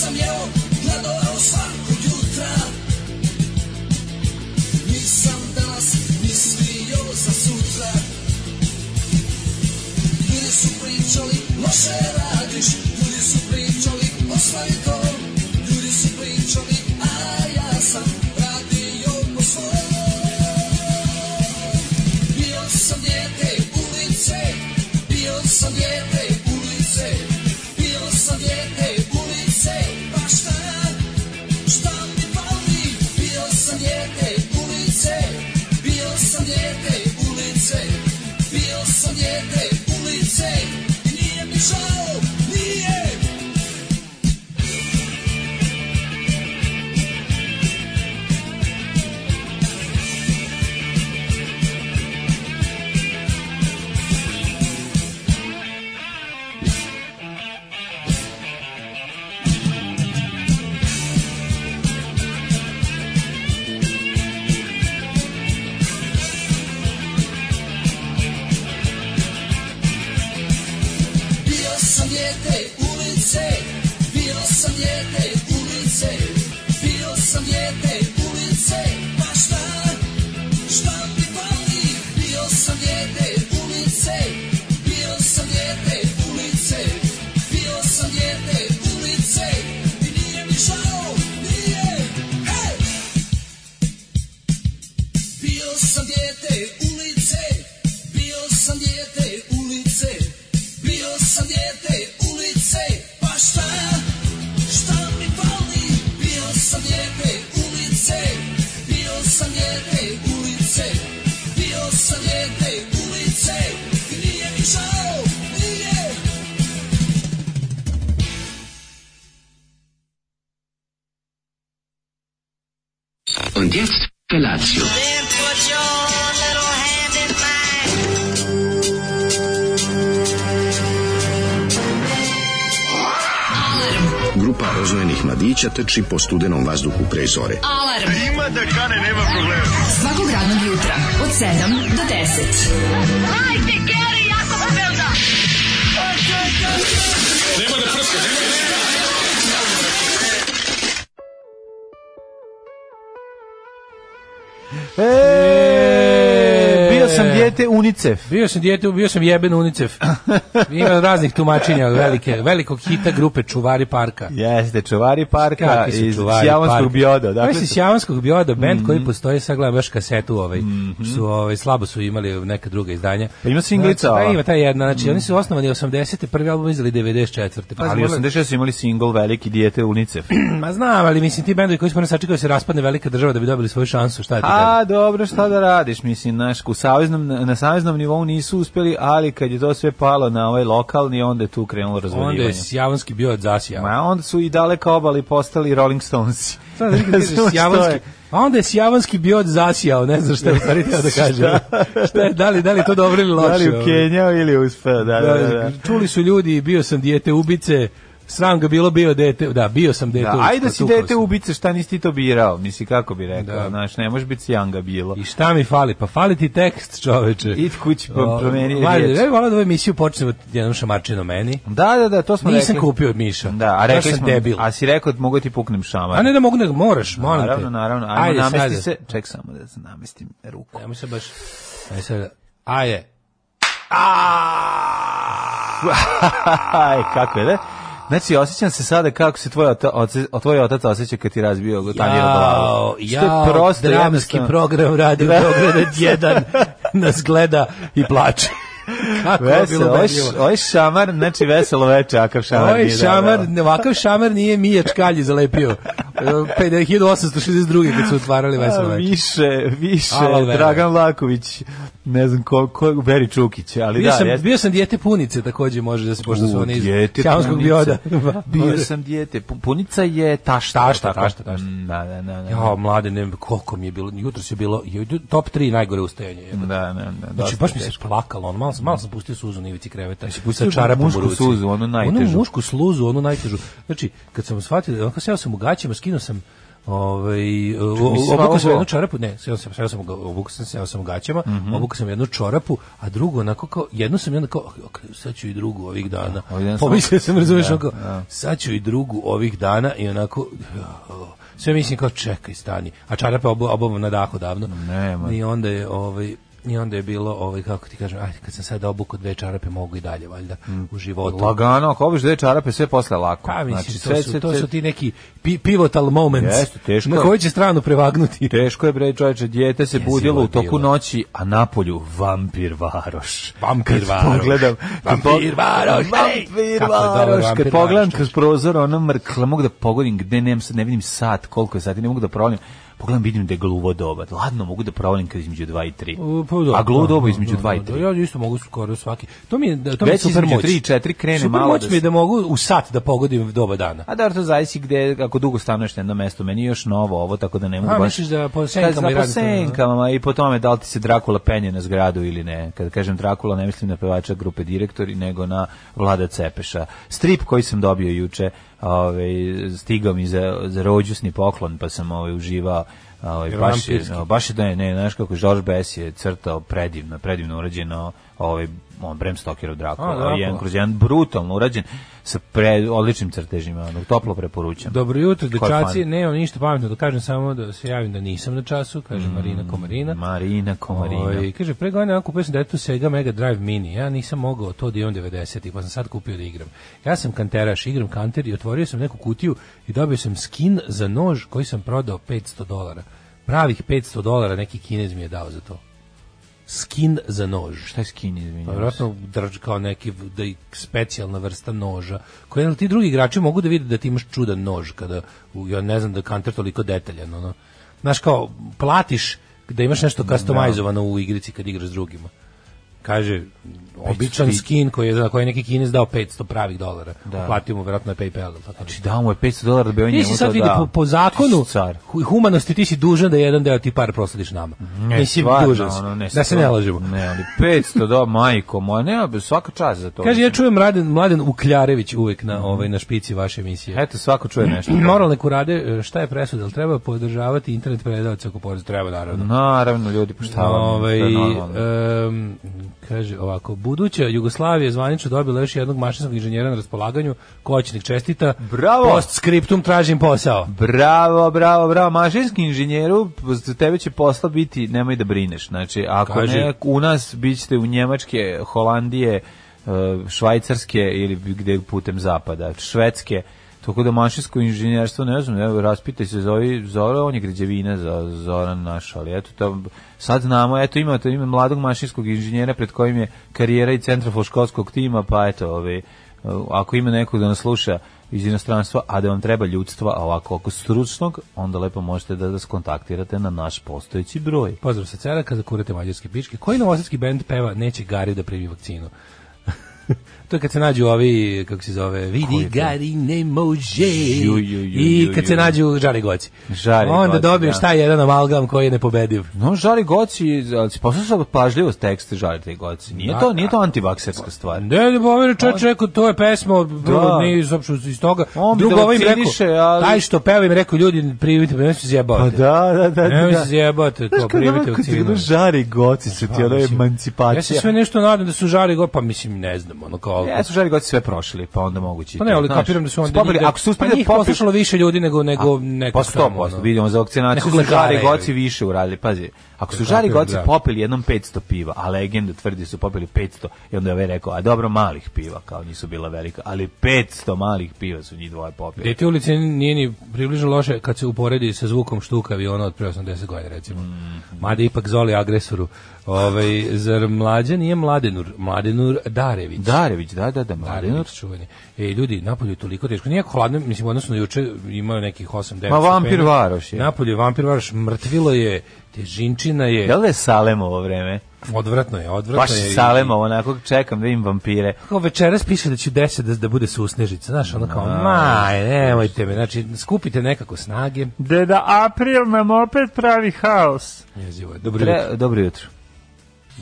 sam jeo, gledao svakog jutra. Nisam danas mislio za sutra. Ljudi su pričali, loše radiš, ljudi su pričali, ostavi to. Ljudi su pričali, a ja sam radio po svojom. Bio sam dijete ulice, bio sam dijete ulice, bio sam dijete ulice, pa šta, šta mi fali? Bio sam dijete ulice, bio sam dijete ulice, bio sam dijete ulice, i nije mi žao, nije. Bio sam dijete ulice, bio sam dijete ulice, bio sam dijete ulice, pa šta, šta mi fali? Bio sam dijete ulice, bio sam dijete ulice, bio sam dijete ulice, i nije mi žao, nije, ej! Bio sam dijete ulice, bio sam dijete ulice, bio sam dijete ulice, pa šta, šta mi fali? Bio sam dijete ulice, bio sam dijete ulice, bio sam dijete ulice, i nije mi žao, nije. Und jetzt Felatio. Then put your little hand in mine. Grupa rozvojenih mladića teči po studenom vazduhu pre zore. Alarm. Ima da kane, nema problema. Svakog radnog jutra, od 7 do 10. E, bio sam dijete UNICEF. Bio sam dijete, bio sam jeben UNICEF. Ima raznih tumačenja od velike, velikog hita grupe Čuvari parka. Jeste, čuvari parka Kakvi su iz čuvari Sjavanskog parka? bioda. Ovi Dakle, Mhm. su iz Sjavanskog bioda, band koji postoji, sad gledam baš kasetu, ovaj, su, ovaj, slabo su imali neka druga izdanja. Pa ima singlica, Znači, ova. Mhm. pa ima ta jedna, znači oni su osnovani 80. prvi album izdali 94. Pa ali morali- 86 su imali single veliki dijete UNICEF. Ma znam, ali mislim ti bendovi koji su prvo sačekali da se raspadne velika država da bi dobili svoju šansu, šta ti da? A, dobro, šta da radiš, mislim, naš, u saveznom, na saveznom nivou nisu uspeli, ali kad je to sve palo na ovaj lokalni, onda je tu krenulo Onda je razvaljivanje. Sjavanski bio od zasijao. Ma, onda su i daleka obali postali Rolling Stonesi. Sad da kažeš Razumeš što Sjavanski. je? A onda je Sjavanski biod zasijao, ne znam šta je u stvari teo da kaže. šta je, da li, da li je to dobro ili loše? Da li u ovaj? Kenjao ili je uspeo, da, da, da. da. Čuli su ljudi, bio sam dijete ubice, sram ga bilo, bio dete, da, bio sam dete Da, ubice. ajde da si potukao dete sam. ubice, šta nisi ti to birao? Misli, kako bi rekao, Da. znaš, ne može biti sjanga bilo. I šta mi fali? Pa fali ti tekst, čoveče. Idi kući, pa O, promeni Valjda, riječ. Ja bih volao da ovu emisiju počnemo jednom šamarčinom meni. Da, da, da, to smo Nisam rekli. kupio od Miša. Da, a Baš rekli sam smo, debil. a si rekao da mogu ti puknem šamar. A ne da mogu, nego moraš, molim te. Naravno, naravno. Ajmo Ajde, namesti sad. se. Ček samo da se namestim ruku. Nemoj se baš... Ajde sad. Ajde. Aj, kako je, da? Znači, osjećam se sada kako se tvoj, ota, oce, o, tvoj otac osjeća kad ti razbio go tanjir od glavu. Što je jao, prosto dramski jednostavno- program Radio Beograd 1 nas gleda i plače. Kako je Veselo, bilo ovaj, ubedljivo. š- ovaj šamar, znači veselo veče, akav šamar. Ovaj nije, da, da. šamar, ne, ovakav šamar nije Mija Čkalji zalepio. E, pe- 1862. kad su otvarali Veselo A, veče. Više, više, Alo, Vera. Dragan Laković, ne znam ko, ko Beri Čukić, ali Bio da, sam, jeste. bio sam dijete punice takođe može da se pošto su U, oni iz dijete Sjavanskog Punice. bioda. pa, Bio sam dijete. Pu- Punica je tašta. Tašta, tako? tašta, tašta. Mm, Da, da, da. da. Ja, mlade, ne koliko mi je bilo, jutros je bilo joj, top 3 najgore ustajanje. jebote. Da, da, da. Znači, dosta baš mi se teško. plakalo, ono, malo, sam, malo sam pustio suzu na ivici kreveta. Znači, pustio ono mušku suzu, onu najtežu. Znači, Onu mušku sluzu, onu najtežu. Znači, kad sam shvatio, onako seo sam u gaćima, skinuo sam Ovaj nisi obukao sam smagao? jednu čarapu, ne, seo sam, seo sam ga, obukao sam, seo sam u gaćama, obukao sam jednu čorapu, a drugu onako kao jednu sam i onda kao ok, sad ću i drugu ovih dana. ovih dana sam- Pomislio sam, razumeš, ono Da, onako, sad ću i drugu ovih dana i onako jao, sve mislim kao čekaj, stani. A čarapa obu, obuvam na dahu davno. Nema. I onda je ovaj i onda je bilo ovaj kako ti kažem, aj kad sam sad obukao dve čarape mogu i dalje valjda u životu. Mm. Lagano, ako obiš dve čarape, sve posle lako. Znači, Pa mislim, sve- to, su, sve- to sve- su ti neki pi- pivotal moments Jeste, teško na je. koju će stranu prevagnuti. Teško je bre čoveče, dijete se Jezivo budilo u je toku bilo. noći, a napolju vampir varoš. Vampir Kad varoš. Pogledam, kad po- Vampir varoš, ej! Vampir Kako je dobar varoš. vampir Kad pogledam varoš, kroz prozor, ono mrkla, mogu da pogodim gde nemam sad, ne vidim sat, koliko je sati, ne mogu da provalim. Pogledam, vidim da je gluvo doba. Ladno, mogu da provalim kad je između 2 i 3. Pa da, a gluvo da, doba da, između da, 2 i da, 3. Ja isto mogu skoro svaki. To mi je da- to mi je Već super između moć. tri i četiri krene super malo moć da mi je se- da mogu u sat da pogodim doba dana. A da, to zavisi gde, ako dugo stanuješ na jednom mestu, meni je još novo ovo, tako da ne mogu A, baš... misliš da po Kad- senkama i da, po radi to, da? senkama i po tome da li ti se Drakula penje na zgradu ili ne. Kada kažem Drakula, ne mislim na pevača grupe Direktori, nego na Vlada Cepeša. Strip koji sam dobio juče, ovaj, stigao mi za, za rođusni poklon, pa sam ovaj, uživao Ovaj, Jer baš, je, vampirski. no, baš je da je, ne, znaš kako George Bess je crtao predivno, predivno urađeno ovaj, on Bram Stokerov Drakula, ovaj, A, Drakula. jedan kroz jedan brutalno urađen sa pre, odličnim crtežima, ono, toplo preporučam. Dobro jutro, Ko je fan? dečaci. Nemam ništa pametno da kažem, samo da se javim da nisam na času, kaže Marina Komarina. Marina Komarina. Ovaj, kaže, pre godine ja kupio sam detetu Sega Mega Drive Mini. Ja nisam mogao to da imam 90-ih, pa sam sad kupio da igram. Ja sam kanteraš, igram kanter i otvorio sam neku kutiju i dobio sam skin za nož koji sam prodao 500 dolara. Pravih 500 dolara neki kinez mi je dao za to. Skin za nož. Šta je skin, izvinjam Pa se? vjerojatno drž kao neki v- da je specijalna vrsta noža. Koji jel ti drugi igrači mogu da vide da ti imaš čudan nož kada u- ja ne znam da je kanter toliko detaljan, ono. Znaš kao platiš da imaš nešto customizovano u igrici kad igraš s drugima. Kaže običan ti- skin koji je za koji je neki Kinez dao 500 pravih dolara. Da. Platio mu verovatno na PayPal. ili tako Znači, dao mu je 500 dolara da bi on ti njemu to si sad vidi dao. po, po Ti zakonu si car. hu- humanosti ti si dužan da jedan deo ti par proslediš nama. Ne, Mislim stvarno, dužan si. ono, ne, da se ne stvarno. lažemo. Ne, ali 500 dolara, majko moja, nema, bez- svaka čast za to. Kaže, ja čujem Mladen, Mladen Ukljarević uvek na, ovaj, na špici vaše emisije. Mhm. Eto, svako čuje nešto. Moralne kurade, e, šta je presuda? Jel treba podržavati internet predavaca oko poreza? Treba, naravno. Naravno, ljudi, poštavamo. Ovaj, to je normalno. em, kaže ovako, buduća Jugoslavija je zvanično dobila još jednog mašinskog inženjera na raspolaganju, koćnik čestita, Bravo! post skriptum tražim posao. Bravo, bravo, bravo. Mašinski inženjeru, za tebe će posla biti, nemoj da brineš. Znači, ako Kaži. ne, u nas bit ćete u Njemačke, Holandije, eh, Švajcarske ili gde putem zapada, Švedske. Tako da mašinsko inženjerstvo, ne znam, evo, raspitaj se, zove, Zora, on je građevina za Zoran naš, ali eto, to, sad znamo, eto, ima, to, ima mladog mašinskog inženjera pred kojim je karijera i centrofoškolskog tima, pa eto, ove, ako ima nekog da nas sluša iz inostranstva, a da vam treba ljudstva, a ovako ako stručnog, onda lepo možete da nas kontaktirate na naš postojeći broj. Pozdrav sa Ceraka, za kurate mađarske pičke. Koji novosadski bend peva Neće Gari da primi vakcinu? to je kad se nađu ovi, kako se zove, vidi Gari ne može. Ju, ju, ju, I ju, kad ju. se nađu žari goci. Žari Onda goci, dobiješ da. taj jedan amalgam koji je nepobediv. No, žari goci, ali si poslušao pažljivost tekst žari te goci. Nije to, Da. nije to antivakserska stvar. Ne, ne, poveri čovječ rekao, to je pesma, prvo Da. nije izopšu iz toga. On bi Drugo, da ovaj im vakciniše, rekao, ali- taj što peva im rekao, ljudi, primite, me, nemoj se Pa zjebavate. da, da, da. Nemoj da. se zjebate, to, Znaš kad primite ono- kad ti vakcinu. ono žari goci, su ti ono mislim, emancipacija. Ja se sve nešto nadam da su žari go, pa mislim, ne znam, ono kao... Ja su žari goci sve prošli, pa onda moguće. i Pa ne, to, ali znaš. kapiram da su onda Popili, njih, ako su uspeli pa da njih popiju- poslušalo više ljudi nego nego ono. neko Pa 100%, vidimo za vakcinaciju su žari goci više uradili, pazi. Ako su žari Kapiram, goci da. popili jednom 500 piva, a legenda tvrdi su popili 500, i onda je ovaj rekao, a dobro malih piva, kao nisu bila velika, ali 500 malih piva su njih dvoje popili. Dete ulice nije ni približno loše kad se uporedi sa zvukom štuka aviona od pre 80 godina recimo. Mhm. Mada ipak zoli agresoru. Ovaj zar mlađa nije mladenur, mladenur Darević. Darević, da, da, da, Mladenur. Darević čuveni. E ljudi, napolju je toliko teško. Nije hladno, mislim odnosno na juče imaju nekih 8 9. Ma, vampir varoš je. Napolju je vampir varoš, mrtvilo je, težinčina je. Da li je Salem ovo vreme? Odvratno je, odvratno Baš je. i- Salem ovo, onako čekam da im vampire. Kao večeras piše da će u 10 da, da bude susnežica, znaš, ono kao, maj, nemojte me, znači, skupite nekako snage. Deda April nam opet pravi haos. Jezivo je, dobro jutro. Tre, dobro jutro.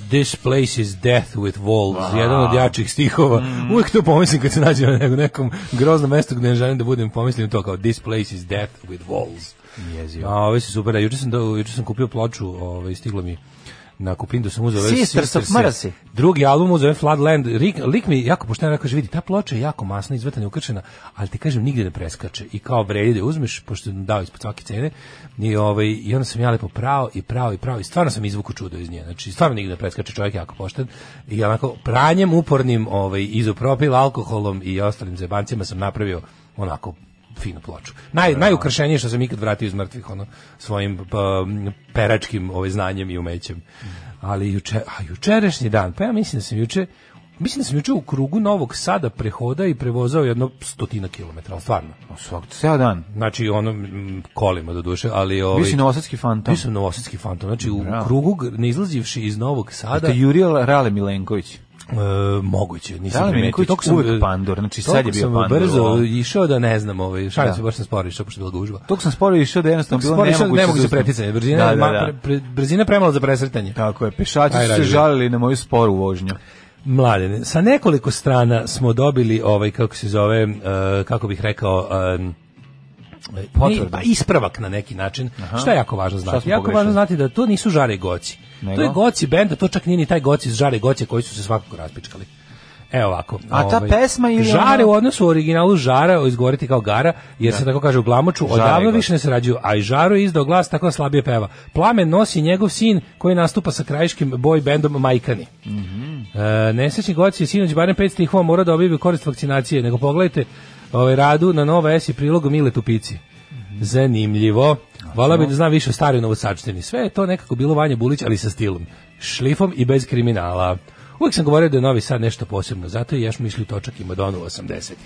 This place is death with wolves, jedan od jačih stihova. Uvijek to pomislim kad se nađem na nekom- nekom groznom mestu gde ne želim da budem, pomislim to kao this place is death with wolves. Jezivo. A ovo se super, da, juče sam, do, juče sam kupio ploču, ovaj, stiglo mi na kupindu sam uzeo ovaj Sisters of Mercy. Drugi album uzeo Floodland. Rik, lik mi jako pošteno rekao, kaže, vidi, ta ploča je jako masna, izvrtana i ukrčena, ali ti kažem, nigde ne preskače. I kao vredi da je uzmeš, pošto sam dao ispod svake cene, i, ovaj, i onda sam ja lepo prao i prao i prao i stvarno sam izvuku čudo iz nje. Znači, stvarno nigde ne preskače, čovjek je jako pošten. I onako, pranjem upornim ovaj, izopropil, alkoholom i ostalim zebancima sam napravio onako finu ploču. Naj, najukršenije što sam ikad vratio iz mrtvih, ono, svojim pa, peračkim ovaj, znanjem i umećem. Mm. Ali juče, a jučerašnji dan, pa ja mislim da sam juče, mislim da sam juče u krugu Novog Sada prehoda i prevozao jedno stotina kilometra, ali stvarno. Svak, ceo dan. Znači, ono, mm, kolima do duše, ali... Ovaj, Bio si novosadski fantom. Bio sam novosadski fantom, znači u Bravo. krugu, g- ne izlazivši iz Novog Sada... Da. Te Jurio Rale Milenković. E, moguće, nisam Dale primetio. Milenković Toliko sam, e, uvek pandur, znači sad je toliko bio sam pandur, brzo ovo. išao da ne znam, ovaj, šalim Da. se, baš sam sporo išao, pošto je bila gužva. Tog sam sporo išao da jednostavno bilo Sporo išao, nemoguće. ne mogu da za ustanem. preticanje. Brzina, da, je da, ma- da. pre- pre- brzina je premalo za presretanje. Tako je, pešači Aj, su se Rađe. žalili na moju sporu vožnju. Mladene, sa nekoliko strana smo dobili ovaj, kako se zove, e, kako bih rekao, eh, em, Potvrdu. ni- Pa ispravak na neki način. Što je jako važno Šta znati? smo Jako pogrešili? važno znati da to nisu žare goci. Nego? To je goci benda, to čak nije ni taj goci iz žare goce koji su se svakako raspičkali. Evo ovako. ovaj, A ta pesma ili Žare ono- u odnosu u originalu žara izgovoriti kao gara, jer se tako kaže u glamoču, Žare odavno goci. više ne sarađuju, a i žaru je izdao glas tako da slabije peva. Plamen nosi njegov sin koji nastupa sa krajiškim boy bandom Majkani. E, nesrećni goci je sinoć barem 5 stihova mora da objavi u korist vakcinacije, nego pogledajte ovaj, radu na Nova S i prilogu Mile Tupici. Zanimljivo. Vala bi da znam više o staroj novosačtini. Sve je to nekako bilo Vanja Bulić, ali sa stilom. Šlifom i bez kriminala. Uvijek sam govorio da je Novi Sad nešto posebno, zato i jaš mišlju točak i Madonu 80.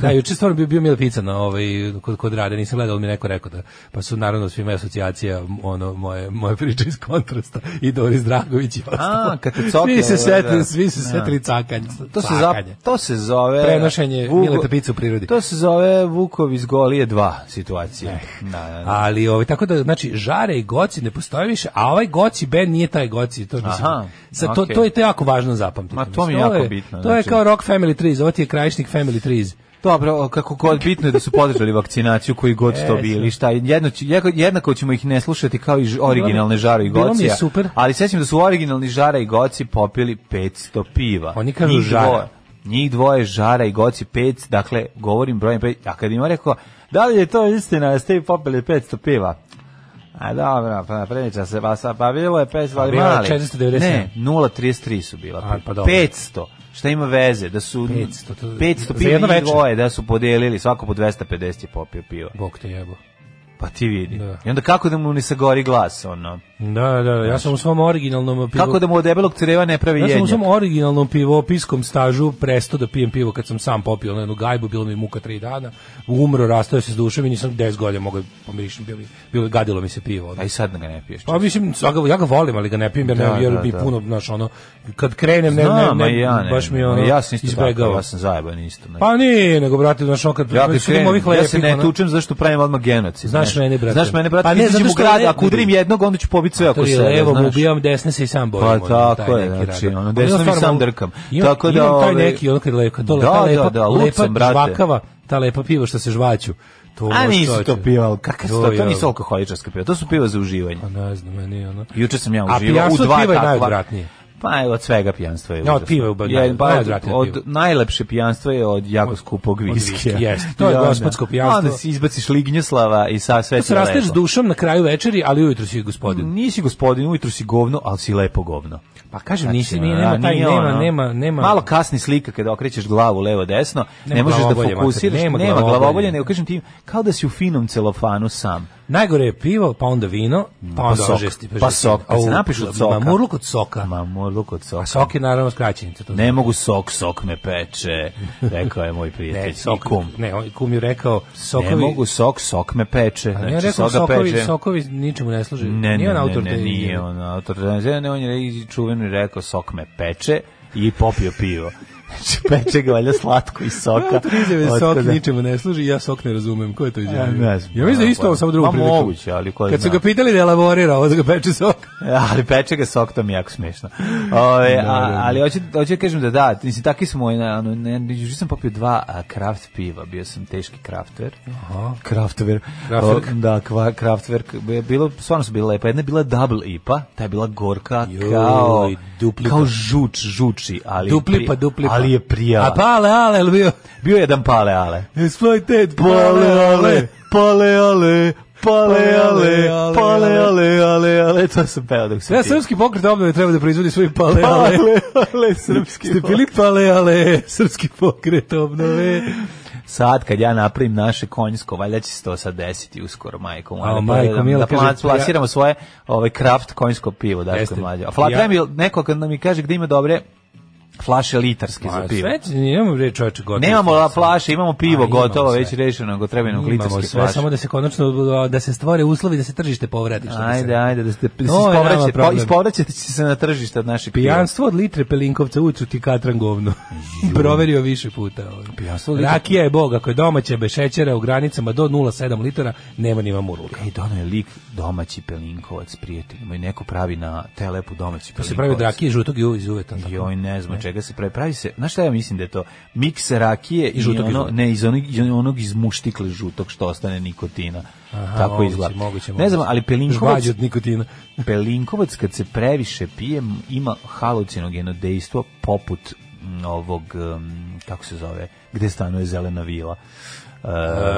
da, juče stvarno bio, bio Mile Pica na ovaj, kod, kod rade, nisam gledao, ali mi je neko rekao da, pa su naravno svima asocijacija ono, moje, moje priče iz kontrasta i Doris Dragović i ostalo. kad te cokne, Svi se da, sete, da. svi se setili cakanja. To se, za, to se zove... Prenošenje Mileta Pice u prirodi. Eh. To se zove Vukov iz Golije 2 situacija. Da, da, da. Ali ovaj tako da znači žare i goci ne postoje više, a ovaj goci ben nije taj goci, to mislim. Aha, Sa to okej. to je to je jako važno zapamtiti. Ma, to mi je Mislim, ovo jako bitno, To je znači. kao Rock Family Trees, ovo ti je krajišnik Family Trees. Dobro, o, kako god bitno je da su podržali vakcinaciju koji god to bili, šta, jedno, će- jednako- jednako ćemo ih ne slušati kao i ž- originalne žare i bilo mi je gocija, super. ali sećam da su originalni žara i goci popili 500 piva. Oni kažu žara. dvoje, njih dvoje žara i goci 5, dakle, govorim brojem 5, a kad im je rekao, da li je to istina da ste vi popili 500 piva? A dobro, pa priča se, pa, sa- pa bilo je 500, ali bilo je mali. 497. Ne, 0,33 su bila. A, pa dobro. 500, šta ima veze, da su 500, to- 500 za jedno piva njih večer. dvoje, da su podelili, svako po 250 je popio piva. Bog te jebo. Pa ti vidi. Da. I onda kako da mu ne sagori glas, ono? Da, da, ja sam u svom originalnom pivu. Kako da mu od debelog creva ne pravi Ja sam u jednjak? svom originalnom pivopiskom stažu prestao da pijem pivo kad sam sam popio na jednu gajbu, bilo mi je muka tri dana, umro, rastao se s dušom i nisam 10 godina mogao da pomirišim, bilo, mi- bilo, gadilo mi se pivo. ono. A i sad ga ne piješ. Pa mislim, ja ga, ja ga volim, ali ga ne pijem, jer, Da, ne, jer da, bi da. puno, znaš, ono, kad krenem, ne, Znam, ne, a ne, ja ne. baš mi ma ono, ja sam isto izbegao. tako, ja sam zajeban isto. znači. Pa nije, nego, brate, znaš, ono, kad ja kad kad su krenem, ovih ja se lepih, ne ono- tučem zašto pravim odmah genocid. Znaš mene, brate. Znaš mene, brate, Pa pa ne, ne, zato u što grad, ne- ako udarim jednog, onda ću pobiti sve to oko je sebe. levom znaš. ubijam, desne se i sam borim. Pa ono, tako taj je, neki znači, radar. ono, Ali ja desno mi stvarno sam mogu- drkam. Imam, Tako da, imam taj ovaj- neki, ono kad lepa, to, Da, ta lepa, da, da, lud lepa sam, brate. žvakava, ta lepa piva što se žvaću. To, A nisu to čoveče. piva, ali kakve su to, to je- nisu alkoholičarska piva, to su piva za uživanje. Pa ne znam, meni je ono... Juče sam ja A uživao u pijanstvo dva piva je takva. najodvratnije. Pa evo, od svega pijanstva je Ja, od užasno. piva je ubad- Je, pa, najodvratnije od, pivo. najlepše pijanstvo je od jako skupog viskija. viskija, jeste. To je I onda- gospodsko pijanstvo. Onda si izbaciš lignjoslava i sa sve To se ti je rasteš s lepo. Mm. dušom na kraju večeri, ali ujutru si gospodin. Nisi gospodin, ujutru si govno, ali si lepo govno. Pa kažem, Znači, nisi, nije, ono, nema, taj, nije nema, ono- nema, nema... Malo kasni slika kada okrećeš glavu levo desno, Nema ne možeš da glavobolje, fokusiraš, mater, nema nema, glavobolje. glavobolje, nego kažem ti, kao da si u finom celofanu sam. Najgore je pivo, pa onda vino, pa onda sok. ožesti. Pa sok, kad se napiš od soka. Mamurluk od soka. Ma, morluk od soka. A sok je naravno skraćenica. To Ne mogu sok, sok me peče, rekao je moj prijatelj. ne, i sok, kum. ne, on- kum je rekao, sokovi... Ne mogu sok, sok me peče. A Znači, nije on rekao, rekao, soga sokovi, peče. sokovi ničemu ne služe. Ne, nije ne, on autor ne, te ne, nije izjave. on autor. Ne, ne, on je re- čuveno je rekao sok me peče i popio pivo. Znači, peče ga valjda slatko iz soka. Autor izjave Otkud sok da- ničemu ne služi, ja sok ne razumem. Ko je to izjavio? ne znam. ja mislim da je Nemam isto ovo pojma. samo drugu Pa priliku. moguće, ali ko Kad su zna. ga pitali da elaborira, ovo da ga peče sok. ali peče ga soktom jako smešno. Ove, a, ali hoću, hoću da kažem da da, mislim, takvi smo, na, ono, ne, juče sam popio dva a, kraft piva, bio sam teški kraftver. Aha. Kraftver. Kraftwerk. O, Da, kva, kraftver. Bilo, stvarno su bila lepa. Jedna je bila double IPA, ta je bila gorka Joj, kao, dupli kao pa. žuč, žuči, ali, Dupli pri- pa, dupli pa. ali je prijala. A pale, ale, ali bio... Bio je jedan pale ale. Exploited, E, Pale ale, pale ale, pale ale, pale ale, ale, ale, to sam peo dok sam Ja pio. srpski pokret obnove treba da proizvodi svoj pale, ale. Ale, ale, srpski Ste bili pale, ale, srpski pokret obnove. Sad kad ja napravim naše konjsko, valjda će se to sad desiti uskoro, majko. moja, A, da majko pogledam, mila, da kaže, pa plac- plasiramo svoje ovaj kraft konjsko pivo, da Jeste. je mlađe. A fla, Ja- treba mi neko kad nam mi kaže gde ima dobre flaše litarske za pivo. Sve, nemamo reći čoveče gotovo. Nemamo la Sve. flaše, imamo pivo A, imamo gotovo, sve. već rešeno, nego treba nam Imamo litarske sve, flaše. samo da se konačno, da se stvore uslovi da se tržište povrati. što bi se Ajde, reklo. ajde, da ste da se To je nama ispovraćate, po, problem. ispovraćate će se na tržište od našeg piva. Pijanstvo od litre pelinkovca uću ti katran govno. Proverio više puta. ovaj. Pijanstvo od litre- Rakija je bog, ako je domaća bez šećera u granicama do 0,7 litara, nema ni vam u ruka. Ej, dono je lik domaći pelinkovac, prijatelj. Moj neko pravi na telepu domaći To pelinkovac. se pravi od rakije žutog i uve iz uveta. tako. Joj, ne znam od čega se pravi. Pravi se, znaš šta ja mislim da je to? Miks rakije i, žutog ono, izvora. ne, iz onog, iz onog iz muštikle žutog što ostane nikotina. Aha, Tako moguće, izgleda. moguće, ne znam, moguće. ali pelinkovac, Žvađe od nikotina. pelinkovac kad se previše pije m, ima halucinogeno dejstvo poput m, ovog, um, kako se zove, gde stanuje zelena vila. E,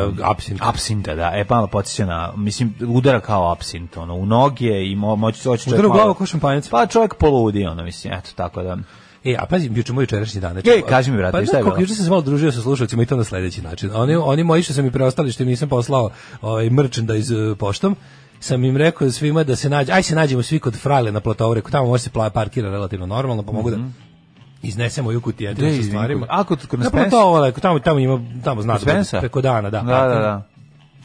Uh, apsint. Apsinta, da. E, malo podsjeća na, mislim, udara kao apsint, ono, u noge i mo, moći se oči Udara u glavu kao šampanjac. Pa čovjek poludi, ono, mislim, eto, tako da. E, a pazi, juče moj jučerašnji dan. Ej, E, kaži mi, brate, pa, šta je da, kako, bilo? Juče sam se malo družio sa slušalcima i to na sledeći način. Oni, oni moji što sam mi preostali, što im nisam poslao ovaj, merchandise eh, poštom, sam im rekao svima da se nađe, aj se nađemo svi kod Frajle na Platovoreku, tamo može se pla- parkira relativno normalno, pa mogu da Mhm. iznesemo ju kutije Gde sa izvini, stvarima. kod- a, kod- kod na Spensa? Platovoreku, tamo, tamo ima, tamo zna, da Spensa? bude preko dana, da. Da, da, parking. da.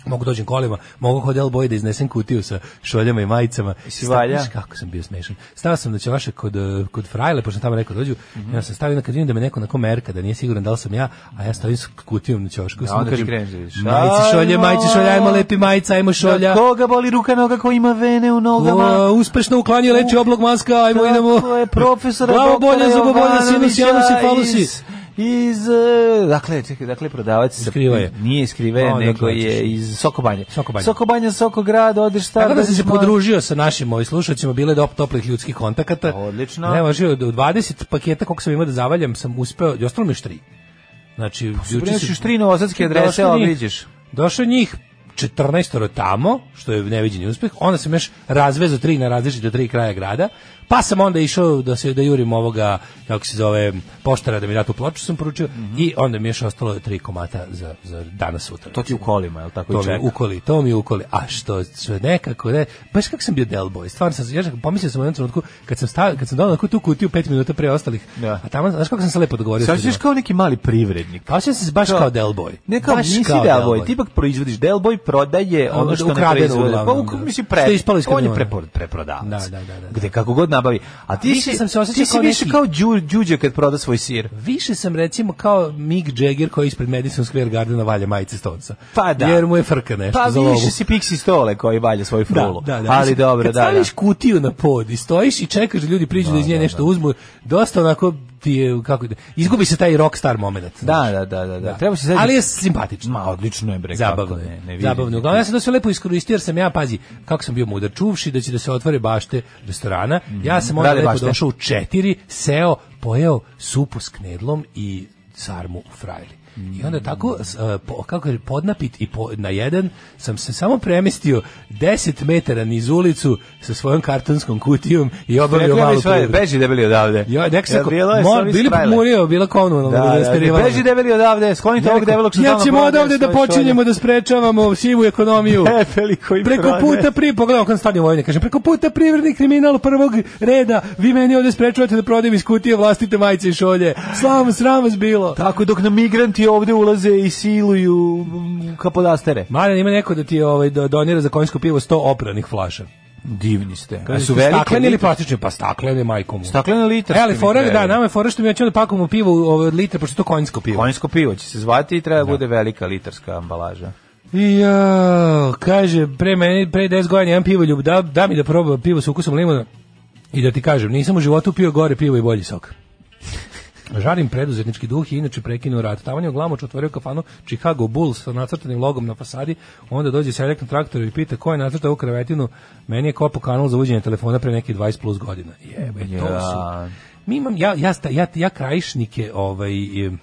Mogu dođem kolima, mogu kod El Boy da iznesem kutiju sa šoljama i majicama. si valja? Znaš kako sam bio smešan. Stao sam na ćelaše kod, eh, kod Frajle, pošto sam tamo rekao dođu, Mhm. ja sam stavio, onda kad vidim da me neko na komerka, da nije siguran da li sam ja, a ja stavim s kutijom na ćošku. samo onda ti kažem, kreneš da vidiš. Majici šolje, majici šolje, ajmo lepi majica, ajmo šolja. Da koga boli ruka noga ko ima vene u nogama? O, uspešno uklanio leči oblog maska, ajmo idemo. Tako je profesor Glavobolja, zubobolja, sinus, janus i falusi. Iz, iz e, dakle čekaj dakle prodavac se Skriva je. nije skriva je, A, odakle nego je hoćeš? iz Sokobanje Sokobanje. Sokobanje Sokograd odeš šta Tako da sam dođeš se malo- podružio sa našim ovaj, ovim slušalcima, bile do toplih ljudskih kontakata. Odlično. Evo, živio, do 20 paketa koliko sam imao da zavaljam, sam uspeo, i ostalo mi još tri. Znači, Pa juče Primećiš se- tri novosadske adrese, Došlo a njih- obliđeš. Došlo njih 14 tamo, što je neviđeni uspeh. Onda sam još razvezao tri na različite tri kraja grada. Pa sam onda išao da se da jurim ovoga kako se zove poštara da mi da tu ploču sam poručio Mhm. i onda mi je još ostalo tri komata za za danas sutra. To ti u kolima, je li tako? To i mi je čeka? ukoli, to mi je ukoli. A što, što je nekako, ne, baš kako sam bio Del Boy. Stvarno sam, ja čak pomislio sam u jednom trenutku, kad sam, stavio, kad sam donao tu kutiju pet minuta pre ostalih, Da. a tamo, znaš kako sam se lepo dogovorio? Se sa osjećaš ljudima? kao neki mali privrednik. Pa osjećam se baš To- kao Del Boy. Ne kao, Baš nisi kao Del Del Boy, Boy. ti ipak proizvodiš. Del Boy prodaje ono što ne ukradeno proizvodi. Pa uglavnom, ukupno da. mislim pre, Što je ispalo iz on je kamiona. prepor- preprodavac. Da, da, da, da. Gde kako god nabavi. A ti više si, sam se osjećao ti si kao više neki- kao Đu- Đuđe kad proda svoj sir. Više sam recimo kao Mick Jagger koji ispred Madison Square Gardena valja majice Stonesa. Pa da. Jer mu je frka nešto Pa za lovu. više si Pixi stole koji valja svoju frulu. Da, da, da. Ali Mislim, dobro, kad da, da. staviš kutiju na pod i stojiš i čekaš da ljudi priđu da, iz nje nešto uzmu, dosta onako ti je, kako, ide, izgubi se taj rockstar moment. Da, da, da, da, da. Treba se sad... Ali je simpatično. Ma, odlično je, bre. kako Zabavno ne, je. ne vidim. Zabavno. Uglavnom, ja sam to sve lepo iskoristio jer sam ja, pazi, kako sam bio mudar, čuvši da će da se otvore bašte restorana, ja sam onda Mhm. Rade lepo bašte. došao u četiri, seo, pojeo supu s knedlom i sarmu u frajli. I Mhm. onda tako, s- e, po- kako je, podnapit i po- na jedan, sam se samo premestio 10 metara niz ulicu sa svojom kartonskom kutijom i obavio Rekli malu bi sve, privredu. beži debeli odavde. Ja, nek se Jel ko- bilo je mor- samo bili ispravili? pomurio, bila komunalna, Da, da, da, rasterivanje. beži debeli odavde, sklonite ovog Ja debelog što ja stalno ćemo prodaje odavde da svoje počinjemo da sprečavamo sivu ekonomiju. Debeli koji Preko prodaje. puta pri pogledam kad stadion vojne kaže preko puta privredni kriminal prvog reda vi meni ovde sprečavate da prodajem iz kutije vlastite majice i šolje sram sram vas bilo Tako dok nam migranti ovde ulaze i siluju mm, kapodastere. Marijan ima neko da ti ovaj da donira za konjsko pivo 100 opranih flaša. Divni ste. Kaže, su ti velike staklene ili litre? plastične? Pa staklene, majko mu. Staklene litre. E, ali ste mi fora, da, dali. nama je fora što mi hoćemo da pakujemo pivo u ove litre, pošto je to konjsko pivo. Konjsko pivo će se zvati i treba da. bude velika litarska ambalaža. Jo, kaže, pre, meni, pre 10 godina jedan pivoljub, da, da mi da probam pivo sa ukusom limona i da ti kažem, nisam u životu pio gore pivo i bolji sok. Žarim preduzetnički duh i inače prekinuo rad. Tavan je u glamoč otvorio kafanu Chicago Bulls sa nacrtanim logom na fasadi, onda dođe seljak na traktoru i pita ko je nacrtao ovu krevetinu, meni je kopao kanal za uđenje telefona pre nekih 20 plus godina. Jebe, to su... Ja. Mi imam, ja, ja, sta- ja, ja krajišnike, ovaj, em,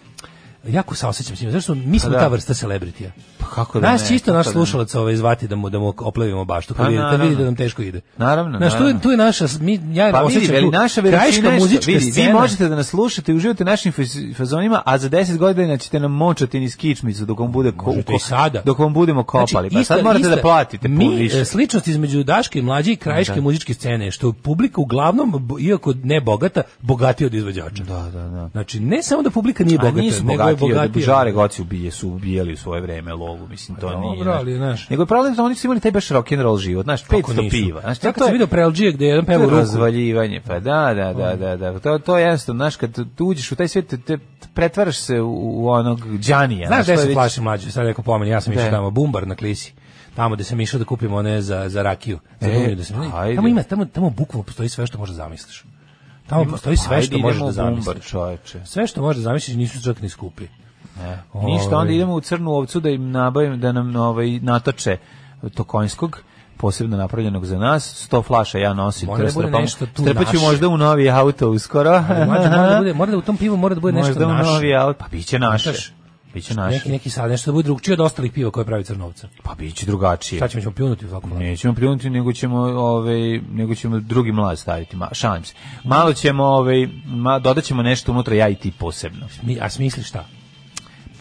jako saosećam s njima, zašto mi smo Pa da. ta vrsta celebritija. Pa kako da Nas ne, će isto kako naš da ne. slušalac ovaj zvati da mu da mu oplevimo baštu kad Pa, vidi, kad naravno. vidi da nam teško ide. Naravno, Znaš, tu je, naravno. tu je naša mi ja Pa vidi, osjećam veli, tu naša veličina krajiška je muzička što, vidi, vi scena. možete da nas slušate i uživate u našim faz- fazonima, a za 10 godina ćete nam močati niz kičmicu dok vam, bude ko, Možete i sada. Znači, dok vam budemo kopali. pa isto- sad morate isto- da platite mi, pun više. e, Sličnost između Daške i mlađe i krajiške Da. muzičke scene je što je publika uglavnom, b- iako ne bogata, bogatija od izvođača. Da, da, da. Znači, ne samo da publika nije A bogata, nisu nego je bogatiji, od bogatija. Žare Goci ubije, su ubijeli u svoje vreme lovu, mislim, to Pa dobro, nije. ali, znaš. Nego je problem što oni su imali taj baš rock'n'roll život, znaš, Kako 500 nisu? piva. Znaš, ja to kad sam je- vidio Prelđije gde je jedan to peva je u ruku, Ovaj. razvaljivanje, pa da, da, da, da, da. To, to je jednostavno, znaš, kad tu uđeš u taj svijet, te, te pretvaraš se u, u onog džanija. Znaš to gde je se već- plaši mlađe, sad rekao pomeni, ja sam Gde? išao tamo, bumbar na klisi. Tamo gde sam išao da kupim one za, za rakiju. Za E, dunju da sam, ajde. tamo ima, tamo, tamo bukvalno postoji sve što možeš da zamisliš. Tamo postoji sve Pa, Ajde, što možeš idemo da u Bumbar, zamisliš. čoveče. Sve što možeš da zamisliš nisu čak ni skupi. Ništa, Ovaj. onda idemo u crnu ovcu da im nabavim, da nam ovaj, natoče tokonjskog, posebno napravljenog za nas, 100 flaša ja nosim, Mora da bude trepam. nešto tu Strepaću naše. možda u novi auto uskoro. Ali mlađe, mora da, bude, mora da u tom pivu mora da bude nešto možda u naše. novi auto, pa biće naše. Znaš, Biće naše. Neki, neki sad, nešto da bude drugčije od ostalih piva koje pravi Crnovca. Pa biće drugačije. Sad ćemo, ćemo pljunuti u svaku vladu. Nećemo pljunuti, nego ćemo, ovaj, nego ćemo drugi mlad staviti, ma, šalim se. Malo ćemo, ovaj, ma, dodat ćemo nešto unutra, ja i ti posebno. Mi, a smisli šta?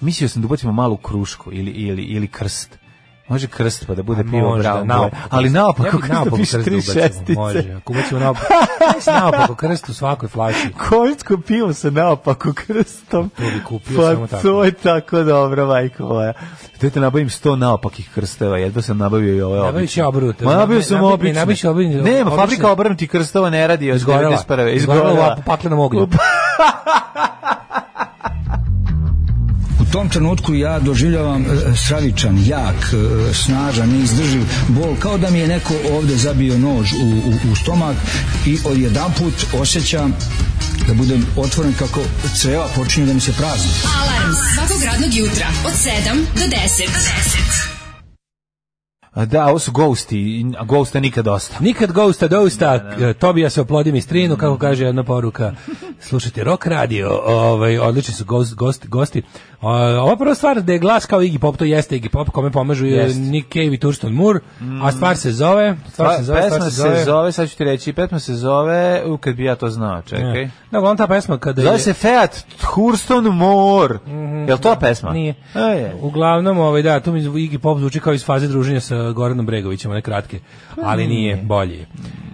Mislio sam da ubacimo malu krušku ili, ili, ili krst. Može krst pa da bude A pivo možda, brown boy. naopako Ali krst. naopako bi krst da piše krst da tri ubacimo, Može, šestice. ako ubacimo naopako, naopako krst u svakoj flaši. Koljsko pivo sa naopako krstom. To bi kupio pa samo tako. to je tako dobro, majko moja. Da te nabavim 100 naopakih krsteva, jedva sam nabavio i ove Nabavit obične. će obrnute. Ma nabavio Nabavi- sam nabavi- obične. nabavit će obrnute. Nema, Obične. fabrika obrnutih krstova ne radi od Izgorela. 91. Izgorela u pa- paklenom ognju. U tom trenutku ja doživljavam e, stravičan, jak, e, snažan, neizdrživ bol, kao da mi je neko ovde zabio nož u, u, u stomak i odjedanput osjećam da budem otvoren kako creva počinju da mi se prazni. Alarm svakog radnog jutra od 7 do 10. Do 10. A Da, ovo su ghosti, i- a ghosta nikad dosta. Nikad ghosta dousta, k- Tobija se oplodim i strinu, kako kaže jedna poruka. Slušajte rock radio, ovaj, odlični su gost, gost, gosti. O, ova prva stvar da je glas kao Iggy Pop, to jeste Iggy Pop, kome pomažu je Jeste. Nick Cave i Thurston Moore, a stvar se zove... Stvar se zove, stvar Pa, pesma Mm. Pa, se zove... sad ću ti reći, pesma se zove, u, kad bi ja to znao, čekaj. Ne. Da, uglavnom ta pesma kada je... Zove se Fiat Hurston Moor. Jel to pesma? Mhm. Nije. E, je. Uglavnom, ovaj, da, tu mi Iggy Pop zvuči kao iz faze druženja sa Goranom Bregovićem, one kratke, Pa, ali nije, bolje je.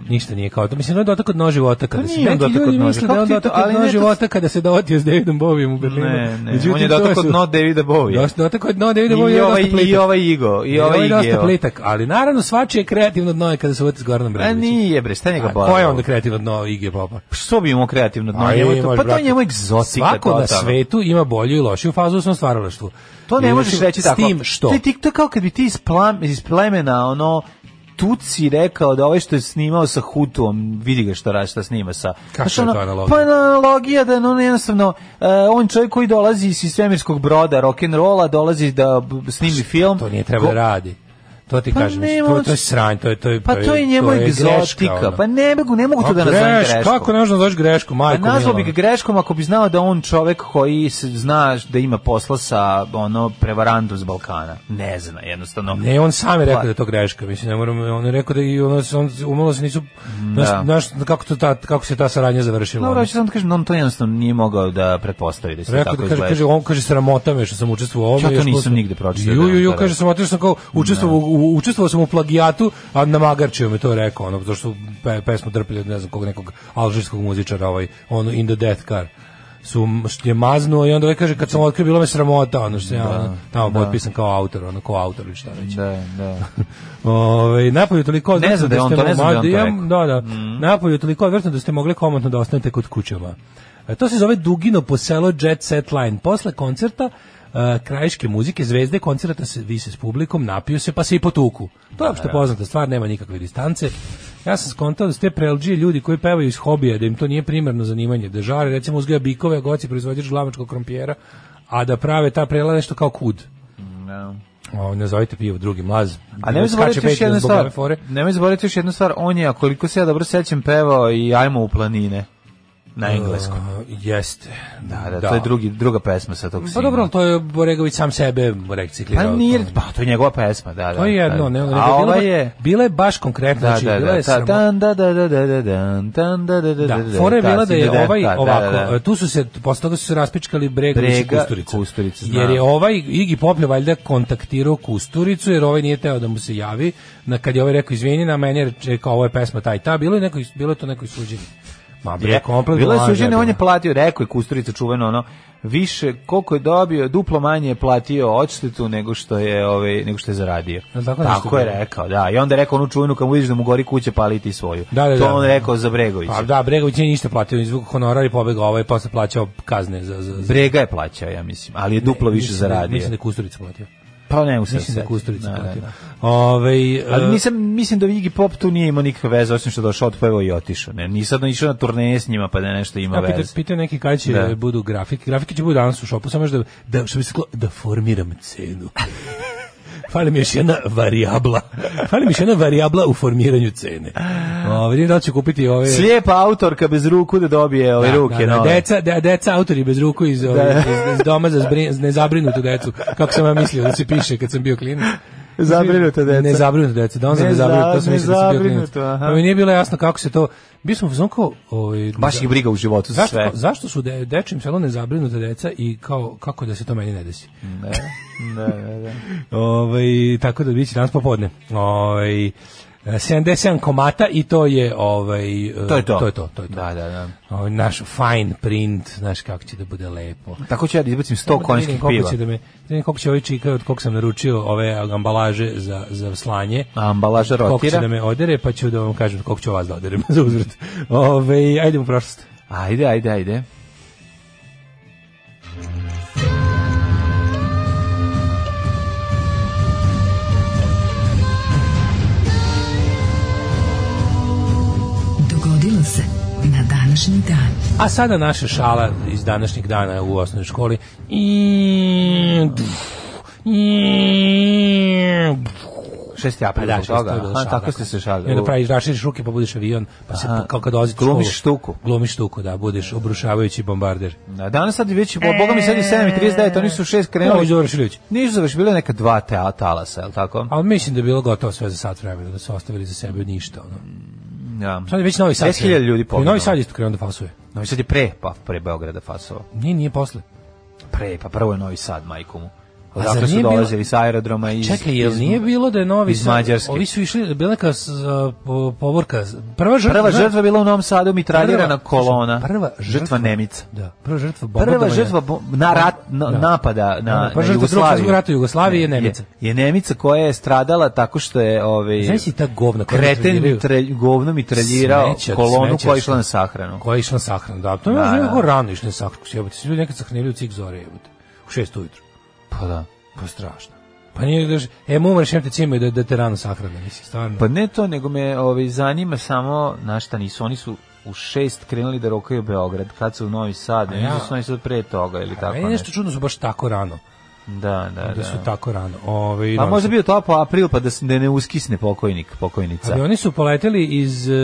Ništa nije kao to. Mislim, da je dotak od nož života kada Pa se... nije on Neki dotak ljudi od nož. misle da Kako je on ti to- dotak od ali ne, nož to- života kada se dovatio s Davidom Bovijem u Berlinu. Ne, ne, Međutim, on je to dotak od su- no Davida Bovija. Dosta- Dotak od no I Davida Bovija je ovaj, dosta plitak. I ovaj Igo, i Ovo ovaj je dosta Igeo. plitak, ali naravno svačije kreativno dno je kada se uvati s Goranom A Bregovićem. nije bre, šta njega A boli? Ko je onda kreativno dno Iggy Popa? Što bi imao kreativno dno? A Njemu imaš, to, pa to brate. je njemu egzotika. Svako na totalno. svetu ima bolju i lošiju fazu u svom stvaralaštvu. To ne I možeš reći s tako. tim što? To je, tik- to je kao kad bi ti iz, plam, iz plemena, ono, Tuci rekao da ovaj što je snimao sa Hutuom, vidi ga što radi, šta snima sa... Kakva Znaš, je to ono, analogija? Pa analogija da no, jednostavno, e, on čovjek koji dolazi iz svemirskog broda, rock'n'rolla, dolazi da b- snimi film. Pa To nije trebalo Ko- da radi. To ti Pa kažem, ne, mislim, to, on- to je sranj, to je, to je, Pa to je njemu greška, egzotika. ono. Pa ne mogu, ne mogu to A da nazovem greš- greškom. Kako ne možeš da nazoveš grešku, Pa majko? nazvao bi mila, ga greškom ako bi znao da on čovek koji se zna da ima posla sa ono prevarantom s Balkana. Ne zna, jednostavno. ono. Ne, on sam je rekao Pa- da je to greška, mislim, ne moram, on je rekao da i ono, se- on, umalo se nisu, znaš, Da. znaš kako, to ta, kako se ta saradnja završila. No, ono. hoću samo da kažem, da on to jednostavno nije mogao da pretpostavi da se Rekao tako da kaže, izgleda. kaže, on kaže sramota me što sam učestvovao u ovome. Ja to još nisam posle- nigde pročitao Ju, da ju, je ju, on to kaže, rekao. sramota što sam kao učestvovao, u, učestvovao sam u plagijatu, a namagarčio me to je rekao, ono, zato što pe, pesmu drpili od ne znam kog nekog alžirskog muzičara, ovaj, ono, In the Death Car su što je maznuo i onda ovaj kaže kad sam otkrio bilo me sramota ono što sam ja ono, tamo potpisan kao autor ono kao autor ili šta već Da, da. Ovaj napolju toliko odvratno znam da je on ste to, ne znam da je on to mogli- rekao. Mm. da, da. Napolju toliko odvratno da ste mogli komotno da ostanete kod kućama. E, To se zove Dugino po selo Jet Set Line. Posle koncerta e, e, krajiške muzike, zvezde koncerata se vise s publikom, napiju se pa se i potuku. To je opšte poznata stvar, nema nikakve distance. Ja sam skontao da ste prelđije ljudi koji pevaju iz hobija, da im to nije primarno zanimanje, da žare, recimo uzgaja bikove, a goci proizvođač glavačkog krompijera, a da prave ta prela nešto kao kud. O, ne zovite pivo drugi mlaz. A nemoj Skače zaboraviti još Patreon jednu zbog stvar. ove fore. Nemoj zaboraviti još jednu stvar. On je, a koliko se ja dobro sećam, pevao i Ajmo u planine. Na engleskom. A, jeste. Da, da, to je drugi, druga pesma sa tog Pa sina. dobro, ali to je Boregović sam sebe reciklirao. Pa nije, pa to je njegova pesma, da, da. To je jedno, da. ne, ne, A bila, ova je... je... bila je baš konkretna, Da, znači, da, bila da, je ta, samo... dan, da, da, da, da, da, dan, dan, da, da, da, da, Da, da, fora je ta, bila da je da, ovaj da, da, ovako, da, da. tu su se, posle toga su se raspičkali Bregović i Brega, Kusturica. Kusturica, znam. jer je ovaj Igi Pop je valjda kontaktirao Kusturicu, jer ovaj nije teo da mu se javi, na kad je ovaj rekao izvini, na meni je rekao ovo je pesma taj ta, bilo je, neko, bilo je to neko suđenje. Ma bre, Je, kompletno. Bilo je laž, suđenje, on je jebeno. platio, rekao je Kusturica čuveno ono, više, koliko je dobio, duplo manje je platio odštetu nego što je, ovaj, nego što je zaradio. Jel tako nešto Tako je bilo? rekao, da. I onda je rekao onu čuvenu, kad mu vidiš da mu gori kuće, pali ti svoju. Da, da, to da. on rekao za Bregovića. Pa da, Bregović nije ništa platio, izvuk honorar i pobegao ovaj, posle plaćao kazne za... za, za Brega je plaćao, ja mislim, ali je duplo više Mislim da- zaradio. Mislim da je Kusturica platio. pa ne, u sad Mislim da je setim. Kusturica Da, da, platio. da. Ovaj, Ali e, nisam, mislim da Iggy Pop tu nije imao nikakve veze, osim što je došao, otpevao i otišao. Ne, nisam da išao na turneje s njima, pa da nešto ima Ja, pita, veze. pita neki kada će Da. budu grafike. Grafike će budu danas u šopu, samo još da, da, što bi se reklo, da formiram cenu. Fali mi još jedna varijabla. Fali mi još jedna varijabla u formiranju cene. O, vidim da li ću kupiti ove... Slijepa autorka bez ruku da dobije ove Da, ruke. da, da, nove. deca, de, deca autori bez ruku iz, ove, iz, iz doma za zbri, nezabrinutu decu. Kako sam ja mislio da se piše kad sam bio klinac. Zabrinuta deca. Ne zabrinuto deca, da on za Ne nezabrinuto, za- to sam mislio da sam bio klinac. nezabrinuto, aha. Pa mi nije bilo jasno kako se to... Bio sam u fazonu kao... Ovaj, Baš ih briga u životu za Zašto, sve. zašto su de, dečim selom nezabrinuta deca i kao, kako da se to meni ne desi? Ne, ne, ne, ne. Ovaj tako da biće danas popodne. Ovaj e, 77 komata i to je ovaj e, To je to. To je to, to je to. Da, da, da. Ovaj naš fine print, znaš kako će da bude lepo. Tako ću ja da izbacim 100 konjskih koliko piva. Će da me, da vidim koliko će ovaj čika od kog sam naručio ove ambalaže za, za slanje. A ambalaža Koliko će rotira. da me odere, pa ću da vam kažem koliko ću vas da oderem za uzvrat. Ove, ajde u prošlost. Ajde, ajde, ajde. Dogodilo se na današnji dan. A sada naša šala iz današnjeg dana u osnovnoj školi. I... I... 6. Pa april. da, zbog šest, to toga. je bila Aha, šala, tako dakle. ste se I šali. onda praviš, raširiš ruke pa budeš avion, pa se Aha. pa, kao kad dolaziš u Glumiš školu, štuku. Glumiš štuku, da, budeš obrušavajući bombarder. Na danas sad je već, bo- boga mi sad je 7.39, oni su u 6 Evo, krenuli. Đorđe Šiljević. Nisu završi, bile neka dva te talasa, je li tako? Ali mislim da je bilo gotovo sve za sat vremena, da su ostavili za sebe ništa. Ono. Ja. Sad je već Novi Sad. 10.000 ljudi krenuo. I poginulo. Novi Sad isto krenuo da fasuje. Novi Sad je pre, pa pre Beograda Fasova. Nije, nije posle. Pre, pa prvo je Novi Sad, majku mu. A Odakle zar su nije bilo- dolazili sa aerodroma iz... Čekaj, jel iz- nije bilo da je Novi iz Sad- Mađarske. Ovi su išli, bila je neka s- za- po- povorka. Prva žrtva, Prva žrtva je bila u Novom Sadu mitraljirana Prva- kolona. prva žrtva- žrtva Nemica. Da, prva žrtva Prva bombardovanja. žrtva bo- na rat, na, Da. napada na, Da, na da, prva žrtva Drugog svjetskog Jugoslaviju. rata u Jugoslaviji je Nemica. Je, je Nemica koja je stradala tako što je ovaj Znaš si ta govna koja kreten mitraljiraju? mitralj, govno mitraljirao Smeće, kolonu smeće, koja je išla smeće. na sahranu. Koja je išla na sahranu, da. To je Da, da, da. da. rano išla na sahranu, kako se jebate. Svi ljudi nekad sahnili u cik zore, jebate. U šest ujutru. Pa da. Pa strašno. Pa nije da e, mu umreš, jem te cimaju da, da te rano sahrane, mislim, stvarno. Pa ne to, nego me ovaj, zanima samo na šta nisu. Oni su u šest krenuli da rokaju Beograd, kad su u Novi Sad, ne ja- znam su Novi Sad pre toga ili Pa, tako je nešto nešto. čudno su baš tako rano. Da, da, Da su da. tako rano. Ove, i Pa Novi možda Sad. bio to po april pa da se da ne uskisne pokojnik, pokojnica. Ali oni su poleteli iz e,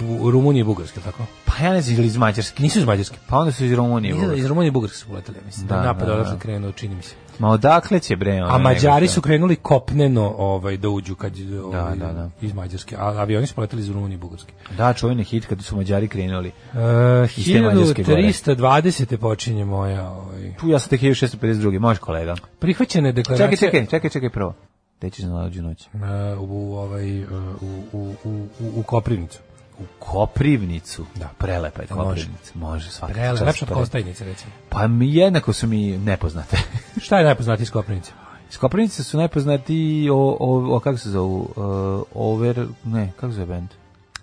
Bu- Rumunije i Bugarske, tako? Pa ja ne znam ili iz Mađarske. Nisu iz Mađarske. Pa onda su iz Rumunije. Nisu, Bugarske. iz Rumunije i Bugarske su poleteli, ja mislim. Da, Da, Napad da, da, da. odatle krenuo, čini mi se. Ma odakle će bre ono, A Mađari nego što- su krenuli kopneno ovaj, da uđu kad, je, ovaj, da, da. iz Mađarske, a avioni su poleteli iz Rumunije i Bugarske. Da, čuveni hit kad su Mađari krenuli. Uh, E, Iz te Mađarske gore. 1320. počinje moja ovaj, Tu ja sam tek 1652. Može kolega. prihvaćena je Čekaj, deklaracija čekaj, čekaj, čekaj prvo. Gde ćeš na lađu noć? uh, u, ovaj, uh, u, u, u, u, u Koprivnicu. U Koprivnicu. Da. Prelepa je Da, može. Koprivnica. Može, svaka Prele, čast. lepša od Pre- Kostajnice, recimo. Pa mi jednako su mi nepoznate. Šta je najpoznatiji iz Koprivnice? Iz Koprivnice su najpoznati o, o, o E, kako se zovu? Uh, over, ne, kako se zove band?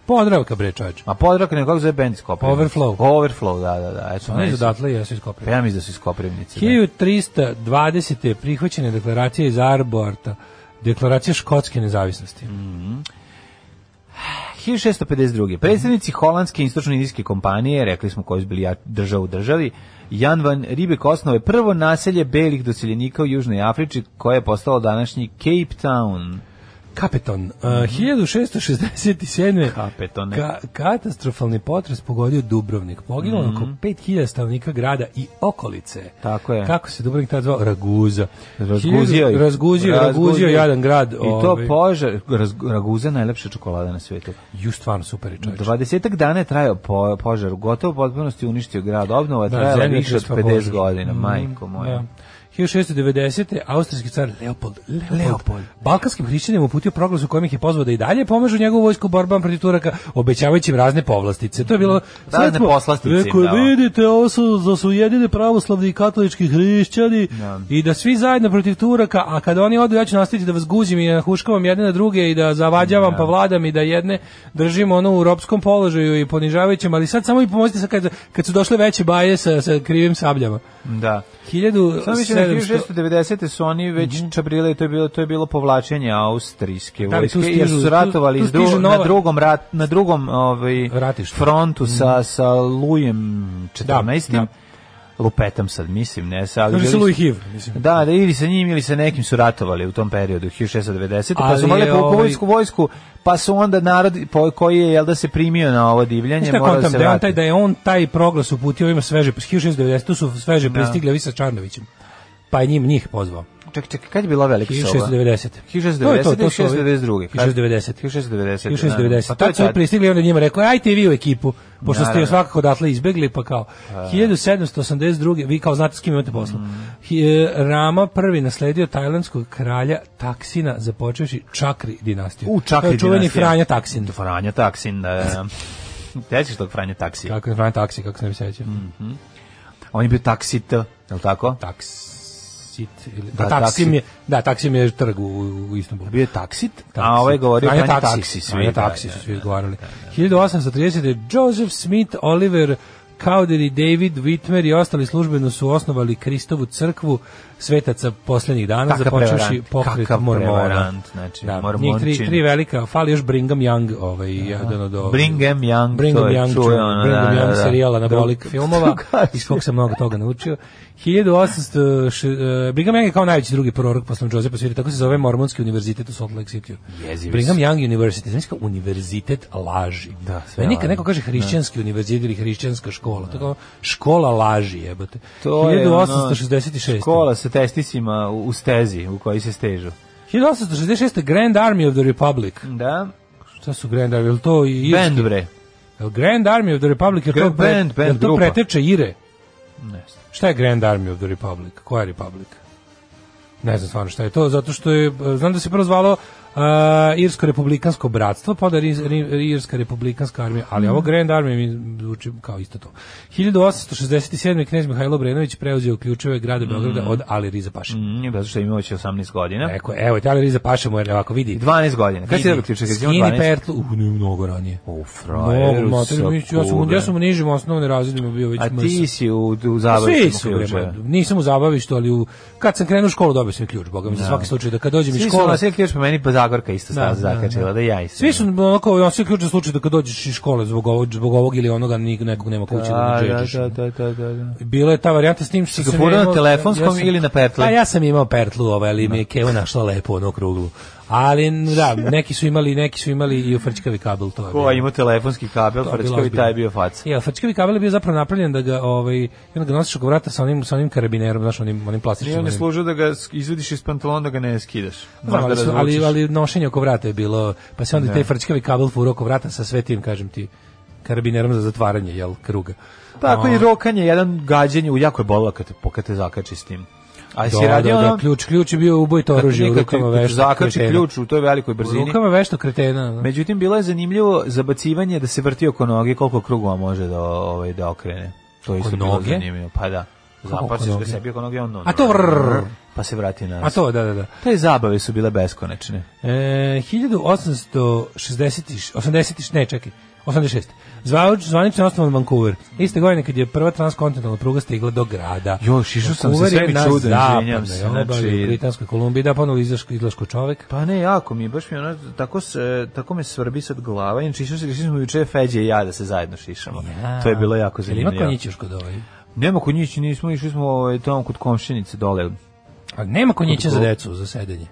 Podravka bre čoveče. Ma Podravka ne kako zove bend iz Koprivnice. Overflow. Overflow, da, da, da. Eto, Oni iz meni su- odatle jesu iz Pa Koprive. ja mislim da su iz Koprivnice. da. 1320. je prihvaćena deklaracija iz Arborta, deklaracija škotske nezavisnosti. Mm. 1652. Predsjednici holandske istočno-indijske kompanije, rekli smo koji su bili ja- država u državi, Jan van Ribek osnove prvo naselje belih doseljenika u Južnoj Africi, koje je postalo današnji Cape Town. Kapeton. Uh, 1667. Mhm. Kapetone. Ka katastrofalni potres pogodio Dubrovnik. Poginulo je oko 5000 stavnika grada i okolice. Mhm. Tako je. Kako se Dubrovnik tad zvao? Raguza. Razguzio Hiljadu- ih. Razguzio, razguzio jadan grad. I to ovaj. požar, raz- Raguza najlepša čokolada na svijetu. Ju, stvarno super je čovječ. 20 dana je trajao po, požar, gotovo u potpunosti uništio grad. Obnova je Da, trajala zemljotres više od pa 50 Bože. godina, Mm, majko moja. Da. 1690. austrijski car Leopold, Leopold, balkanskim hrišćanima uputio proglas u kojem ih je pozvao da i dalje pomažu njegovu vojsku u borbama protiv Turaka, obećavajući im razne povlastice. To je bilo... Razne Sretno, poslastice im Rekao, je, dao. vidite, ovo su, da su jedine pravoslavni i katolički hrišćani i da svi zajedno protiv Turaka, a kada oni odu, ja ću nastaviti da vas guzim i da huškavam jedne na druge i da zavađavam pa vladam i da jedne držim ono u ropskom položaju i ponižavajućem, ali sad samo i pomozite sad kad, kad su došle veće baje sa, sa krivim sabljama. Da. Samo mislim da 1700... 1690. su oni već čabrile i to je bilo to je bilo povlačenje austrijske Mhm. Da, ali tu vojske jer stižu- su ratovali tu- tu iz dru- stižu na nova- drugom rat na drugom ovaj Ratištu. Mhm. frontu sa sa Lujem 14. Da, da. Lupetam sad mislim, ne sa ali Kaže se bili- Louis Hiv, mislim. Da, da ili sa njim ili sa nekim su ratovali u tom periodu 1690. pa Ali su imali je, ovaj- vojsku vojsku, pa su onda narod po- koji je jel da se primio na ovo divljanje Šta morao da kontam, se da je on vrati. taj, da je on taj proglas uputio ovima sveže, 1690 tu su sveže pristigli ovi sa Čarnovićem, pa je njim njih pozvao. Ček, ček, kad je bila velika soba? 1690. To je 1690 to, to su ovi- 1692. 1690. 1690. 1690. Pa to je tad su ovi tad. pristigli i onda njima rekao, ajte i vi u ekipu, pošto ste Naravno. svakako odatle izbegli, pa kao, 1782. Vi kao znate s kim imate posla. Mm. Hi- e, Rama prvi nasledio tajlandskog kralja Taksina, započeši Čakri dinastiju. U To čakri je čuveni dinastija. Franja Taksin. Franja Taksin, da, da. Tećiš tog Franja Taksija. Kako je Franja Taksi, kako se ne bi sećao. Mm. On je bio taksit, je li tako? Taksit ili Da, da, taksim Taksim. je da taksim je trg u, u Istanbulu. Bio je taksit, a Taksi. ovaj govorio Franja Franja Taksi. svi, Franja da, taksi da, su da. svi izgovarali. 1830. Joseph Smith, Oliver Cowdery, David Whitmer i ostali službeno su osnovali Kristovu crkvu svetaca posljednjih dana, Kakav započevši prevarant, pokret kakav mormona. prevarant, znači, da, njih mormončin. tri, tri velika, fali još Brigham Young, ovaj, jedan od ovih. Brigham Young, Brigham to je Young, čuveno, čuveno, da, Brigham da, Young da. serijala na Drug- bolik filmova, Drugačije. iz kog sam mnogo toga naučio. 1800, š- e, Brigham Young je kao najveći drugi prorok posle Josepa Svira, tako se zove Mormonski univerzitet u Salt Lake City. Jezivi Brigham Young University, znači kao univerzitet laži. Da, sve Meni kad laži. neko kaže hrišćanski univerzitet ili hrišćanska škola, to je kao škola laži, jebote. To je, ono, 1866. Škola sa testisima u u stezi u kojoj se stežu. 1866. Grand Army of the Republic. Da? Šta su Grand Army? Je li to i irski? Band, bre. Jel Grand Army of the Republic, je to, Grand- pre, band, band, jel to grupa. preteče Ire? Ne znam. Šta je Grand Army of the Republic? Koja je Republic? Ne znam stvarno šta je to, zato što je, e, znam da se prvo zvalo e, Irsko republikansko bratstvo, pa onda Ri- Ri- Irska republikanska armija, ali Mhm. ovo Grand Army mi zvuči kao isto to. 1867. knez Mihajlo Brenović preuzeo ključeve grada Mhm. Beograda od Ali Riza Paše. Mm, zato što ima već 18 godina. Rekao, je, evo, te Ali Riza Paše mu je ovako vidi. 12 godina. Kada si vidi, dobio ključe? Kad si imao skini 12? pertlu, uh, ne, mnogo ranije. U frajeru Mnogo, sa mater, mi- ja sam, u- kuda. ja sam u nižim osnovnim razredima bio već A mrsa. ti si u, u Pa zabavištu Svi su, bre, nisam u zabavištu, ali u, kad sam krenuo u školu dobio sam i ključ, boga mi, za svaki slučaj, da kad dođem iz Svi su škole, nosili ključ, pa meni pa Zagorka isto Da, da, da, zakačila, da, ja isto. svi su onako, on svi ključ za slučaj da kad dođeš iz škole zbog ovog, zbog ovog ili onoga, nik, nekog nema kuće da, da, ne da, džedžeš. da, da, da, da, da. Bila je ta varijanta s tim što ga sam furao na imao- telefonskom ja sam- ili na pertli? Pa ja sam imao pertlu, ovaj, ali mi je Keva našla lepo ono kruglu. Ali da, neki su imali, neki su imali i ufrčkavi kabel, to je. Ko bilo. je imao telefonski kabel, To je bilo frčkovi, ozbiljno. taj je bio faca. Ja, fačkavi kabel je bio zapravo napravljen da ga ovaj i onda ga nosiš oko vrata sa onim sa onim karabinerom, znaš, onim onim plastičnim. Nije on je onim. služio da ga sk- izvadiš iz pantalona, da ga ne skidaš. Znam, ali, Možda su- ali, razvučeš. ali nošenje oko vrata je bilo, pa se onda i taj frčkavi kabel furo oko vrata sa sve tim, kažem ti, karabinerom za zatvaranje, jel, kruga. Tako A, Pa i rokanje, jedan gađenje, u jako je bolila kad te, kad te zakači s tim. A si da, radio da, da, ono- ključ, ključ je bio ubojito kad oružje u nikad ti- rukama kad ti vešto. Zakači kretena. ključ u toj velikoj U brzini. rukama vešto kretena. da. Međutim, bilo je zanimljivo zabacivanje da se vrti oko noge, koliko krugova može da, ovaj, da okrene. To je isto bilo noge? zanimljivo. Pa da. Kako oko Zapaciš ga noge? sebi oko noge, on A to vrrrr. pa se vrati na A nas. to, da, da, da. Te zabave su bile beskonačne. E, 1860, 80, ne, čekaj, 86. Zvauč, zvanično je osnovan Vancouver. Iste godine kad je prva transkontinentalna pruga stigla do grada. Još, išao sam Vancouver sa sebi je na čudo, izvinjam se, zapadnoj obali znači- u Britanskoj Kolumbiji, da, ponovno izlaško, izlaško čovek. Pa ne, jako mi je, baš mi je ono, tako, se, tako me svrbi sad glava, inače išao se, išli smo juče Feđe i ja da se zajedno šišamo. Pa, To je bilo jako Jel Ima zanimljivo. konjić još kod ovaj? Nema konjići, nismo, išli smo ovaj, tamo kod komšinice dole. E, A nema konjića Kod za ko? decu, za sedenje.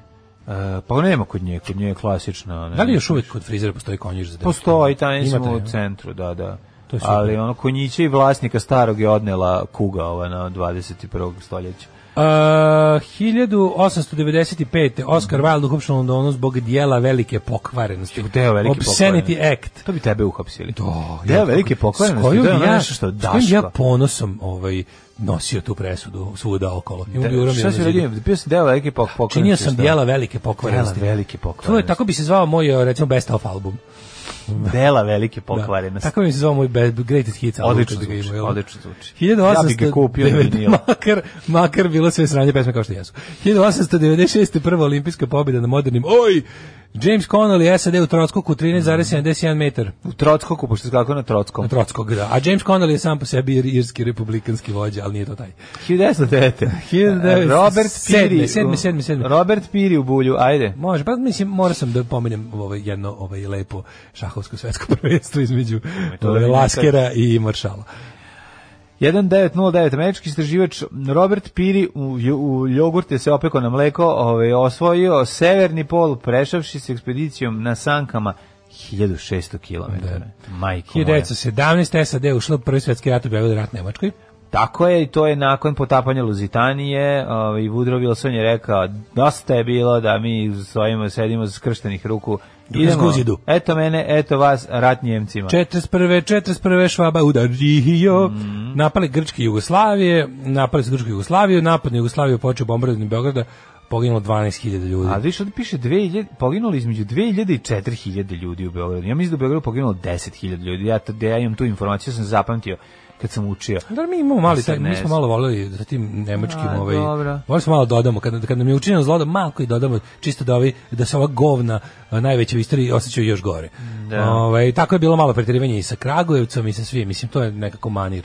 pa nema kod nje, kod nje je klasična. Ne, Da li još uvek kod frizera postoji konjić za decu? Postoji, taj Ima smo taj, u ne? centru, da, da. To je super. Ali ono konjiće i vlasnika starog je odnela kuga ova na 21. stoljeću. Uh, 1895. Oscar Wilde uhopšen u Londonu zbog dijela velike pokvarenosti. Deo velike Obscenity Act. To bi tebe uhapsili. To, Deo velike pokvarenosti, S kojom to je ono ja, nešto što s kojim daška. ja ponosom ovaj, nosio tu presudu svuda okolo. I Da, bi uramio šta na si zidu. radio? Bio si deo velike pok pokvarenosti. Činio sam šta? dijela velike pokvarenosti. Dela velike To je, pokvarenosti. tako bi se zvao moj, recimo, best of album. Dela velike Da. pokvarenosti. Tako bi se zvao moj best, greatest hits album. Odlično kad bi ga zvuči, imao, jel? odlično zvuči. Ja bi 1800 ga kupio na vinilu. makar, makar bilo sve sranje pesme kao što jesu. 1896. prva olimpijska pobjeda na modernim oj James Connolly SAD u Trotskoku 13,71 metar U Trockoku, pošto je skakao na na Trockom. Trotskog, da. A James Connolly je sam po sebi ir- irski republikanski vođa, ali nije to taj. 1909. 1907, Robert Piri. sedme, u- sedme, sedme. Robert Piri u bulju, ajde. Može, pa mislim, mora sam da pomenem ovaj, jedno ovaj, lepo šahovsko svetsko prvenstvo između to ovaj, da vidim Laskera i Maršala. 1909, američki istraživač Robert Piri u, ju- u jogurte se opeko na mleko, ovaj, osvojio severni pol, prešavši s ekspedicijom na sankama 1600 km. Majko moja. 1917. SAD je ušla u prvi svetski rat u Beogradu rat Nemačkoj. Tako je, i to je nakon potapanja Luzitanije ovaj, i Woodrow Wilson je rekao dosta je bilo da mi stojimo, sedimo s krštenih ruku. guzidu. Eto mene, eto vas, rat Njemcima. 41. 41. Švaba udario, napali Grčke i Jugoslavije, napali su Grčku i Jugoslaviju, napad na Jugoslaviju počeo bombardovanje Beograda, poginulo 12.000 ljudi. A više ovdje piše 2000, poginuli između 2000 i 4000 ljudi u Beogradu. Ja mislim da u Beogradu poginulo 10.000 ljudi. Ja, to, ja imam tu informaciju, sam zapamtio kad sam učio. Da li mi imamo mali, Sad taj, ne mi smo znam. malo volili sa tim nemačkim, A, ovaj, dobro. volili smo malo dodamo, kad, kad nam je učinjeno zlo, da malo i dodamo, čisto da, ovaj, da se ova govna a, najveća u istoriji osjećaju još gore. Da. Ovaj, tako je bilo malo pretjerivanje i sa Kragujevcom i sa svim, mislim, to je nekako manir.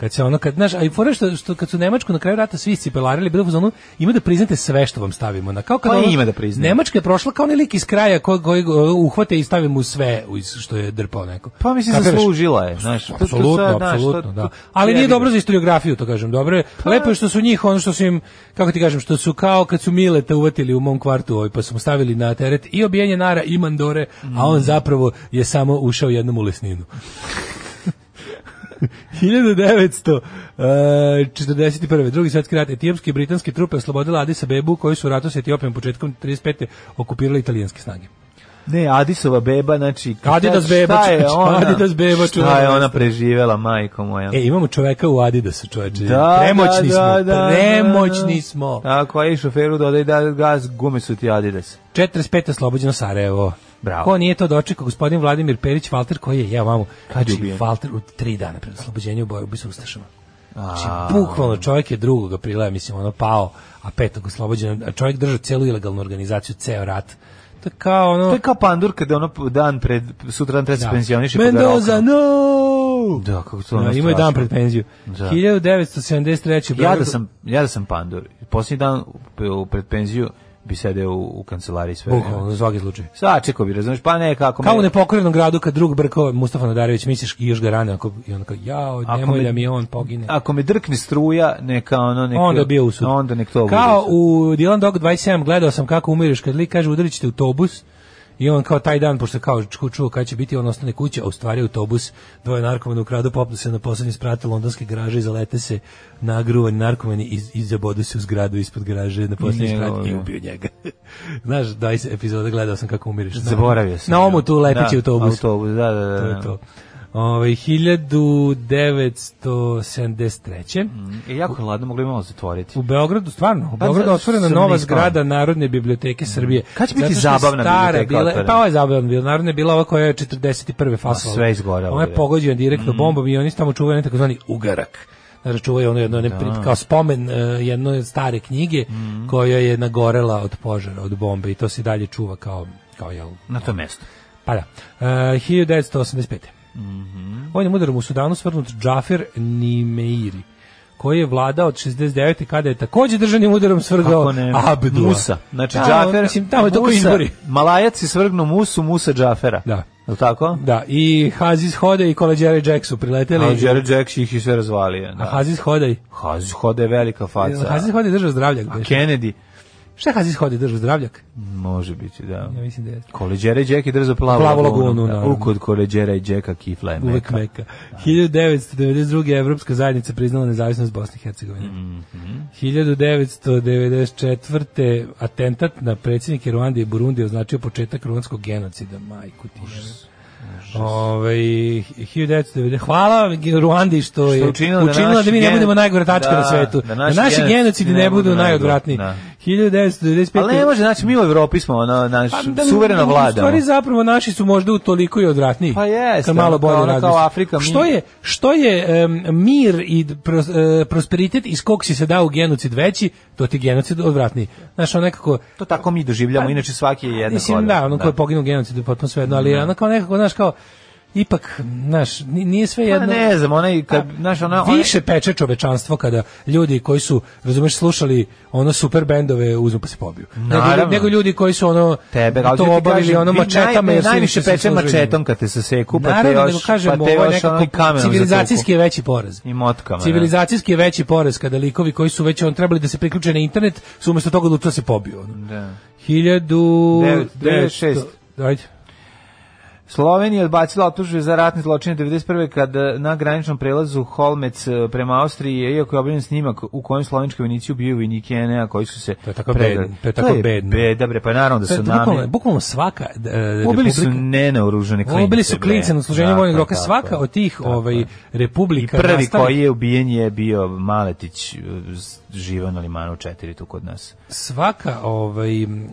Kad se ono, kad, znaš, a i fora što, što kad su Nemačku na kraju rata svi cipelarili, bilo u zonu, ima da priznate sve što vam stavimo. Na, kao kad Pa ono- ima da priznaju. Nemačka je prošla kao onaj lik iz kraja koji, koji ga, uh, uhvate i stavi mu sve iz- što je drpao neko. Pa mislim, Kapiraš? zaslužila je. Znaš, to- to Pa apsolutno, sad, znaš, apsolutno, to- da. to- Pa- Ali nije jebi ga. dobro za historiografiju, to kažem, dobro je. Lepo je što su njih, ono što su im, kako ti kažem, što su kao kad su Mileta uvatili u mom kvartu, ovaj, pa su mu stavili na teret i obijenje nara i mandore, a on zapravo je samo ušao jednom u lesninu. 1941. eh, Drugi svetski rat etiopske i britanske trupe oslobodile Addis Abebu koji su u ratu s Etiopijom početkom 35. okupirali italijanske snage. Ne, Adisova beba, znači... šta- Adidas beba, šta je čoveče, ona, Adidas beba, Šta je čuvena ona vrsta. preživela, majko moja. E, imamo čoveka u Adidasu, čoveče. Da, premoćni da, smo, da, da, premoćni da. smo. Tako je, i šoferu dodaj da gaz, gume su ti Adidas. 45. oslobođeno Sarajevo. Bravo. Ko nije to dočekao, gospodin Vladimir Perić Valter koji je, ja vamo, Kad je znači ubijen? Valter u tri dana pred oslobođenje u boju bi se ustašama. Znači, bukvalno čovjek je drugog aprila, mislim, ono pao, a petog oslobođeno, a čovjek drža celu ilegalnu organizaciju, ceo rat. To je kao ono... To je kao pandur kada ono dan pred, sutradan treba se penzioniše. pa ga Mendoza, rokne. no! Da, kako to ono Da, ima i strašno. dan pred penziju. Da. 1973. u Ja da Beogradu- sam, ja da sam pandur. Posljednji dan u- u- pred penziju bi sedeo u, u kancelariji sve. Bukvalno, zvaki slučaj. Sačekao bi, razumiješ, pa ne, kako Kao u me- nepokorenom gradu kad drug brko Mustafa Nadarević misliš i još ga rane ako i on kao jao Ako nemoj me- da mi on pogine. Ako me drkne struja, neka ono... Neka, Onda bio u sudu. Onda nek to bude Kao u sudu. u Dylan Dog 27 gledao sam kako umireš kad lik kaže udarit ćete autobus i on kao taj dan, pošto kao ču- čuo kada će biti, on ostane kuće, a u stvari autobus dvoje narkomana ukradu, popnu se na poslednji sprat londonske garaže i zalete se nagruvani narkomani i, i zabodu se u zgradu ispod garaže na poslednji njega, sprat i da. ubio njega. Znaš, daj se epizoda, gledao sam kako umireš. Na- Zaboravio sam. Na omu tu da, lepići autobus. Autobus, da, da, da. to Ovaj, da. je to. Ove, 1973. E, jako je hladno, mogli imamo zatvoriti. U Beogradu, stvarno, u Pa, Beogradu za- otvorena sam nova nisam. zgrada Narodne biblioteke Srbije. Kad će biti Zato što je zabavna stara biblioteka bila- otvorena? Pa ovo je zabavna bila, Narodna je bila ova koja je 41. fasovala. sve Mm. izgorelo, Ona je bre. pogođena direktno bombom i oni su tamo čuvaju jedan takozvani ugarak. znači, čuvaju ono jedno, jedno kao spomen eh, jedne stare knjige Mm. koja je nagorela od požara, od bombe i to se i dalje čuva kao, kao jel, Na to mesto. pa da. E, 1985. Mhm. Vojnim udarom u Sudanu svrnut Džafir Nimeiri, koji je vladao od 69. kada je takođe državnim udarom svrgao Kako ne? Abdula. Musa. Znači, Da, Džafer, Mislim, tamo je to kao Musa- izbori. Malajac je svrgnuo Musu, Musa Džafera. Da. Je li tako? Da, i Hazis Hode i Koleđere Jack su prileteli. A Jared Jack ih je sve razvalio. A Da. Hazis Hodej. Hazi hoda je velika faca. Hazis Hodej držao zdravljak. Pa, A bre. Pa Kennedy? Šta je Hazis Hodej držao zdravljak? Može biti, da. Ja mislim da je Koleđera i Jack je drzao plavu, Plavu lagunu, lagunu. da. naravno. Ukod Koleđera i Jacka kifla je uvek meka. meka. 1992. Evropska zajednica priznala nezavisnost Bosne i Hercegovine. 1994. atentat na predsjednike Ruandije i Burundije označio početak ruanskog genocida. Majku ti. Ovaj, Ove, 1990. Hvala vam, Ruandi što je je učinila, učinila da naši da, mi ne geno- budemo najgore tačka Da, na svetu. Da, da naši naši genocidi genocidi ne budu najodvratniji. Da. 1995. Ali ne može, znači mi u Evropi smo, ono, naš, ono. Pa, da, suvereno U vladamo. stvari zapravo naši su možda u toliko i odvratniji. Pa jeste, Kad malo ono, bolje kao ono, razmisliš. kao Afrika, mi- Što je, što je em, mir i d- pros- e, prosperitet iz kog si se dao u genocid veći, to ti je genocid odvratniji. Znaš, on nekako... To tako mi doživljamo, inače svaki je jednak Pa, Mislim, odvrat, da, ono ko je poginuo u genocidu, potpuno sve jedno, ali ono kao nekako, znaš, kao, ipak, znaš, ni- nije sve Pa jedno... ne znam, onaj, kad, E, znaš, ona, ona, Pa, Više peče čovečanstvo kada ljudi koji su, razumeš, slušali ono super bendove uzmu pa se pobiju. Nego, Naravno. nego ljudi koji su ono tebe, ali ti to obavili kažem, ono vi mačetama naj, jer su najviše inače se peče služili. mačetom kad te se seku, pa te Naravno, još, nego kažem, pa ovo te je još ono i nekako kamenom civilizacijski zatuku. je veći porez. I motkama, da. Civilizacijski je veći porez kada likovi koji su već on trebali da se priključe na internet, su umesto toga da to se pobiju. Ono. Da. 1906. 96. Ajde. Slovenija je odbacila optužbe za ratne zločine 91. kada eh, na graničnom prelazu Holmec e, prema Austriji, iako je obiljen snimak u kojem slovenski vojnici ubijaju vojnike NA koji su se... To je tako predali. bedno, to je tako bedno. beda, bre, pa naravno da To je su Bukvalno, nami... bukvalno svaka e, Ubili su republika- nenaoružene klince. Ovo bili su bre. klince na služenju Tako, vojnog roka. tako Svaka je. od tih Tako ovaj, je. I republika prvi nastali- koji je ubijen je bio Maletić, e, z- živan na limanu 4 tu kod nas. svaka ovaj m,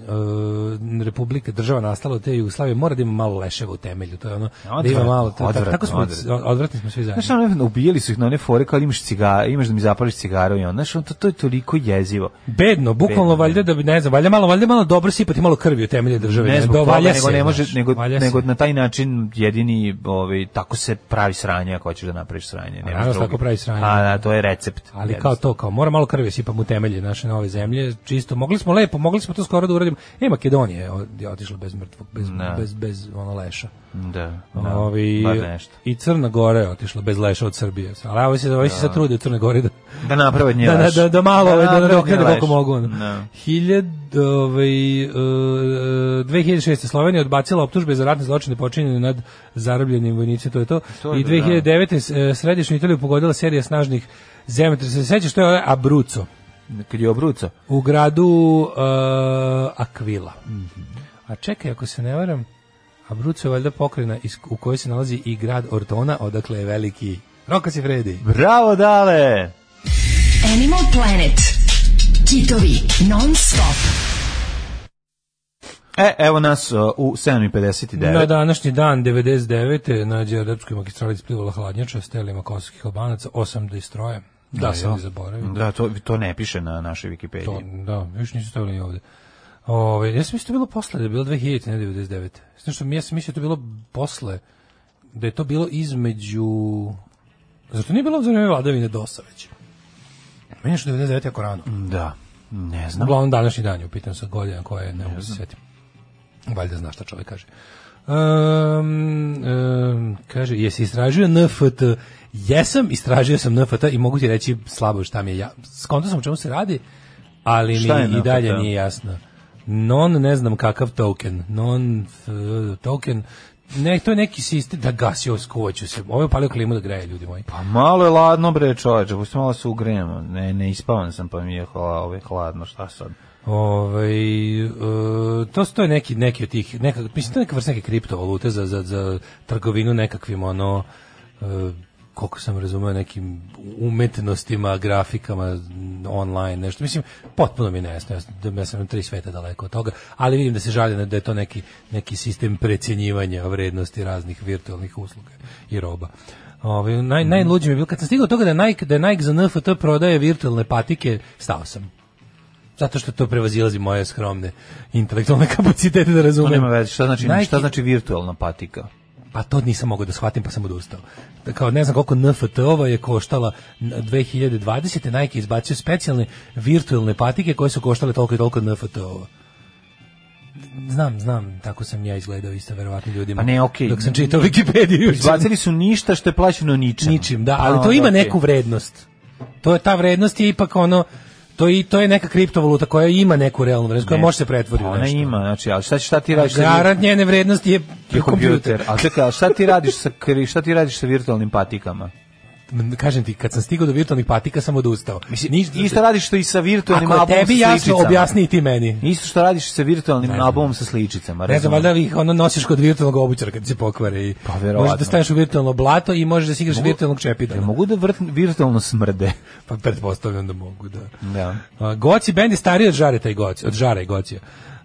e, republika država nastala od te Jugoslavije mora da ima malo leševa u temelju to je ono da ima Odvratno, malo to- odvratno, tako smo odvratno. odvratni smo svi zajedno Znaš, ono, ubijeli su ih na one fore kao imaš cigara, imaš da mi zapališ cigaru i on. Znaš, on, to, to je toliko jezivo. Bedno, bukvalno Bedno, valjda da bi ne znam, valjda malo, valjda malo dobro sipati malo krvi u temelje države. ne zbog do- toga, valja nego se, ne znaš, može, nego, valja nego se. na taj način jedini, ovaj, tako se pravi sranje ako hoćeš da napraviš sranje. Ne naravno se tako pravi sranje. A, da, to je recept. Ali kao to, kao mora malo krvi sipam u temelje naše nove zemlje, čisto mogli smo lepo, mogli smo to skoro da uradimo. E, Makedonija je od- je otišla bez mrtvog, bez, Da. bez, bez ono leša. Da, da Pa Ovi, bar nešto. I Crna Gora je otišla bez leša od Srbije. Ali ovo se, ovo se sad trude u Crnoj Gori da, Da naprave od nje da, da, leš. da, da malo ovaj, da, da, naprave od nje nadoknade koliko leš. mogu. Ono. Da. Hiljad, ovaj, e, 2006. Slovenija odbacila optužbe za ratne zločine počinjene nad zarobljenim vojnicima, to je to. To je I da, 2009. Da. e, središnju Italiju pogodila serija snažnih zemljotresa. Se sećaš što je ovaj Abruzzo Kad je obruco. u gradu e, Akvila. A čekaj, ako se ne varam, Abruzzo je valjda pokrena iz, u kojoj se nalazi i grad Ortona, odakle je veliki Roka si Fredi. Bravo, dale! Animal Planet. Kitovi non stop. E, evo nas uh, u 7.59. Na današnji dan 99. na Đerdapskoj magistrali isplivala hladnjača s telima kosovskih albanaca, osam da istroje. Da, sam ne zaboravio. Da, to, to ne piše na našoj Wikipediji. To, da, još nisu stavili ovde. Ove, ja sam mislio da je bilo posle, da je bilo 2000, ne 99. Znaš što, ja sam mislio da je to bilo posle, da je to bilo između... Zašto nije bilo za vreme vladavine DOS-a već? Meni što 99. jako rano. Da, ne znam. Uglavnom današnji dan je, upitam se godina koja je, ne mogu se sjetiti. Valjda zna šta čovjek kaže. Um, um, kaže, jesi istražio NFT? Jesam, istražio sam NFT i mogu ti reći slabo šta mi je ja. Skonto sam o čemu se radi, ali Šta je mi i NFT? dalje nije jasno. Non, ne znam kakav token. Non f, token. Ne, to je neki sistem da gasio skoću se. Ovo je palio klimu da greje, ljudi moji. Pa malo je ladno bre čoveče, pusti malo se ugrejemo. Ne, ne ispavan sam pa mi je hla, ovaj hladno, šta sad? Ovaj e, to stoje neki neki od tih neka mislim to je neka vrsta neke kriptovalute za za za trgovinu nekakvim ono e, koliko sam razumeo nekim umetnostima, grafikama m, online nešto. Mislim potpuno mi je nejasno, ja sam, da- ja sam na tri sveta daleko od toga, ali vidim da se žali na- da je to neki neki sistem precjenjivanja vrednosti raznih virtualnih usluga i roba. Ovaj naj najluđe mi je bilo kad sam stigao do toga da je Nike da je Nike za NFT prodaje virtualne patike, stao sam. Zato što to prevazilazi moje skromne intelektualne kapacitete da To razumem. nema veze, šta znači, Nike- šta znači virtualna patika? Pa to nisam mogao da shvatim, pa sam odustao. Da kao ne znam koliko NFT-ova je koštala n- 2020. Nike je izbacio specijalne virtualne patike koje su koštale toliko i toliko NFT-ova. Znam, znam, tako sam ja izgledao isto verovatno ljudima. Pa ne, okej. Dok sam čitao Wikipediju. juče. Izbacili su ništa što je plaćeno ničem. Pa Ničim, da, ali to ima neku vrednost. To je ta vrednost je ipak ono to i to je neka kriptovaluta koja ima neku realnu vrednost, koja može se pretvoriti u Ona nešto. ima, znači, ali šta, šta ti radiš? sa vir- Garant njene vrednosti je, je kompjuter. A čekaj, a šta ti radiš sa kri- šta ti radiš sa virtualnim patikama? M, kažem ti, kad sam stigao do virtualnih patika sam odustao. Mislim, Niš- isto radiš što i sa virtualnim Ako je albumom tebi sa jasno, sličicama. objasni i ti meni. Isto što radiš sa virtualnim albumom sa sličicama. Ne znam, razumem. valjda ih ono nosiš kod virtualnog obućara kad se pokvare i Pa, verovatno. možeš da staviš u virtualno blato i možeš da si igraš virtualnog čepida. Jel Mogu da vrt, virtualno smrde. Pa pretpostavljam da mogu, da. Da. A, Goci bend je stariji od Žareta i Goci, od Žara i Gocija.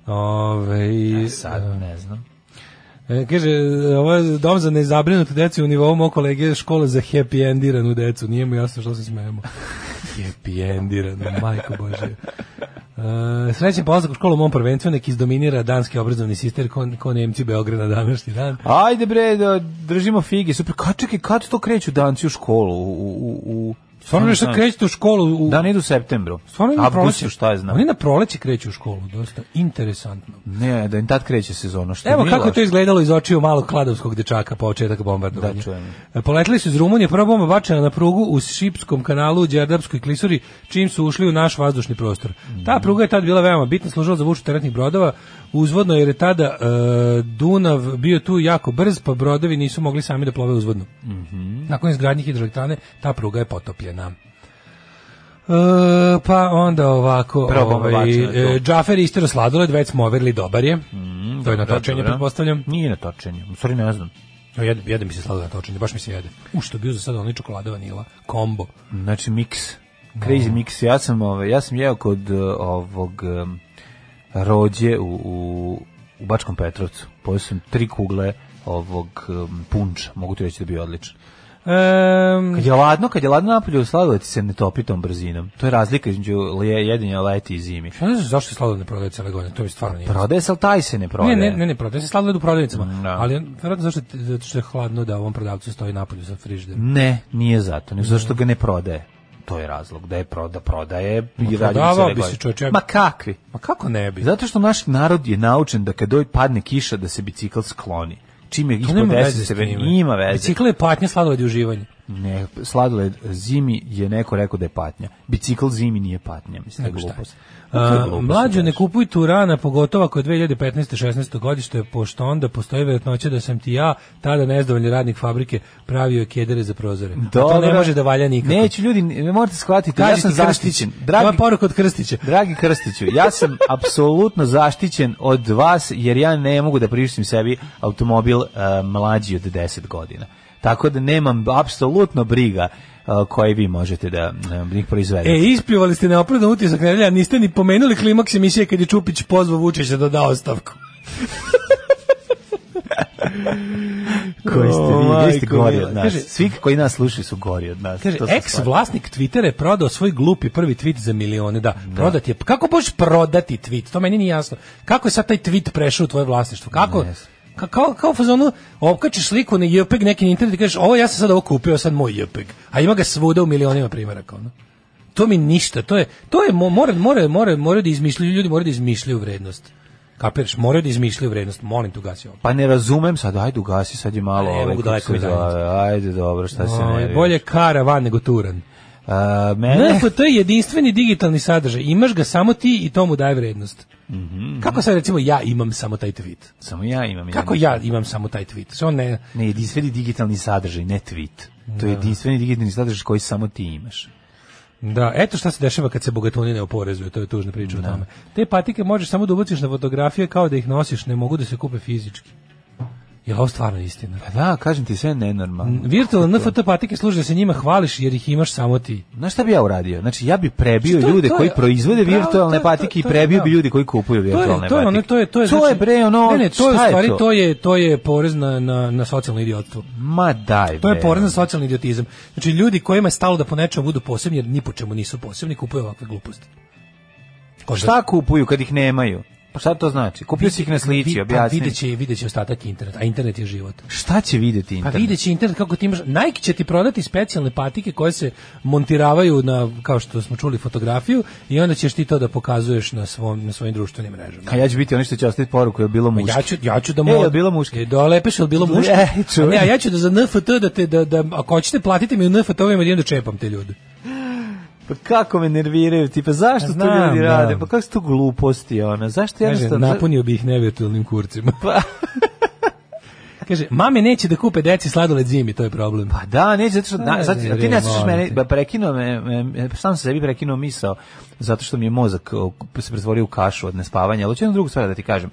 Ove, E, Sad, Pa, ne znam. E, Kaže, ovo je dom za nezabrinutu decu u nivou mog kolege škola za happy endiranu decu. Nije mu jasno što se smijemo. happy endiranu, majko Bože. E, srećen polazak u školu u mom prvencu, nek izdominira danski obrazovni sistem ko, ko Nemci Beograda današnji dan. Ajde bre, da držimo figi. Super, kad čekaj, kad to kreću danci u školu? U, u, u... Stvarno ne nešto znam. krećete u školu u... Da, ne idu u septembru. Stvarno na proleće, Avgustu, šta je znam. Oni na proleće kreću u školu, dosta interesantno. Ne, da im tad kreće sezona. Što Evo nije kako je to loše. izgledalo iz očiju malog kladovskog dečaka početak bombardovanja. Da, čujem. E, Poletili su iz Rumunije, prva bomba bačena na prugu u Šipskom kanalu u Đerdapskoj klisuri, čim su ušli u naš vazdušni prostor. Mm. Ta pruga je tad bila veoma bitna, služila za vuču teretnih brodova, uzvodno jer je tada e, Dunav bio tu jako brz, pa brodovi nisu mogli sami da plove uzvodno. Mhm. Nakon izgradnje hidroelektrane, ta pruga je potopljena. E, pa onda ovako Prva bomba bačena tu. Mhm. e, Džafer je istero sladoled, već smo overli, dobar je to je na Da, točenje, dobro. pretpostavljam Nije na točenje. U stvari ne znam. Jo, jede, jede mi se sladoled na točenje, baš mi se jede u što je bio za sada onaj čokolada vanila kombo Znači mix. Crazy mix. Ja sam, ovaj, ja sam jeo kod eh, ovog em, rođe u, u, u Bačkom Petrovcu. Pojeo sam tri kugle ovog em, punča. Mogu ti reći da je bio odličan. Ehm, Kad je ladno, kad je ladno napolju, sladoled se ne topi tom brzinom. To je razlika između lije- jedenja leti i zimi. ja ne znam zašto se sladoled ne prodaje cele godine, to mi stvarno nije. Prodaje se, ali taj se ne Ne, prodaje. ne, ne, ne, prodaje se sladoled u prodavnicama, da. ali on- verovatno zašto, zato što je hladno da ovom prodavcu stoji napolju za frižder. Ne, nije zato, nego zašto ga ne prodaje. To je razlog, da je proda, prodaje i radi prodavao cele bi se godine. čovječe, ja- Ma kakvi? Ma kako ne bi? Zato što naš narod je naučen da kad dođe padne kiša da se bicikl skloni. Čim je To ispod nema veze 10 s sebe, time. ima veze. Bicikl je patnja, sladoled je uživanje. Ne, sladoled zimi je neko rekao da je patnja. Bicikl zimi nije patnja, mislim da je Nego šta? glupost. A, mlađe ne kupuj Turana, pogotovo ako je 2015-16 godište, pošto onda postoji verovatnoća da sam ti ja, tada nezdovoljni radnik fabrike, pravio kedere za prozore. A to ne može da valja nikako. Neću ljudi, ne morate shvatiti, ja Kaži sam ti Krstić. zaštićen. To Dragi je poruka od Krstića. Dragi Krstiću, ja sam apsolutno zaštićen od vas jer ja ne mogu da priuštim sebi automobil e, mlađi od 10 godina. Tako da nemam apsolutno briga e, koje vi možete da e, ih proizvedete. E, ispljuvali ste neopravdan utisak nedelja, a niste ni pomenuli klimaks emisije kad je Čupić pozvao Vučića da da ostavku. koji ste o, vi, vi ste majko gori mila. od nas. Kaže- Svi koji nas slušaju su gori od nas. Kaže, To sam ex shvatio. vlasnik Twittera je prodao svoj glupi prvi tweet za milione, da, prodat je. Kako možeš prodati tweet? To meni nije jasno. Kako je sad taj tweet prešao u tvoje vlasništvo? Kako? Ne Ka, kao, kao u fazonu, opkačiš sliku na JPEG neki na internet i kažeš, ovo ja sam sad ovo kupio, sad moj JPEG. A ima ga svuda u milionima primjeraka. Ono. To mi ništa, to je, to je, mo- mora, mora, mora, mora da izmišljaju, ljudi moraju da izmišljaju vrednost. Kapiraš, moraju da izmišljaju vrednost, molim tu gasi ovo. Pa ne razumem sad, ajde ugasi, sad je malo... Ne ovaj, mogu kako daleko se zove, udaljiti. Ajde, dobro, šta se Oj, ne... bolje karavan nego turan. A, mene... NFT je jedinstveni digitalni sadržaj. Imaš ga samo ti i to mu daje vrednost. Kako sad recimo ja imam samo taj tweet? Samo ja imam jedan Kako ja imam samo taj tweet? Što on ne... Ne, jedinstveni digitalni sadržaj, ne tweet. To je jedinstveni digitalni sadržaj koji samo ti imaš. Da, eto šta se dešava kad se bogatuni ne oporezuju, to je tužna priča o tome. Te patike možeš samo da ubaciš na fotografije kao da ih nosiš, ne mogu da se kupe fizički. Je li ovo stvarno istina? Pa da, kažem ti, sve je Mm. nenormalno. Virtualne NFT patike služe da se njima hvališ jer ih imaš samo ti. Znaš šta bi ja uradio? Znači, ja bi prebio Što je- ljude to je- koji proizvode pravo, virtualne to je- patike i to je- prebio da. bi ljudi koji kupuju To je, virtualne to je, ono, patike. to je, to je, znači- bre, ono, ne, ne, to je, u šta stvari, to? to je, to je porez na, na, na socijalno idiotstvo. Ma daj, To je bre. ono. porez na socijalni idiotizam. Znači, ljudi kojima je stalo da po nečemu budu posebni, jer ni po čemu nisu posebni, kupuju ovakve gluposti. Ko Šta kupuju kad ih nemaju? Pa šta to znači? Kupio si ih na pa slici, objasni. Videće, videće ostatak internet, a internet je život. Šta će videti Pa internet? videće internet kako ti imaš... Nike će ti prodati specijalne patike koje se montiravaju na, kao što smo čuli, fotografiju i onda ćeš ti to da pokazuješ na, svom, na svojim društvenim mrežama. A ja ću biti ono što će ostaviti poruku, je bilo muški. Pa Ja ću, ja ću da E, mod... jel bilo muški? E, dolepeš, jel bilo muški? E, A čujem. ne, a ja ću da za NFT da te, da, da, ako hoćete, platite mi u NFT-ovima i onda čepam te ljude. Pa kako me nerviraju, ti pa zašto Ja to znam, ljudi da. rade? Pa kako su to gluposti, ona? Zašto Kaže, jednostavno... Pa. napunio bi ih nevirtualnim kurcima. Kaže, mame neće da kupe deci sladoled zimi, to je problem. Pa da, neće, zato što, na, Ne, sad, ne, ti ne ne, slušaš molim mene, te. ba, prekinuo me, me- me- sam sam sebi prekinuo misao, zato što mi je mozak o, se pretvorio u kašu od nespavanja, ali hoću jednu drugu stvar da ti kažem.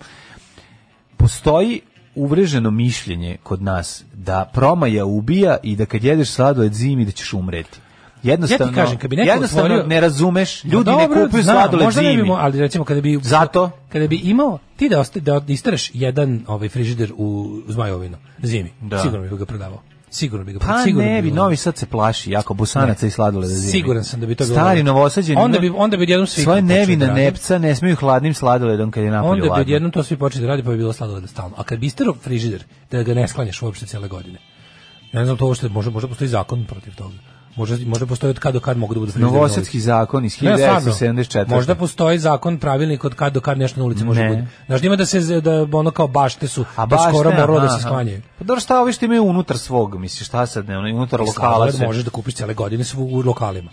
Postoji uvreženo mišljenje kod nas da promaja ubija i da kad jedeš sladoled zimi da ćeš umreti. Jednostavno, kažem, kad bi neko jednostavno otvorio- ne razumeš, Ma ljudi ne Pa dobro, kupuju znam, sladoled možda ne bi zimi. mo- ali recimo kada bi Zato? kada bi imao ti da osta, da istereš jedan ovaj frižider u Zmajovinu zimi. Da. Sigurno bi ga prodavao. Sigurno bi ga Pa sigurno ne bi, ga- Novi Sad se plaši jako busanaca i sladoleda zimi. Siguran sam da bi to bilo. Stari novosađeni. Onda bi onda bi odjednom svi svoje počeli nevina da rade. nepca ne smiju hladnim sladoledom kad je napolju ono- Onda bi ladno. odjednom to svi počeli da radi, pa bi bilo sladoled stalno. A kad bi istero frižider, da ga ne sklanjaš uopšte cijele godine. Ja ne znam to uopšte, možda, možda postoji zakon protiv toga. Možda, možda postoji od kad do kad mogu da budu frižideri. na Novosadski ulici. zakon iz Ne, stvarno. 1974. Možda postoji zakon pravilnik od kad do kad nešto na ulici može Ne. bude. Znaš, ima da se da ono kao bašte su, a baš skoro ne, moralo da se aha. sklanjaju. Pa dobro šta ovi što imaju unutar svog, misliš, šta sad, ne, ono, Pa unutar lokala Sladoled se. možeš da kupiš cele godine svu u lokalima.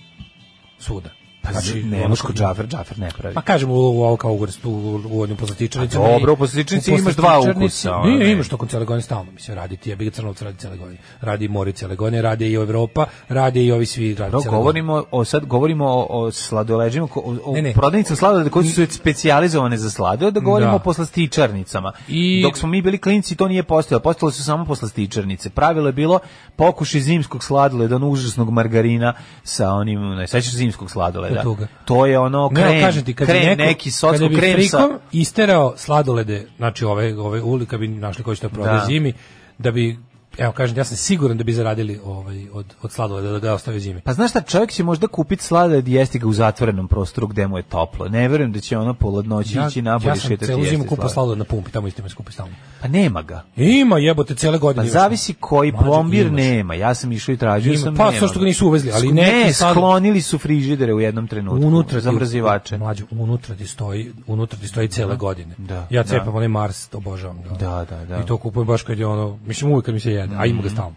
Svuda. Pa znači, ne, ono možeš kod kod- džafer, džafer ne pravi. Pa kažem u u ovo kao ugrstu u u onim poslatičarnicama. A i- dobro, u poslatičnici imaš dva poslatičarnici- ukusa, ono, ne. Nije, imaš to kod cele godine stalno, mislim, radi ti, ja bih crnovca radi cele godine. Radi i mori cele godine, radi i Evropa, radi i ovi svi radi Dobro, cele godine. govorimo o sad govorimo o, o sladoleđima, ko- o, o Ne, ne. prodavnicama sladoleda koje su specijalizovane za sladoled, da govorimo Da. o poslastičarnicama. I- Dok smo mi bili klinci to nije postojalo, postojale su samo poslastičarnice. Pravilo je bilo pokušaj zimskog sladoleda, onog užasnog margarina sa onim, ne sećaš se zimskog sladoleda. To je tuga. To je ono Ne, krem, ali kažem ti, kad krem bi neko, neki socko kada bi krem sa frikom isterao sladolede, znači ove, ove ulika bi našli koji će to prodaje Da. zimi, da bi, evo kažem, ti, ja sam siguran da bi zaradili ovaj, od, od sladoleda da ga ostave zimi. Pa znaš šta, čovjek će možda kupiti sladoled i jesti ga u zatvorenom prostoru gde mu je toplo. Ne verujem da će ono po ladnoći ići napolje ja i sam šetati celu jesti zimu kupao sladoled. sladoled na pumpi, tamo isto ima skupi stalno. Pa nema ga. Ima jebote cele Pa godine. imaš. zavisi koji Mlađe, plombir imaš. nema. Ja sam išao i tražio Ima, sam pa, nema. samo što ga nisu uvezli, ali Sk- neki ne, sad- sklonili su frižidere u jednom trenutku unutra ti- za mrazivače. Mlađo, unutra ti stoji, unutra ti stoji cele godine. Da, ja da. cepam onaj Mars, to obožavam ga. Da, da, Mhm. da. I to kupujem baš kad je ono, mislim uvijek kad mi se jede, a ima ga stalno.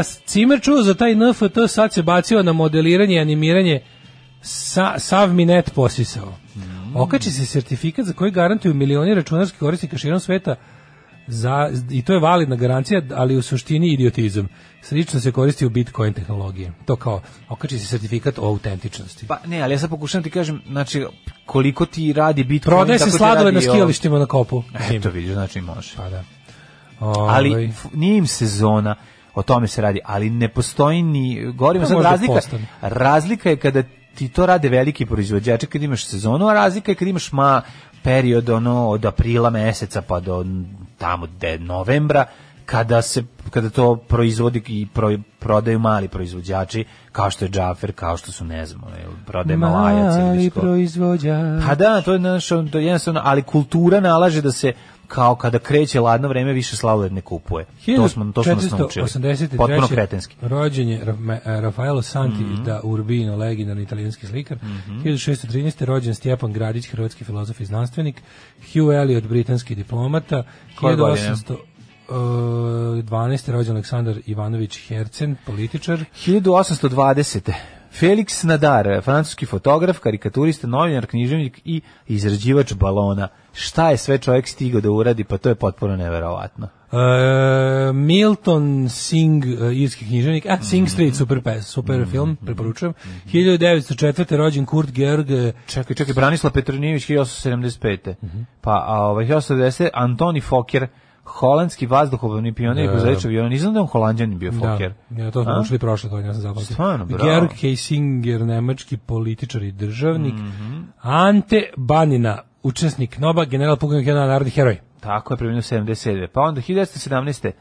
E, Cimer čuo za taj NFT, sad se bacio na modeliranje i animiranje, sa, sav mi net posisao. Mhm. Okači se sertifikat za koji garantuju milioni računarskih korisnika širom sveta za, i to je validna garancija, ali u suštini idiotizam. Slično se koristi u Bitcoin tehnologiji. To kao, okači se sertifikat o autentičnosti. Pa ne, ali ja sad pokušam ti kažem, znači, koliko ti radi Bitcoin... Prodaje se tako ti sladoled na radi i ovo. skijalištima na kopu. Eto vidiš, znači može. Pa da. Ali Ovaj, f- nije im sezona, o tome se radi, ali ne postoji ni, govorimo Pa sad možda razlika, postane. razlika je kada ti to rade veliki proizvođači kad imaš sezonu, a razlika je kad imaš ma period ono od aprila meseca pa do tamo de novembra kada se kada to proizvodi i pro- prodaju mali proizvođači kao što je Džafer, kao što su ne znam, ono, prodaje Malajac ili mali već ko. proizvođač. Pa da, to je naš, on- to je jednostavno, ali kultura nalaže da se kao kada kreće ladno vreme više sladoled ne kupuje. Pa, To smo to smo nas naučili. 1483. Potpuno kretenski. Rođen je Ra- Ma- e, Rafaelo Santi Mhm. da Urbino, legendarni italijanski slikar. 1613. rođen Stjepan Gradić, hrvatski filozof i znanstvenik. Hugh Elliot, britanski diplomata. Koje godine? 1812. rođen Aleksandar Ivanović Hercen, političar. 1820. Felix Nadar, francuski fotograf, karikaturista, novinar, književnik i izrađivač balona. Šta je sve čovjek stigao da uradi, pa to je potpuno neverovatno. E, Milton Singh, e, irski književnik, a Mhm. Singh Street, super, pes, super film, preporučujem. 1904. rođen Kurt Georg e, Čekaj, čekaj, Mhm. Branislav Petronijević 1875. Pa, a ovaj 1890 Antoni Fokker, holandski vazduhoplovni pionir Da. da. Kozarić avion. Nisam da je on holandjanin bio Fokker. Da, ja to smo A? učili prošle godine, ja sam zapamtio. Stvarno, bravo. Georg Heisinger, nemački političar i državnik. Mhm. Ante Banina, učesnik NOBA, general pukovnik jedan narodni heroj. Tako je, primljeno 77. Pa onda 1917.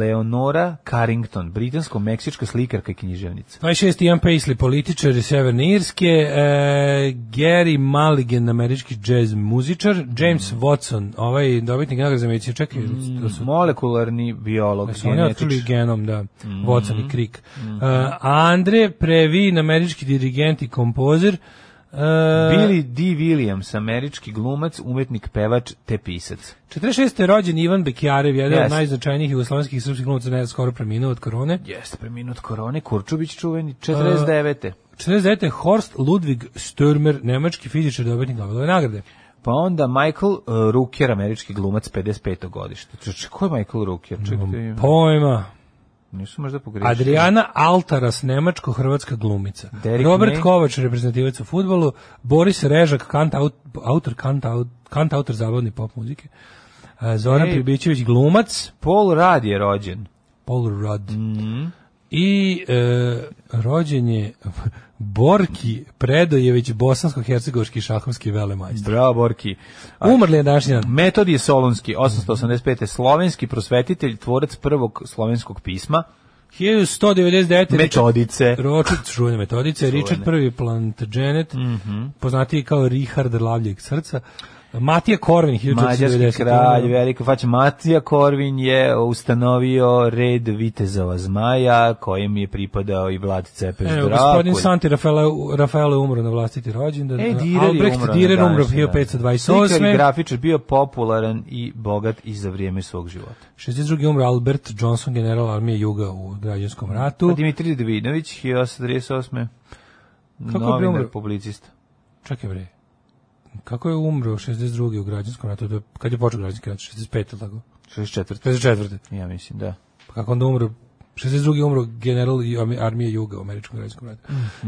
Leonora Carrington, britansko-meksička slikarka i književnica. 26. Ian Paisley, političar iz Severne Irske, e, Gary Mulligan, američki jazz muzičar, Mhm. James Watson, ovaj dobitnik nagrade za medicinu, čekaj, to su Molekularni biolog, Su Mhm. oni otkrili genetič. genom, da, Watson i Crick. Uh, Andre Previn, američki dirigent i kompozer. Uh, Billy D. Williams, američki glumac, umetnik, pevač te pisac. 46. je rođen Ivan Bekjarev, jedan od Yes. najznačajnijih jugoslovenskih i srpskih glumaca, ne skoro preminuo od korone. Jeste, preminut korone, Kurčubić čuveni, 49. 49. je Horst Ludwig Stürmer, nemački fizičar, dobitnik Nobelove nagrade. Pa onda Michael uh, Rooker, američki glumac, 55. godište. Čoče, ko je Michael Rooker? Čekaj, mm. Pojma. nisu možda pogrešili. Adriana Altaras, nemačko-hrvatska glumica. Derek Robert May. Kovač, reprezentativac u futbolu. Boris Režak, kant aut, autor, kant, aut, kant autor zabavne pop muzike. E, Zoran Ej. Pribićević, glumac. Paul Rudd je rođen. Paul Rudd. Mhm. I e, rođen je Borki Predojević, bosansko-hercegovački šahovski velemajstor. Bravo, Borki. A, Umrli je današnji dan. Metod je Solunski, Mhm. 885. Slovenski prosvetitelj, tvorac prvog slovenskog pisma. 1199. Metodice. Ročet, čuvene metodice, Richard I Plantagenet, Mhm. poznatiji kao Richard Lavljeg srca, Matija Korvin, 1490. Mađarski kralj, velika faća Matija Korvin je ustanovio red vitezova zmaja, kojem je pripadao i Vlad Cepeš Evo, Drakulj. gospodin Santi Rafaele, Rafaele umro na vlastiti rođendan. E, Direr je Albrecht umro na Direr umro današnji dan. Slikar i 1528. grafičar bio popularan i bogat i za vrijeme svog života. 62. umro Albert Johnson, general armije Juga u građanskom Pa ratu. Dimitrij Davidović, 1838. je Novinar, umro? publicista. Čekaj bre, kako je umro 62. u građanskom ratu? To je- Kad je počeo građanski rat? 65. ili tako? 64. 64. Ja mislim, da. Pa kako onda umro 62. umro general i armi- armije Juga u američkom građanskom ratu.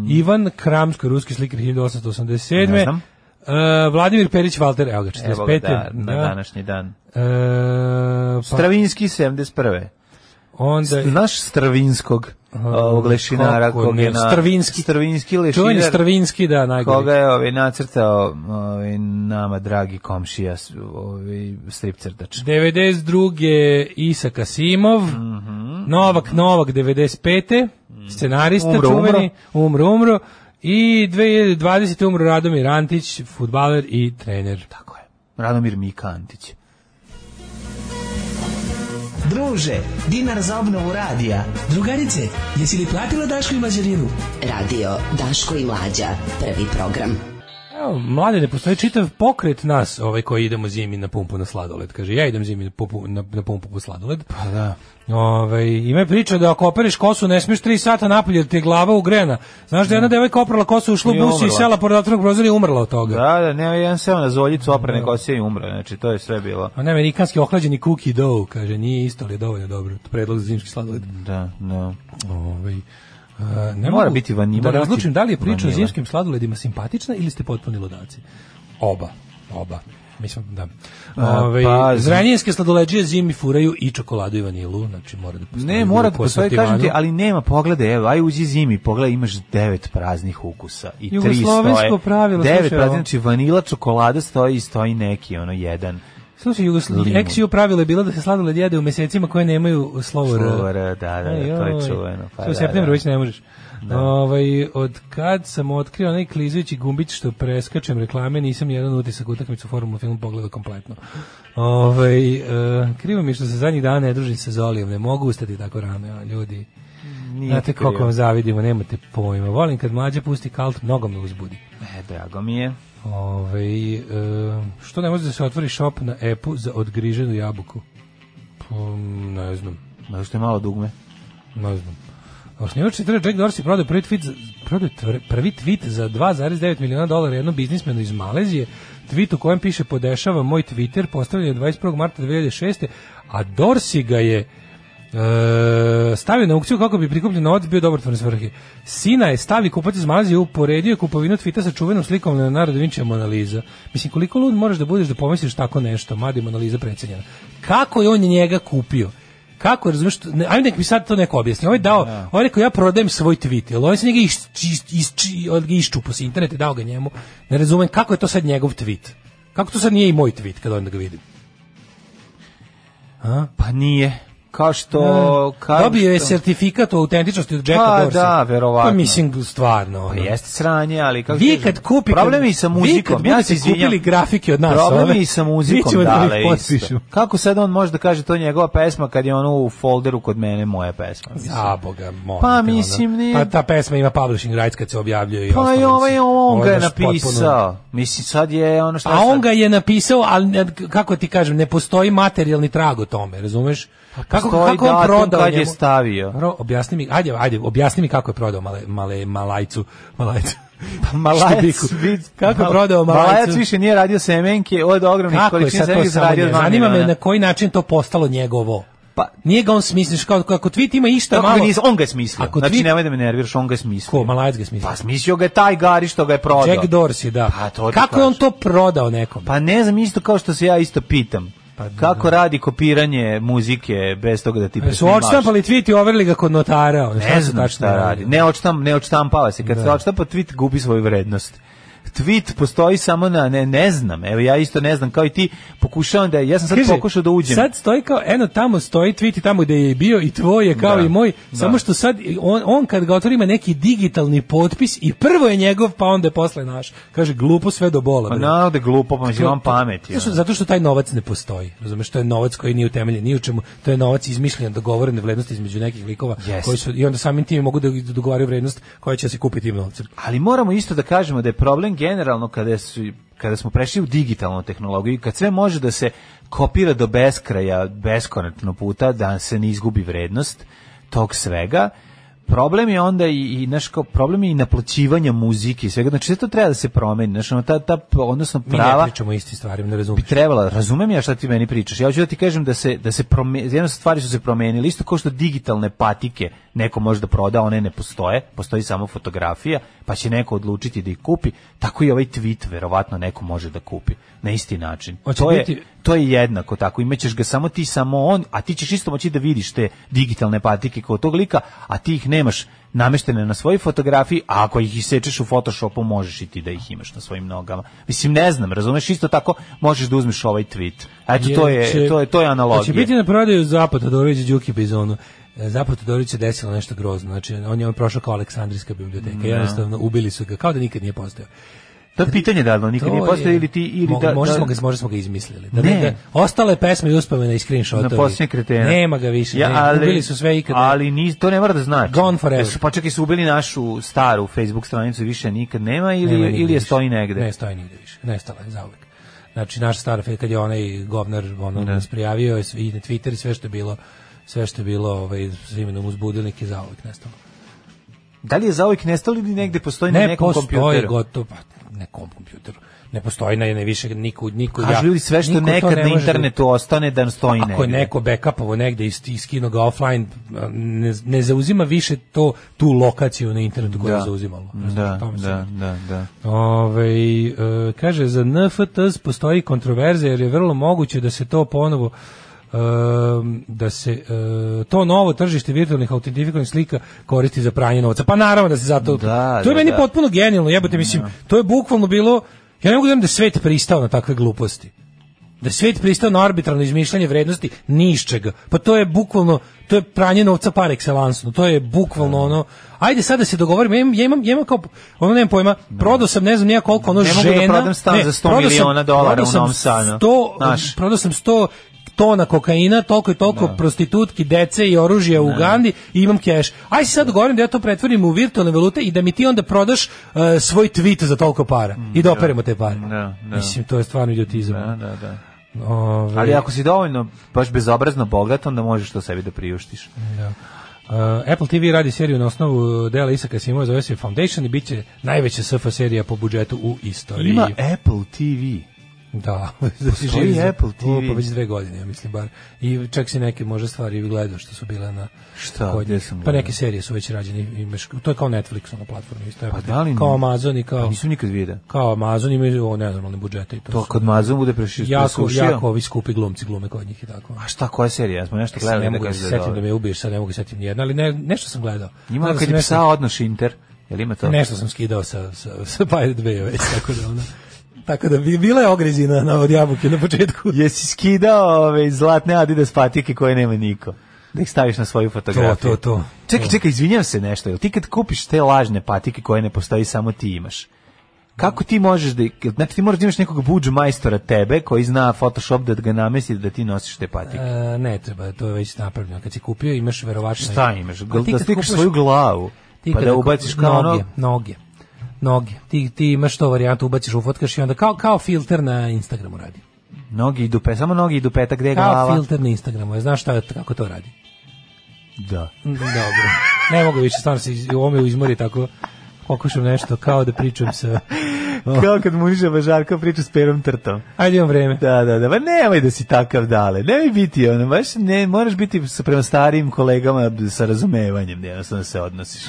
Ivan Kramsko, ruski slikar 1887. Mhm. Ne znam. E, Vladimir Perić Valter, evo ga, 45. Evo ga, da, na današnji dan. Pa- E, pa Stravinski 71. onda Naš Stravinskog ovog lešinara kako kog ne, je na... Stravinski. Stravinski Čuveni lešinar. Stravinski, da, najgori. Koga je ovaj, nacrtao ovaj, nama dragi komšija s- ovaj, strip crtač. 92. Isa Kasimov, Novak Novak 95. scenarista Mhm. Umro, čuveni, umro, umro. I 2020. umro Radomir Antić, futbaler i trener. Tako je. Radomir Mikantić. Druže, dinar za obnovu radija. Drugarice, jesi li platila Dašku i Mađarinu? Radio Daško i Mlađa. Prvi program. Evo, mlade, ne postoji čitav pokret nas, ovaj koji idemo zimi na pumpu na sladoled. Kaže, ja idem zimi na, pupu, na, na pumpu po sladoled. Pa da. Ove, ima je priča da ako opereš kosu ne smiješ 3 sata napolje jer ti je glava ugrena. Znaš da je jedna devojka oprala kosu, ušla u I bus i umrla. sela pored otvornog prozora i umrla od toga. Da, da, ne, jedan seo na ono zoljicu oprane kose i umro, znači to je sve bilo. A ne, amerikanski ohlađeni cookie dough, kaže, nije isto, ali je dovoljno dobro. To je predlog za zimski sladoled. Da, da. Ovaj, a, ne Mora mogu biti vanila, Da mora razlučim biti da li je priča o vanila. zimskim sladoledima simpatična ili ste potpuni ludaci. Oba, oba. Mislim, da. Ove, pa, zranjinske sladoleđije zimi furaju i čokoladu i vanilu, znači mora da postoji. Ne, mora da bilo ko postoji, sortimanu. kažem ti, ali nema, pogledaj, evo, aj uđi zimi, pogledaj, imaš devet praznih ukusa i tri stoje. Jugoslovensko pravilo, Devet slušaj, praznih, ovo. znači vanila, čokolada stoji i stoji neki, ono, jedan. Slušaj, Jugoslavije, Limun. ex pravilo je bilo da se sladoled jede u mesecima koje nemaju slovo R. Slovo R, da, da, da, Ej, to je joj. čuveno, pa To u da, septembru da. već ne možeš. Ovaj, od kad sam otkrio onaj klizajući gumbić što preskačem reklame, nisam jedan utisak utakmicu Formula film pogledao kompletno. Ovaj, e, krivo mi je što se zadnjih dana ne družim sa Zolijem, ne mogu ustati tako rano, ja, ljudi. Nije Znate krivo. koliko vam zavidimo, nemate pojma. Volim kad mlađe pusti kalt, mnogo me uzbudi. E, drago mi je. Ove, e, što ne može da se otvori šop na epu za odgriženu jabuku? Pa, ne znam, Zato što je malo dugme. ne znam. Osnivač Twittera Jack Dorsey prodao prvi tweet, za, prodao tvr- prvi tweet za 2,9 miliona dolara jednom biznismenu iz Malezije. Tweet u kojem piše podešava moj Twitter postavljen je 21. marta 2006. A Dorsey ga je E, stavio na aukciju kako bi prikupljen novac bio dobrotvorne svrhe. Sina je stavi kupac iz Malazije uporedio je kupovinu tvita sa čuvenom slikom Leonardo da Vinci Monaliza. Mislim, koliko lud moraš da budeš da pomisliš tako nešto, mada je Monaliza precenjena. Kako je on njega kupio? Kako razumeš? što- Ne, ajde nek mi sad to neko objasni. Ovaj dao, ovaj rekao ja prodajem svoj tweet, jel ovaj se njega iš, iš, iš, iz, iščupo sa interneta i dao ga njemu. Ne razumem kako je to sad njegov tweet. Kako to sad nije i moj tweet kad onda ga vidim? Pa nije. Kao što... Kao Dobio je što- sertifikat o autentičnosti od Jacka Pa, Dorsa. da, verovatno. Pa mislim, stvarno. Pa Ono. jeste sranje, ali kako ti Vi kažem, kad kupi problemi sa muzikom, vi kad ja se budete izvinjam. kupili grafike od nas, ove, Problemi sa mi muzikom ćemo da dale ih isto. potpišemo. Kako sad on može da kaže to je njegova pesma kad je ono u folderu kod mene moja pesma. mislim. A boga, molim Pa, te, ono. mislim, ne- Pa ta pesma ima publishing rights kad se objavljuje i Pa ostalo, i ovaj mislim. on Ovo ga je je baš potpuno- napisao. Mislim sad je ono što A on ga je napisao, ali ne- kako ti kažem, ne postoji materijalni trag o tome, razumeš? Kako, Pa postoji kako on datum prodao kad je njemu- stavio. Ro, objasni mi, ajde, ajde, objasni mi kako je prodao male, male, malajcu. Malajcu. Malajac, Štubiku. vid, Kako je Mal- prodao malajcu? Malajac više nije radio semenke od ogromnih Kako je količina sad to semenke samo zaradio njega? dva Zanima me miliona. na koji način to postalo njegovo. Pa- nije ga on smisliš kao kako tweet ima išta Kako ga malo. nis- on ga je smislio. Ako Znači tweet- nemoj da me nerviraš, on ga je smislio. Ko, Malajac ga smisliš. Pa smislio ga je taj gari što ga je prodao. Jack Dorsey, da. Pa, to ti kako je on kažem. to prodao nekom? Pa ne znam, isto kao što se ja isto pitam. kako radi kopiranje muzike bez toga da ti Pa, su presnimaš? odštampali tweet i overili ga kod notara. ono, Ne su znam tačno šta radi. radili? Ne, odštamp, ne odštampava se. Kad se odštampa, tweet gubi svoju vrednost. Tweet postoji samo na, ne, ne znam, evo ja isto ne znam, kao i ti, pokušavam da, ja sam sad Kaže, pokušao da uđem. Sad stoji kao, eno tamo stoji tweet i tamo gde je i bio i tvoj je kao Da, i moj, da. samo što sad on, on kad ga otvori ima neki digitalni potpis i prvo je njegov pa onda je posle naš. Kaže, glupo sve do bola. Pa bre. naravno da je glupo, pa mislim, imam pamet. Zato Ja. što, zato što taj novac ne postoji. Razumeš, to je novac koji nije utemeljen ni u čemu. To je novac izmišljen, dogovorene vrednosti između nekih likova Jeste. koji su i onda samim tim mogu da da dogovaraju vrednost koja će se kupiti tim novcem. Ali moramo isto da kažemo da je problem generalno kada su kada smo prešli u digitalnu tehnologiju, kad sve može da se kopira do beskraja, beskonačno puta, da se ne izgubi vrednost tog svega, problem je onda i, i naš kao, problem je i naplaćivanja muzike i svega, znači sve to treba da se promeni, znači ono, ta, ta, odnosno Mi ne prava, pričamo o istim stvarima, ne bi razumeš. trebala, razumem ja šta ti meni pričaš. Ja hoću da ti kažem da se da se prome, jedno stvari su se promenile, isto kao što digitalne patike neko može da proda, one ne postoje, postoji samo fotografija, pa će neko odlučiti da ih kupi, tako i ovaj tweet verovatno neko može da kupi na isti način. Hoće to je biti- to je jednako tako, imaćeš ga samo ti, samo on, a ti ćeš isto moći da vidiš te digitalne patike kod tog lika, a ti ih nemaš nameštene na svojoj fotografiji, a ako ih isečeš u Photoshopu možeš i ti da ih imaš na svojim nogama. Mislim, ne znam, razumeš, isto tako možeš da uzmeš ovaj tweet. Eto, to Jer će- je, to je, to je analogija. Će Znači, biti na prodaju Zapad Todorović i Đuki Bizonu. E, Zapad Todorović se desilo nešto grozno. Znači, on je on prošao kao Aleksandrijska biblioteka. Jednostavno, ubili su ga, kao da nikad nije postao. To je pitanje da li on nikad To nije postao je- ili ti, ili Mo- da, možda, da- smo ga, možda smo ga izmislili. Da, Ne. ne. Da, ostale pesme i uspomene i screenshotovi. na posljednje kretena. Nema ga više. ne. ubili su sve ikad. Ali ni, to ne mora da znači. Gone forever. Jesu, pa čak i su ubili našu staru Facebook stranicu, više nikad nema ili, Nema nigde ili je više. stoji negde. Ne stoji nigde više. Nestala je zauvek. Znači naš stara fe- kad je onaj govnar ono nas prijavio i sve- i na Twitter i sve što je bilo sve što je bilo ovaj s imenom uz budilnik je zauvek nestalo. Da li je zauvijek nestalo ili negde postoji na Ne nekom postoji kompjuteru? gotovo pa nekom kompjuteru. Ne postoji na ne više niko niko ja. Kažu ljudi sve što niko to nekad ne na može da- internetu ostane da stoji negde. Ako je neko backupovo negde i sti- skinuo ga offline, ne, ne zauzima više to tu lokaciju na internetu koja Da. je zauzimalo. Da, O tome se da, radi. da, da. Ovaj, e, kaže, za NFTs postoji kontroverza jer je vrlo moguće da se to ponovo e, da se e, to novo tržište virtualnih autentifikovanih slika koristi za pranje novca. Pa naravno da se zato... Da, to je da, meni da. potpuno genijalno, jebote, mislim, to je bukvalno bilo... Ja ne mogu da vjerujem da je svet pristao na takve gluposti. Da je svet pristao na arbitrarno izmišljanje vrednosti ni iz čega. Pa to je bukvalno, to je pranje novca par excellence. To je bukvalno ono, ajde sad da se dogovorimo, ja imam, ja imam, ja imam kao, ono nemam pojma, prodao sam ne znam nija koliko, ono Ne mogu da žena. prodam stan za 100 prodao sam- miliona dolara prodao u sam Novom Sadu. 100 Znaš. Prodao sam 100 tona kokaina, toliko i toliko prostitutki, dece i oružja u Ugandi i imam keš. Aj se sad dogovorim da ja to pretvorim u virtualne valute i da mi ti onda prodaš uh, svoj tweet za toliko para i da operemo te pare. Da, da. Mislim, to je stvarno idiotizam. Da, da, da. Ovaj, Ali ako si dovoljno baš bezobrazno bogat, onda možeš to sebi da priuštiš. da. Uh, Apple TV radi seriju na osnovu dela Isaka Simova, zove se Foundation i bit će najveća SF serija po budžetu u istoriji. E, Ima Apple TV. Da, Postoji za- Apple TV? O, pa već dve godine, ja mislim bar. I čak si neke možda stvari i gledao što su bile na Šta? kod Gde njih. sam Pa gledao? neke serije su već rađene, imaš to je kao Netflix ona platforma isto. Pa da li kao ne? Amazon i Pa kao nisam nikad vidio. kao Amazon imaju o nenormalne budžete i to. To su. kad Mazon bude prešio, jako presušio. jako ovi skupi glumci glume kod njih i tako. A šta, koja serija? Ja smo nešto Sad gledali. ne da mogu da kažeš se je setim da dobra. me ubiješ, sad ne mogu se setim nijedno, ali ne, nešto sam gledao. Ima Gledao kad sam je nešto- psa odnoš Inter. Jel ima to? Nešto sam skidao sa, sa, sa Pirate Bay već, tako da ono... Tako da bi, bila je ogrezina na, od jabuke na početku. Jesi skidao ove zlatne Adidas patike koje nema niko? Da ih staviš na svoju fotografiju. To, to, to. Čekaj, To. čekaj, izvinjam se nešto. Jel ti kad kupiš te lažne patike koje ne postoji, samo ti imaš? Kako ti možeš da... Znači ti moraš da imaš nekog buđu majstora tebe koji zna Photoshop da ga namesti da ti nosiš te patike. E, ne treba, to je već napravljeno. Kad si kupio imaš verovatno... Šta imaš? A ti Da kad slikaš kupuješ- svoju glavu. ti Pa kada da kup- ubaciš kao noge, ono... Noge, noge. Ti, ti imaš to varijantu, ubaciš, ufotkaš i onda kao, kao filter na Instagramu radi. Nogi idu pe, samo nogi idu peta, gde je Kao glava? filter na Instagramu, ja, znaš šta, kako to radi. Da. Dobro. Ne mogu više, stvarno se iz, ovo me izmori tako pokušam nešto kao da pričam sa... Kao kad munižava Žarko priča s perom trtom. Ajde imam vreme. Da, da, da, ba nemoj da si takav dale, nemoj biti ono, baš ne, moraš biti sa prema starijim kolegama sa razumevanjem, da jednostavno se odnosiš.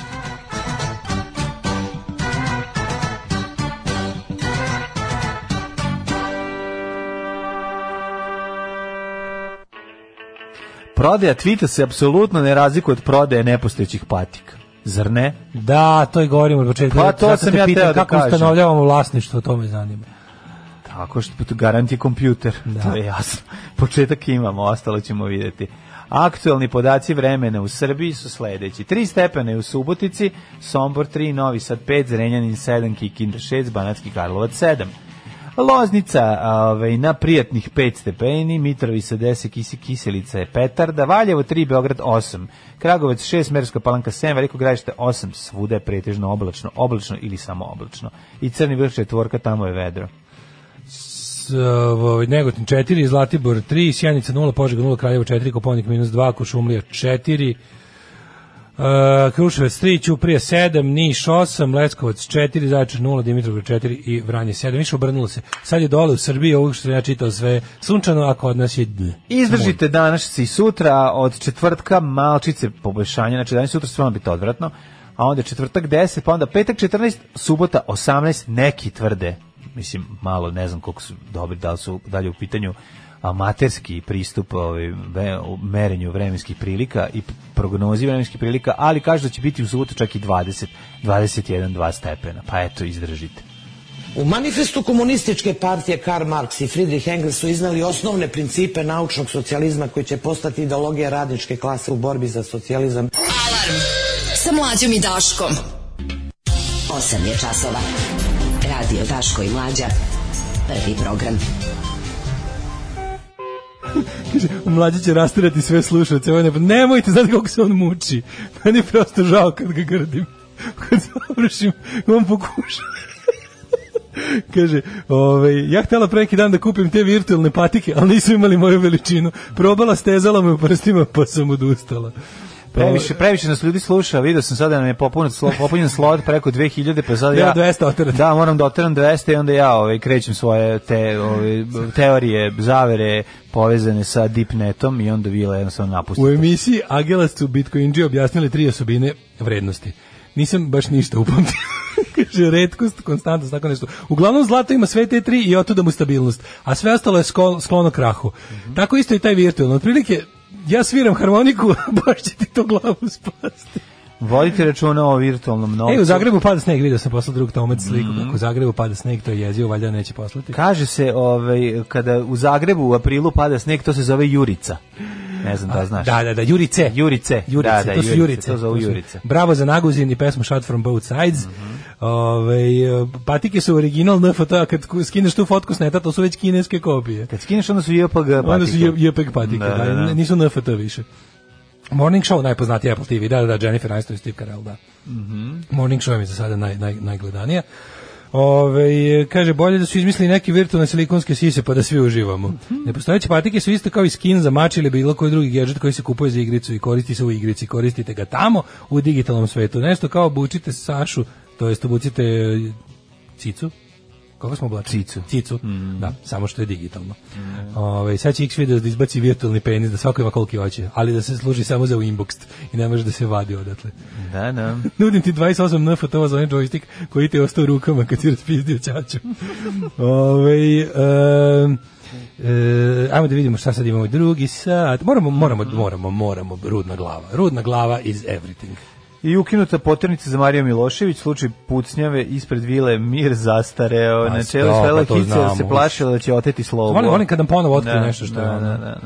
Prodaja tvita se apsolutno ne razlikuje od prodaje nepostojećih patika. Zar ne? Da, to i govorim od početka. Pa, to Zato sam te ja pitam teo da kako kažem. ustanovljavamo vlasništvo, to me zanima. Tako što to garanti kompjuter, to je jasno. Početak imamo, ostalo ćemo vidjeti. Aktualni podaci vremena u Srbiji su sledeći. 3 stepene u Subotici, Sombor 3, Novi Sad 5, Zrenjanin 7, Kikinda 6, Banatski Karlovac 7. Loznica ovaj, na prijatnih 5 stepeni, Mitrovica 10, Kisi, Kiselica je petarda, Valjevo 3, Beograd 8, Kragovac 6, Merska palanka 7, Veliko gražište 8, svuda je pretežno oblačno, oblačno ili samo oblačno. I Crni vrh četvorka, tamo je vedro. S, e, ovaj, Negotin 4, Zlatibor 3, Sjenica 0, Požega 0, Kraljevo 4, Koponik minus 2, Kušumlija 4, Uh, Kruševac 3, Ćuprija 7, Niš 8, Leskovac 4, Zaječar 0, Dimitrovgrad 4 i Vranje 7. Više obrnulo se. Sad je dole u Srbiji, ovog što sam ja čitao sve sunčano, a kod nas je d. Izdržite danas i sutra, od četvrtka malčice poboljšanja, znači danas i sutra stvarno biti odvratno, a onda četvrtak 10, pa onda petak 14, subota 18, neki tvrde, mislim malo ne znam koliko su dobri, da li su dalje u pitanju amaterski pristup ovaj, ve- u merenju vremenskih prilika i p- prognozi vremenskih prilika, ali kažu da će biti u subotu čak i 20, 21, 2 stepena, pa eto izdržite. U manifestu komunističke partije Karl Marx i Friedrich Engels su iznali osnovne principe naučnog socijalizma koji će postati ideologija radničke klase u borbi za socijalizam. Alarm sa mlađom i Daškom. 8 je časova. Radio Daško i Mlađa. Prvi program. Mlađi će rastirati sve slušalce. Ovo je nepo- Nemojte, znate koliko se on muči. Meni je prosto žao kad ga grdim. Kad završim, on pokuša. Kaže, ovaj, ja htela pre neki dan da kupim te virtualne patike, ali nisu imali moju veličinu. Probala, stezala me u prstima, pa sam odustala. Previše, previše nas ljudi sluša, vidio sam sada da nam je popunjen slot, popunjen slot preko 2000, pa sad Treba ja... 200 oterati. Da, moram da oteram 200 i onda ja ovaj, krećem svoje te, ovaj, b- teorije, zavere povezane sa deepnetom i onda vila jednostavno napusti. U emisiji Agelac su Bitcoinđi objasnili tri osobine vrednosti. Nisam baš ništa upamtio. Kaže, redkost, konstantnost, tako nešto. Uglavnom, zlato ima sve te tri i otuda mu stabilnost. A sve ostalo je skol- sklono krahu. Tako isto i taj virtualno. Otprilike, ja sviram harmoniku, baš će ti to glavu spasti. Vodite računa o virtualnom novcu. Ej, E, u Zagrebu pada sneg, vidio sam posle drug tomac sliku. Kako u Zagrebu pada sneg, to je jezio, valjda neće poslati. Kaže se, ovaj, kada u Zagrebu u aprilu pada sneg, to se zove Jurica. Ne znam da znaš. Da, da, da, Jurice. Jurice. Jurice, Da, da, to su Jurice, Jurice. to zovu su- Jurice. Mhm. Bravo za Naguzin i pesmu Shot from Both Sides. Ovaj, e, patike su original NFT, a kad ku- skineš tu fotku s neta, to su već kineske kopije. Kad skineš, onda su JPG patike. Onda su J- JPEG patike, da, n- nisu NFT više. Morning Show najpoznatiji Apple TV, da, da, da, Jennifer Aniston i Steve Carell, da. Morning Show je za sada naj, naj, najgledanija. Ove, e, kaže, bolje da su izmislili neke virtualne silikonske sise pa da svi uživamo. Nepostojeće patike su isto kao i skin za mač ili bilo koji drugi gadget koji se kupuje za igricu i koristi se u igrici. Koristite ga tamo u digitalnom svetu. Nešto kao obučite Sašu, to jest obucite e, cicu, Koga smo oblačili? Cicu. Cicu, da, samo što je digitalno. Ovaj sad će X video da izbaci virtualni penis, da svako ima koliki hoće, ali da se služi samo za inbox i ne može da se vadi odatle. Da, da. Nudim ti 28 N fotova za onaj joystick koji ti je ostao u rukama kad si raspizdio čaču. Ove, e, ajmo da vidimo šta sad imamo drugi sat. Moramo, moramo, moramo, moramo, rudna glava. Rudna glava is everything. I ukinuta poternica za Marija Milošević, slučaj pucnjave ispred vile Mir zastareo, Znači, Pa, na čelu da, svela pa to kica jer se znamo. plašila da će oteti slovo. Volim, volim kad nam ponovo otkrije Da, nešto što je da, ono. da, da,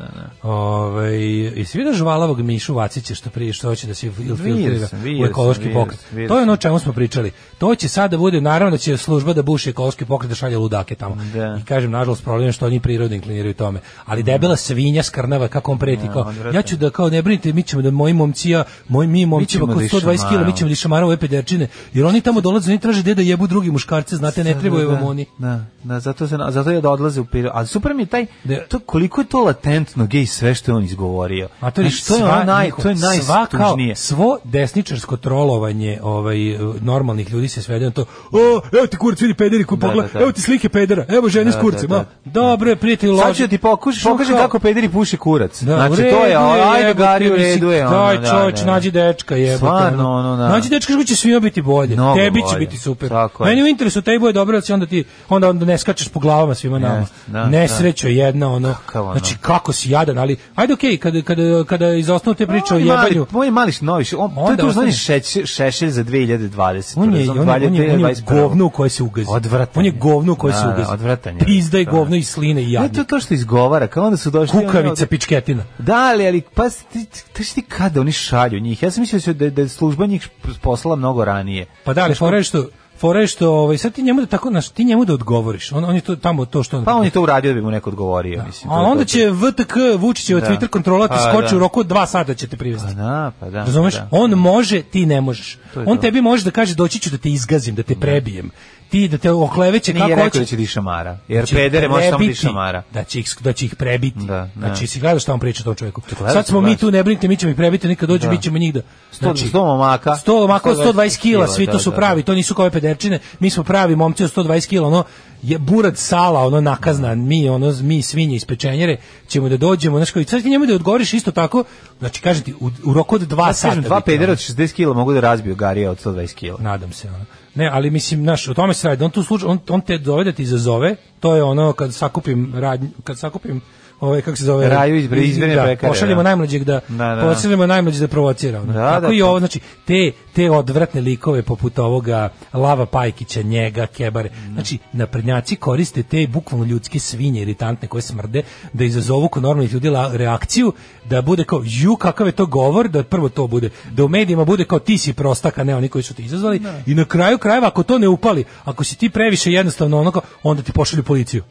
da, Ove, I svi da Ovaj, žvalavog Mišu Vacića što prije što hoće da se fil- filtrira sam, vidio u sam, ekološki vidio pokret. sam, vidio To je sam. ono o čemu smo pričali. To će sada bude, naravno da će služba da buši ekološki pokret da šalje ludake tamo. Da. Mm. I kažem, nažalost, problem je što oni prirodno inkliniraju tome. Ali debela svinja skrnava kako on preti. kao, odvratno. ja ću da kao ne brinite, mi ćemo da moji momci, ja, moji mi momci ćemo oko da ih 120 kg, mi šamaramo. ćemo da šamaramo ove pederčine, jer oni tamo dolaze, oni traže gde da jebu drugi muškarce, znate, ne trebaju vam oni. Da, da, zato, se, na- zato je da odlaze u prirodu. Ali super mi je taj, Da. to, koliko je to latentno gej sve što je on izgovorio. A to je Znači, to je, ono naj, to je najstužnije. svo desničarsko trolovanje ovaj, e, normalnih ljudi se svede na to, o, evo ti kurac, vidi pederi koji Da, pogleda, da, da. evo ti slike pedera, evo žene s Da, kurcem, da, a? dobro je, prijatelj, loži. Sad ću ti pokušati, Što pokaži kao? kako pederi puše kurac. Da, u znači, to je, redu ajde jebote, gari, u mislim, redu je. ono, Daj da, čovječ, da, da. nađi dečka, jebote. Stvarno, ono, da. Nađi dečka što će svima biti bolje. Mnogo Tebi će bolje. biti super. Tako je. Meni u interesu tebi je dobro, da si onda ti onda onda ne skačeš po glavama svima nama. Jest, da, Nesreća jedna ono. Kakav ono. Znači kako si jadan, ali ajde okej, kada kada kada izostanu te priče o Moj mali- jebanju. Moj mali noviš, on, to je Onda tu znani ostane- šešelj, šešelj za 2020. On je, razumem, on, je, on, je, on je 2021. govno u koje se ugazi. Odvratan On je je. govno u koje se Da, da, ugazi. odvratan je. Pizda je Da. govno iz sline i Ne, to jadno. je to što izgovara, kao onda su došli... oni Kukavica, ovde- pičketina. Da, ali, ali pa, ti, ti, ti kada oni šalju njih? Ja sam mislio da su- da, je- da je služba njih poslala mnogo ranije. Pa da, ali fora je što fora je što ovaj sad ti njemu da tako znaš, ti njemu da odgovoriš. On on je to tamo to što on Pa on je to uradio da bi mu neko odgovorio, mislim. to A je onda to. će VTK Vučićeva Da. Twitter kontrola ti Pa, skoči da. u roku od dva sata će te privesti. Pa da, pa da. Razumeš? pa da. On može, ti ne možeš. To je On to. tebi može da kaže doći ću da te izgazim, da te prebijem. Ti da te okleveće Nije kako rekao da hoćeš. će ti šamara, jer će pedere ih može samo ti Znači, prebiti, šamara. Da će ih, da će ih prebiti. Da, da. Znači, si gledaš šta on priča tom čovjeku. gledaš, Sad smo mi gledaš. tu, ne brinite, mi ćemo ih prebiti, nikad dođu, mi ćemo njih da... Znači, 100 momaka. 100 momaka od 120 kila, svi da, to su da, pravi, to nisu kao ove pederčine, mi smo pravi momci od 120 kila, ono, je burad sala, ono nakaznan, mi, ono, mi svinje iz pečenjere, ćemo da dođemo, znači, kao, i sad ti njemu da odgovoriš isto tako, znači, kažem ti, u, u roku od dva Ja sata. Pa kažem, dva bi ti, ono, pedera od 60 kila mogu da razbiju Garija od 120 kila. Nadam se. Ono. Ne, ali mislim, znaš, o tome se radi. On tu slučaj, on, on te dovede da ti izazove. To je ono kad sakupim radnj, kad sakupim ovaj kako se zove Raju iz Bre- iz Brene da, pekare, Pošaljemo da. najmlađeg da, Da, da, da. pošaljemo najmlađeg da provocira. ono. Da, Tako da, i to- ovo, znači te te odvratne likove poput ovoga Lava Pajkića, njega, Kebare. Znači naprednjaci koriste te bukvalno ljudske svinje iritantne koje smrde da izazovu kod normalnih ljudi la- reakciju da bude kao ju kakav je to govor da prvo to bude da u medijima bude kao ti si prostak a ne oni koji su te izazvali i na kraju krajeva ako to ne upali ako si ti previše jednostavno onako onda ti pošalju policiju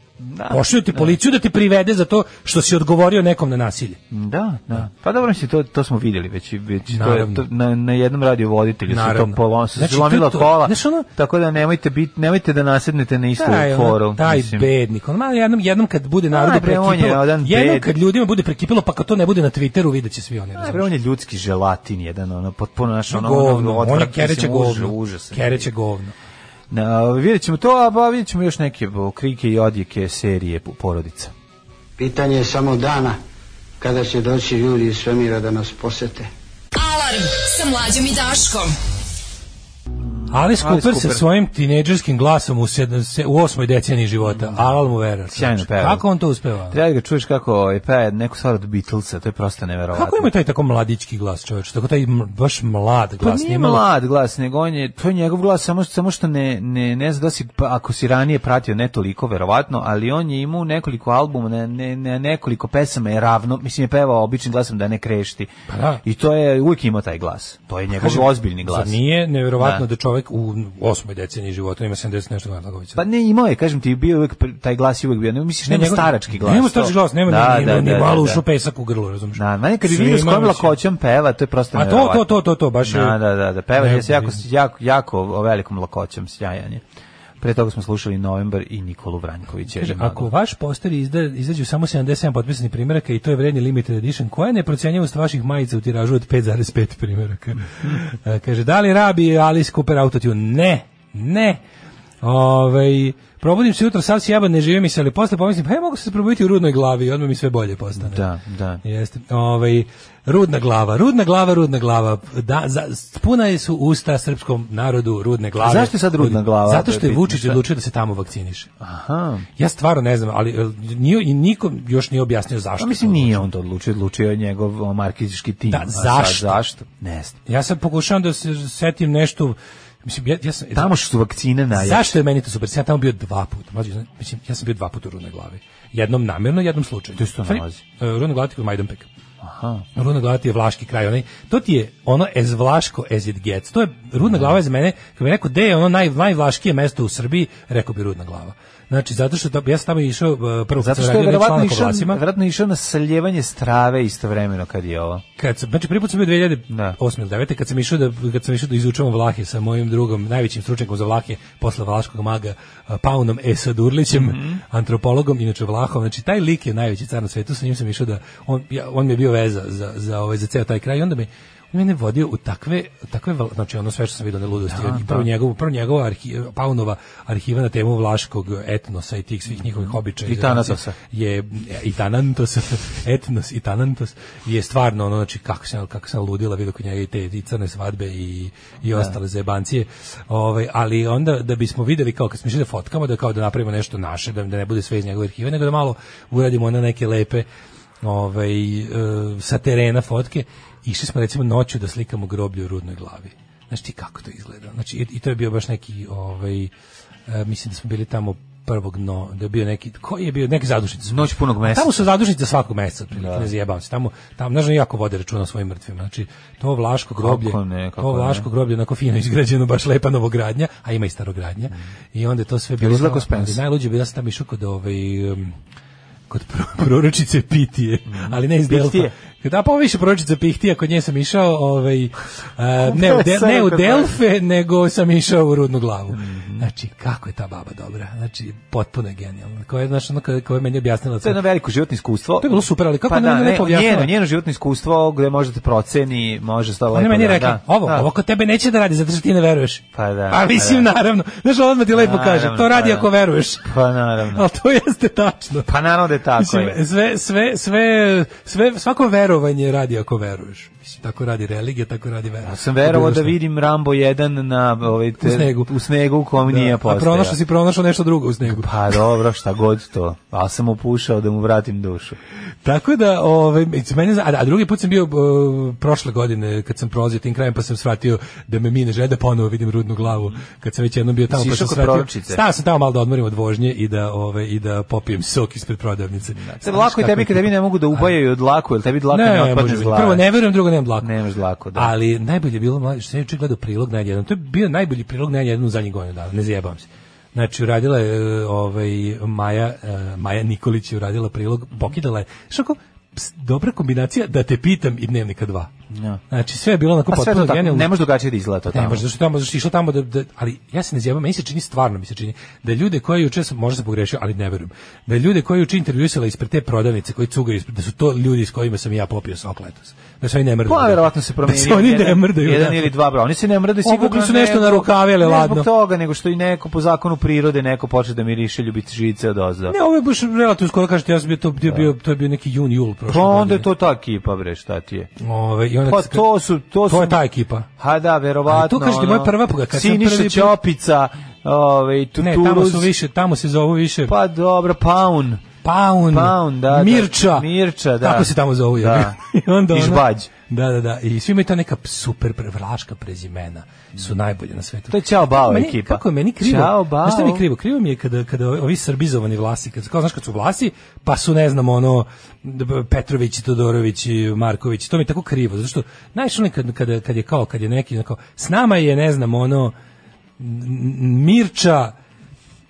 pošalju ti policiju da ti privede za to što si odgovorio nekom na nasilje Da, da. Pa dobro, mislim, to, to smo vidjeli već, već to je, Naravno. to, na, na jednom radio voditelju su to Naravno. polom, su Znači, slomila to je to. kola, Znaš, ono- tako da nemojte, bit, nemojte da nasednete na istu taj, ono, foru. taj mislim. bednik. On malo jednom, jednom kad bude Aj, narodu bre, on je prekipilo, jednom jedan bed- kad ljudima bude prekipilo, pa kad to ne bude na Twitteru, vidjet će svi oni. Da, razumeš? bre, on je ljudski želatin jedan, ono, potpuno naš, ono, ono, govno, ono, on je odvratno, kereće mislim, užas, govno. užas. kereće govno. Na, vidjet ćemo to, a ba, vidjet ćemo još neke bo, krike i odjeke serije po- porodica. Pitanje je samo dana kada će doći ljudi iz svemira da nas posete. Alarm sa mlađom i Daškom. Alice Cooper, Cooper. sa svojim tinejdžerskim glasom u, sedam, se, u osmoj deceniji života. Alal mu vera. Sjajno Mm. Znači, peva. Kako on to uspeva? Treba ga čuješ kako ovaj, peje neku stvar od Beatlesa, to je prosto neverovatno. Kako ima taj tako mladićki glas čovječ? Tako taj m- baš mlad Pa glas. nije nije malo- mlad glas, nego on je, to je njegov glas, samo, samo što ne, ne, ne znam da si, pa ako si ranije pratio, ne toliko, verovatno, ali on je imao nekoliko albuma, ne, ne, ne, nekoliko pesama je ravno, mislim je pevao običnim glasom da ne krešti. Pa da. I to je, uvijek imao taj glas. To je njegov Kažem, ozbiljni glas. Zar nije nevjerovatno Da. da čovjek u osmoj deceniji života ima 70 nešto godina tako već? Pa ne, imao je, kažem ti, bio je uvijek, pr- taj glas je uvijek bio, ne misliš, nema njegov- starački glas. Nema to. starački glas, nema Da, ni, da, ni, da, ni malo da, ušao da. pesak u grlo, razumiješ? Da, meni kad bi Sve vidio s ima, kojom mislim. lakoćom peva, to je prosto A to, neverovatno. to, to, to, to, baš je- Da, da, da, da peva Ne, je se jako, vidim. jako, jako velikom lakoćom, sjajan je. Pre toga smo slušali Novembar i Nikolu Vranjkovića. Kaže, Jer je ako mnogo- vaš poster izda, izađu samo 77 potpisanih primjeraka i to je vredni limited edition, koja je neprocenjivost vaših majica u tiražu od 5,5 primjeraka? E, Kaže, da li rabi Alice Cooper autotune? Ne, ne. Ovaj probudim se jutro sav sjeban, ne živim mi se, ali posle pomislim, pa ja mogu se probuditi u rudnoj glavi i odmah mi sve bolje postane. Da, da. Jeste. Ovaj rudna glava, rudna glava, rudna glava. Da, za, puna je su usta srpskom narodu rudne glave. A zašto je sad rudna glava? Zato što To je je pitanje. Vučić Šta? odlučio da se tamo vakciniše. Aha. Ja stvarno ne znam, ali e, nije i niko još nije objasnio zašto. A Pa mislim nije on to odlučio, odlučio je njegov o, marketinški tim. Da, A sad zašto? zašto? Ne znam. Ja sam pokušavam da se setim nešto Mislim, ja, ja sam, Tamo što su vakcine najjače. Zašto je meni to super? Ja sam tamo bio dva puta. Mlađi, zna- mislim, ja sam bio dva puta u Rudnoj glavi. Jednom namjerno, jednom slučajno. Gde se to U stvari, nalazi? e, Rudna glava ti je kod Majdanpeka. Aha. Rudna glava ti je vlaški kraj. Onaj, to ti je ono as vlaško as it gets. To je Rudna glava je za mene, kad mi rekao gde je ono naj, najvlaškije mesto u Srbiji, rekao bi Rudna glava. Znači, zato što da, ja sam tamo išao e, prvo kad Zato sam što je radio onaj verovatno članak o išao, vlasima. verovatno išao na saljevanje strave istovremeno kad je ovo. Kad sam, znači prvi put sam bio 2008 ili 9 kad sam išao da kad sam išao da izučavam Vlahe sa mojim drugom najvećim stručnjakom za Vlahe posle Vlaškog maga a, Paunom Esadurlićem, antropologom inače Vlahom. Znači taj lik je najveći car na svetu, sa njim sam išao da on ja, on mi je bio veza za za ovaj za ceo taj kraj i onda me on mene vodio u takve takve val- znači ono sve što sam vidio na ludosti i prvo njegovu prvo njegova arhi, Paunova arhiva na temu vlaškog etnosa i tih svih njihovih običaja I Thanatosa. je i Tanantos, etnos i Tanantos je stvarno ono znači kako sam kako sam ludila vidio kod njega i te i crne svadbe i i ostale zebancije. Ovaj ali onda da bismo videli kao kad smo išli da fotkamo da kao da napravimo nešto naše da, da ne bude sve iz njegove arhive nego da malo uradimo na neke lepe ovaj e, sa terena fotke išli smo recimo noću da slikamo groblje u rudnoj glavi. Znači ti kako to izgleda. Znači i, i to je bio baš neki ovaj e, mislim da smo bili tamo prvog no, da je bio neki, koji je bio, neki zadušnici. Noć punog meseca. Tamo su zadušnice svakog meseca, otprilike, ne zajebam se. Tamo, tamo, znaš, oni jako vode računa o svojim mrtvima. Znači, to vlaško groblje, Kako ne, kako to vlaško ne. groblje, onako fino izgrađeno, baš lepa novogradnja, a ima i starogradnja. I onda je to sve bilo... izgleda kao- ko Spence? ali Najluđe bilo sam tamo išao kod ovaj... um, kod pro- proročice Pitije, ali ne iz Delfa. Mhm. Pihtije. Da, pa ovo više proročica Pihtija, kod nje sam išao, ovaj, uh, ne, u Del- ne u Delfe, nego sam išao u Rudnu glavu. Znači, kako je ta baba dobra, znači, potpuno je genijalna. Koja je, znaš, ono koja koja je meni objasnila. To je jedno veliko životno iskustvo. To je bilo super, ali kako pa ne- da, ne- ne objašnjava? njeno, njeno životno iskustvo gde možete proceni, može sta lepo. Ona je meni da- rekla, da, ovo, da. ovo kod tebe neće da radi, zato što ti ne veruješ. Pa da, A pa mislim, da. naravno. Znaš, odmah ti lepo Naravno, kaže, to radi pa ako da. veruješ. Pa naravno. Ali to jeste tačno. Pa naravno da je tako Mislim, je. sve, sve, sve, sve, svako verovanje radi ako veruješ. Mislim, tako radi religija, tako radi verovanje. Ja sam verovao da vidim Rambo 1 na ovaj te, U snegu. u snegu u kom nije A postao. pronašao si pronašao nešto drugo u snegu. Pa dobro, šta god to. Ali sam opušao da mu vratim dušu. Tako da, ovaj, it's- mene, za- a, da, a drugi put sam bio e, prošle godine kad sam prolazio tim krajem pa sam shvatio da me mine žele da ponovo vidim rudnu glavu kad sam već jednom bio tamo Jesi pa sam išao kod shvatio. proročice? Stao sam tamo malo da odmorim od vožnje i da, ovaj, i da popijem sok ispred prodavnice. Sad lako je tebi kad tebi ne mogu da ubajaju od laku, jer tebi dlaka ne, ne, otpadne može iz biti. glave. Prvo ne verujem, drugo nemam dlaku. Nemaš dlaku, da. Ali najbolje je bilo mlađe, što sam juče gledao prilog na jedan. To je bio najbolji prilog na jedan u zadnjih godinu dana, ne zjebam se. Znači, uradila je e, ovaj, Maja, e, Maja Nikolić je uradila prilog, pokidala je. Što ako, ps, dobra kombinacija da te pitam i dnevnika dva. Ja. Znači, sve je bilo onako Pa sve potpuno to tako, genijalno. ne može drugačije da izgleda to tamo. Pa Ne može, zašto tamo, zašto je išla tamo da, da, ali ja se ne zjebam, meni se čini stvarno, mi se čini da ljude koje juče sam, možda sam pogrešio, ali ne verujem, da ljude koje juče intervjuisala ispred te prodavnice koji cugaju, ispred, da su to ljudi s kojima sam ja popio sok letos. Da se oni ne mrdaju. Pa verovatno se promenio. Da se oni ne jedan- mrdaju. Jedan da. ili dva bra. Oni se ne mrdaju sigurno. Obukli su ne nešto zbog- na rukave, ali ne ladno. zbog toga, nego što i neko po zakonu prirode neko počne da miriše ljubiti žice od ozda. Ne, ovo je baš relativno skoro kažete, ja sam bio to, bio, bio, to je bio neki jun, jul prošle Pa onda je godine. to ta ekipa, bre, šta ti je? Ove, i onda Pa Znači, kad- to su... To, to su, je ta ekipa. Ha da, verovatno. Ali to kažete, ono, moja prva pogled, kad sam Siniša prvi put- Ćopica, ovaj, Ne, Tuturuz. tamo su više, tamo se zovu više Pa dobro, Paun. Paun, Paun, da, da. Mirča. Mirča, da. Tako se tamo zovu. jel? Da. I onda I ono- Žbađ. Da, da, da. I svi imaju ta neka super pre- vlaška prezimena. Su najbolje na svetu. To je Ćao Bao Meni- ekipa. Kako je meni krivo? Ćao Bao. Znaš šta mi je krivo? Krivo mi je kada, kada ovi srbizovani vlasi, kad, kao znaš kad su vlasi, pa su ne znam ono Petrović, Todorović, Marković, to mi je tako krivo. Zato što, znaš ono kad, kada, kad je kao, kad je neki, ono kao, s nama je ne znam ono, Mirča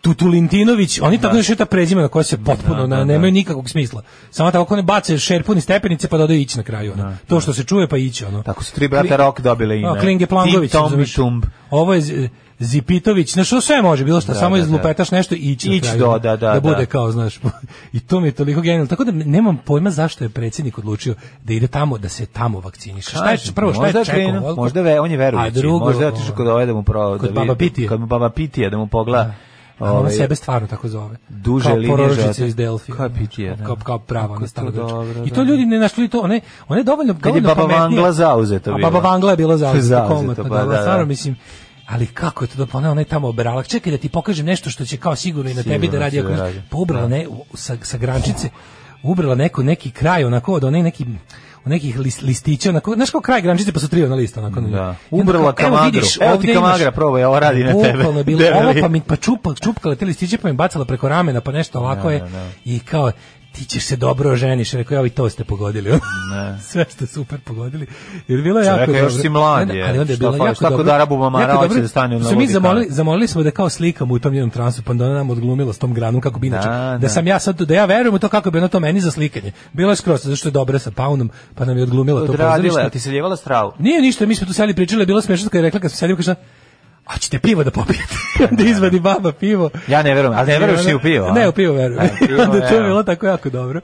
Tutulintinović, oni tako da. ta prezimena koja se potpuno Da, da, na, da. nemaju nikakvog smisla. Samo tako ne bace šerpun iz stepenice pa dodaju ići na kraju. Ono. to što se čuje pa ići. Ono. Tako su tri brata Rock dobile ime. Klinge Plangović. Tim, Tom i razumeš? Tumb. Ovo je Z- Zipitović, znaš, što sve može, bilo šta, Da, samo da, da. izlupetaš nešto i ići na Ić kraju. do, ono, da, da, da bude da. kao, znaš, i to mi je toliko genijalno. Tako da nemam pojma zašto je predsjednik odlučio da ide tamo, da se tamo vakciniše. Šta je, Kažem, prvo, šta možda je čekao? krenuo, Volko? Možda ve, on je verujući. A drugo, možda je otišao kod ove da mu pro, Kod da Baba Pitije. Kod Baba Pitija da mu pogleda. A ona ovaj, Ono sebe stvarno tako zove. Duže kao linije porodica života. iz Delfija. Kao znaš, Pitija, da. Kao, kao prava, Kako ona je to stara dobro, dobro, I da. to ljudi ne našli to, one, one je dovoljno, Kad je dovoljno Baba pametnije. Vangla zauzeto A bila. Baba Vangla je bila zauzeta, Zauzeta, komotno. pa Pa, da, da. Stvarno, mislim, ali kako je to dobro, ona, ona je tamo oberala, čekaj da ti pokažem nešto što će kao sigurno i na tebi da Sigurno radi. će da Ako nešto- radi. Pa ubrala ne, u- sa, sa grančice, ubrala neko, neki kraj, onako, od onaj neki od nekih list, listića, onako, znaš kao kraj grančice, pa su tri ona lista, onako. Da. I onda Ubrala kao, evo, kamagru. vidiš, Evo ti ovdje imaš- kamagra, probaj, ovo radi na tebe. Bukvalno je bilo Debeli. ovo, pa mi pa čupa, čupkala te listiće, pa mi bacala preko ramena, pa nešto ovako je. I kao, ti ćeš se dobro oženiš. Rekao, ja i to ste pogodili. Sve ste super pogodili. Jer bilo je Čoveka, jako dobro. još si mlad Ne, ne, je. Ali onda je Šta bilo fali, jako šta kod dobro. Arabu Mamara jako hoće dobro. da stane na Su mi ludi zamolili, kanal. zamolili smo da kao slikamo u tom njenom transu, pa da ona nam odglumila s tom granom kako bi inače. Da, Da, da. sam ja sad, da ja verujem u to kako bi ona to meni za slikanje. Bilo je skroz, zato što je dobra sa paunom, pa nam je odglumila to Odradila, pozorište. je, ti se ljevala stravu. Nije ništa, mi smo tu seli pričali, bilo smešno kad je rekla kad smo sedeli, kaže a ćete pivo da popijete? I onda izvadi baba pivo. Ja ne verujem, ali ne veruješ ni u pivo, a? Ne, u pivo verujem. E, u pivo, onda je to evo. bilo tako jako dobro.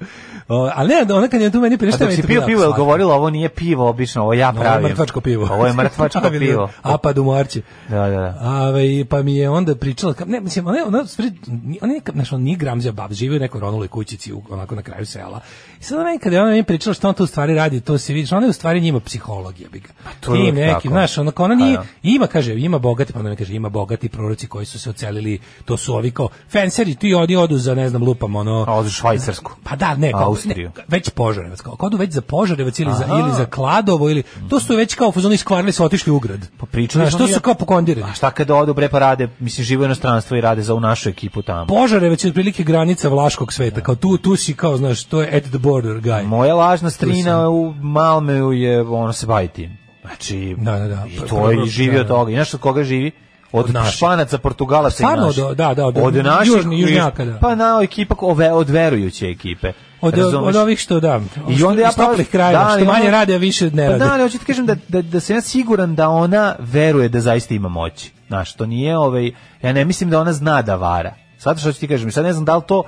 O, ali ne, ona kad je tu meni A pričala, dok si pio pivo, je govorila, ovo nije pivo obično, ovo ja pravim. Ovo je mrtvačko pivo. Ovo je mrtvačko Pravili pivo. A pa dumarče. Da, da, da. Ave, pa mi je onda pričala, ka- ne, mislim, ona, je- ona, spri- ni- ona, je neka- znaš, on nije gramzija bab, živi u nekoj ronuloj kućici, u- onako na kraju sela. I sad ona meni, kada je ona meni pričala što on to u stvari radi, to se vidi, ona je u stvari njima psiholog, ja bi ga. Pa to je Tim uvijek neki, tako. znaš, ona, Pa ona nije, da. ima, kaže, ima bogati, pa ona mi kaže, ima bogati proroci koji su se ocelili, to su ovi kao, fenseri, ti odi, odu za, ne znam, lupam, ono, A odu u Švajcarsku. pa da, ne, kao, Austriju. ne, već Požarevac, kao, kao odu već za Požarevac ili za, Aha. ili za Kladovo, ili, to su već kao fuzoni skvarili su otišli u grad. Pa pričali smo to mi- su kao pokondirani. A šta kad odu bre pa rade, mislim žive u inostranstvu i rade za u našu ekipu tamo. Požarevac je otprilike granica vlaškog sveta, kao tu, tu si kao, znaš, to je at the border guy. Moja lažna strina u Malmeu je ono se bavi tim. Znači, Da, da, Pa, da. i to je i živi od toga. I znaš od koga živi? Od, Od naših. Španaca, Portugalaca i Stvarno, naših. od- da, da, od- naših, južni- južnjaka, da. Pa na ekipa, ove, od verujuće ekipe. Od, Razumeš? od ovih što da, I onda ja iz toplih krajeva, ali što manje onda- rade, a više ne rade. Pa da, ali hoću ti kažem da, da, da sam ja siguran da ona veruje da zaista ima moći. Znaš, to nije, ovaj, ja ne mislim da ona zna da vara. Sad što ću ti kažem, sad ne znam da li to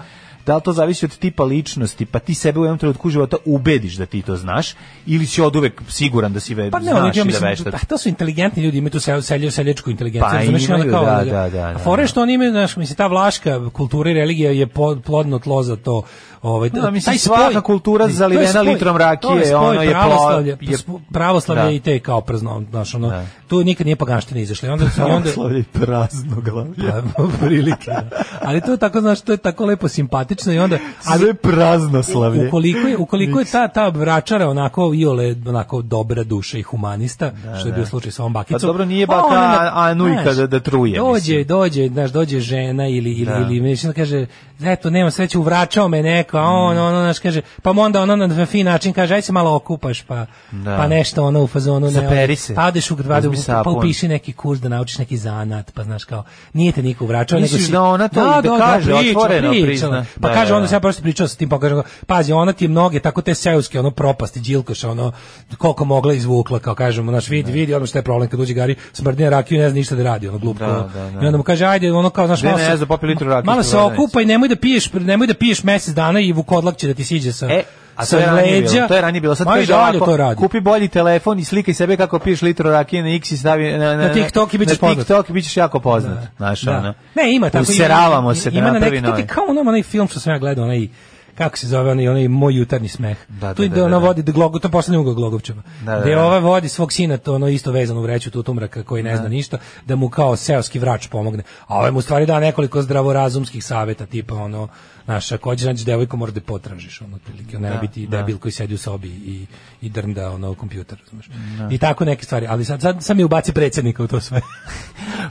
da li to zavisi od tipa ličnosti, pa ti sebe u jednom trenutku života ubediš da ti to znaš, ili si od uvek siguran da si ve, Pa ne, znaš ali ja i da mislim, veštaš. pa to su inteligentni ljudi, imaju tu sel, selje, seljačku inteligenciju. Pa razumeš, i onda imaju, kao, da, ono, da, da, da. A fore što oni imaju, znaš, mislim, ta vlaška kultura i religija je po- plodno tlo za to. Ovaj, Da, mislim, taj spoj- svaka kultura to je zalivena spoj- litrom rakije, to spoj ono je plo- pravoslavlja, je- sp- pravoslavlje da. i te kao prazno, znaš, ono, Da. tu nikad nije paganština izašla. I onda, i onda, Pravoslavlje i praznoglavlje. Pa, prilike. da. Ali to je tako, znaš, to je tako lepo simpatično i onda... Pa- Ali, Sve praznoslavlje. Ukoliko je, ukoliko je ta, ta vračara onako iole onako dobra duša i humanista, što je bio slučaj sa ovom bakicom. Pa dobro, nije pa baka ona A- Anujka znaš, da- da truje, Dođe, mislim. dođe, znaš, dođe žena ili, ili, Da. ili mislim, kaže, eto, nema sreće, uvračao me neko, a Mm. on, ono, znaš, kaže, pa mu onda ono na fin način kaže, aj se malo okupaš, pa, Da. pa nešto ono u fazonu. ne, Zaperi ono, se. Pa odeš u gradu, Uzmi pa sapun. upiši neki kurs da naučiš neki zanat, pa znaš kao, nije te niko uvračao. Misliš nego si- da ona to i da kaže, pričala, otvoreno pričala. prizna. Pa Da, kaže, da, onda da. se ja prosto pričao sa tim, pa kažem, pazi, ona ti je mnoge, tako te seoske, ono propasti, đilkoša, ono, koliko mogla izvukla, kao kažemo, naš vidi, vidi, ono što je problem kad uđe Gari, smrdne rakiju, ne zna ništa da radi, ono glupo. Da, ono. da, da. I onda mu kaže, ajde, ono kao, znaš, Ne, malo ne, se, zna, popi litru rakije, malo što se radi. okupaj, nemoj da piješ, nemoj da piješ mesec dana i vukodlak će da ti siđe sa, E, a sa to je ranije leđa. bilo. To je ranije bilo. Sad Ma i kaže dalje ovako, to radi. kupi bolji telefon i slikaj sebe kako piješ litru rakije na X i stavi na, na, Na TikTok i bit ćeš na poznat. TikTok i bit ćeš jako poznat. Znaš, Da. ono. Ne, ima tako. Useravamo ima- se da ima na napravi neki- to ti novi. Kao onom onaj film što sam ja gledao, onaj kako se zove onaj, onaj moj jutarnji smeh. Da, da, tu je da, da, ona da, da. vodi da glogo, to poslednji ugao Glogovčeva. Da, da, Gde da. ova vodi svog sina, to ono isto vezano u vreću tutumraka koji ne zna ništa, da mu kao seoski vrač pomogne. A ovaj mu u stvari da nekoliko zdravorazumskih saveta, tipa ono, znaš, ako hoćeš naći devojku, moraš da je potražiš, ono, otprilike, ne biti debil koji sedi u sobi i, i drnda, ono, kompjuter, razumeš. I tako neke stvari, ali sad, sad, sad mi ubaci predsjednika u to sve.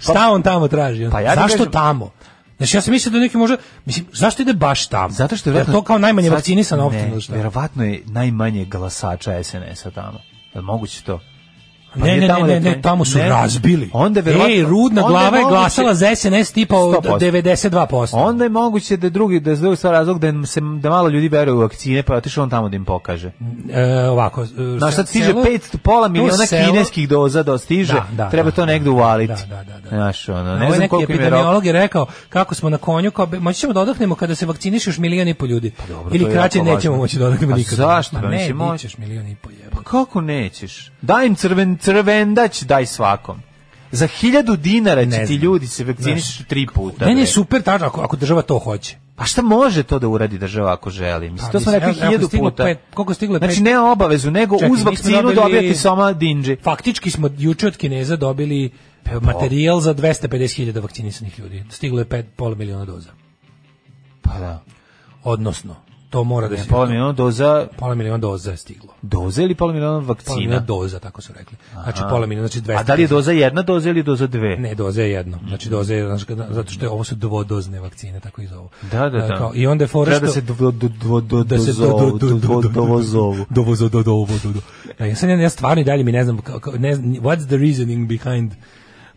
Šta on tamo traži? ono? Pa ja ti Zašto kažem- tamo? Znači, ja sam mislio da neki može... Mislim, zašto ide baš tamo? Zato što je je to kao najmanje vakcinisana Sad- opcija. Ne, ili šta? Verovatno je najmanje glasača SNS-a tamo. Je li moguće to? Ali Ne, je ne, ne, tamo ne, da- ne, tamo su ne. razbili. Onda je verovatno- Ej, rudna onda je glava je moguće- glasala za SNS tipa od 100%. 92%. Onda je moguće da drugi da zdravi stvar razlog da im se da malo ljudi veruje u vakcine pa je otišao on tamo da im pokaže. E, ovako. e, Na sad stiže selo- 500 pola to miliona selo- kineskih doza da stiže. Da, da, treba da, to negde uvaliti. da, Znaš, ono, Ne ne znam koliko im je rok. ovaj epidemiolog je rekao kako smo na konju, kao bi- moći ćemo da odahnemo kada se vakciniše još milion i po ljudi. Pa to Ili je kraće jako nećemo važno. moći da odahnemo A nikada. zašto? Ma Pa ne, mislim, ti moj- ćeš milion i po jebe. Pa kako nećeš? Daj im crven, crvendač, daj svakom. Za hiljadu dinara će Ne ti znam. ljudi se vakcinišu tri puta. Meni je bre. super tačno ako, ako država to hoće. Pa šta može to da uradi država ako želi? Mislim, Pa, to smo mislim, rekli evo, ako hiljadu stiglo puta. pet- koliko stiglo je Znači, pet- ne obavezu, nego Čekaj, uz mi smo vakcinu dobili- dobijati soma dinđi. Faktički smo juče od Kineza dobili e, pa- materijal za 250.000 vakcinisanih ljudi. Stiglo je pet, pola miliona doza. Pa da. Odnosno, to mora da Ne, se... pola miliona doza, Pola miliona doza je stiglo. doza ili pola miliona Pola miliona vakcina? doza, tako su rekli. Znači, Aha. pola miliona, znači 200.000. A da li je doza jedna doza ili doza dve? Ne, doze je jedno. Znači doze je znaš, kada- zato što je, ovo su dvodozne vakcine, tako ih zovu. E, Da, da, da. Kao- I onda je fora Treba što da se dvo- dvo- dvo- dvo- da se do dozovu, do do do dvo- do dovozovu. dovozo- do- dovo- do do. E, sad ja, ja stvarno i dalje mi ne znam kao- kao- ne znam, what's the reasoning behind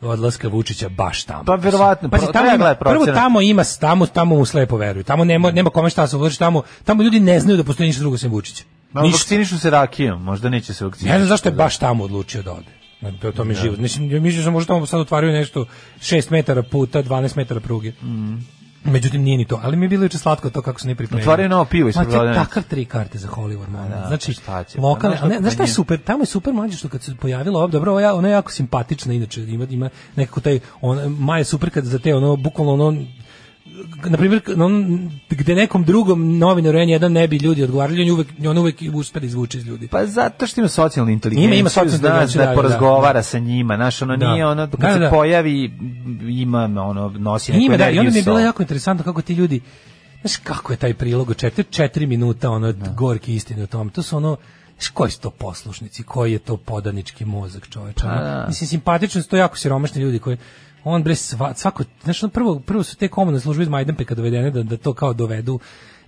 odlaska Vučića baš tamo. Pa verovatno, Pazi, pro- tamo treba ima, gledati prvo procenat. tamo ima, tamo, tamo mu slepo veruju. Tamo nema, nema kome šta se uloži, tamo, tamo ljudi ne znaju da postoji ništa drugo sem Vučića. Ma, Ništa. Vakcinišu se rakijom, možda neće se vakcinišu. Ne znam zašto je baš tamo odlučio da ode. Na- To, to mi je život. Mislim, ja mislim da možda tamo sad otvaraju nešto 6 metara puta, 12 metara pruge. Mm. Međutim, nije ni to. Ali mi je bilo juče slatko to kako su ne pripremili. Otvaraju novo pivo ispred Ma, to je prodavnice. takav tri karte za Hollywood, man. da, znači, šta će? lokalne, Pa, a ne, znaš znaš šta je šta super? Tamo je super mlađe što kad se pojavila ovo, dobro, ovo ja, ona je jako simpatična, inače, ima, ima nekako taj, ona, Maja je super kad za te, ono, bukvalno, ono, na primjer, k- on, gde nekom drugom novinaru N1 ne bi ljudi odgovarali, on je uvek, on uvek uspe da izvuče iz ljudi. Pa zato što ima socijalnu inteligenciju, Ima- ima socijalnu znaš inteligenciju, da, da, da, porazgovara da. sa njima, znaš, ono Da. nije ono, kad Da, se da. pojavi, ima, ono, nosi neku Ima, da, i energiju onda mi je sa bilo sobom. jako interesantno kako ti ljudi znaš kako je taj prilog od četiri, četiri minuta ono gorke istine o tom, to su ono znaš koji su to poslušnici, koji je to podanički mozak čoveča, ono, mislim simpatično su to jako siromašni ljudi koji on bre sva, svako, znaš ono, prvo, prvo su te komunalne službe iz Majdanpeka dovedene da, da to kao dovedu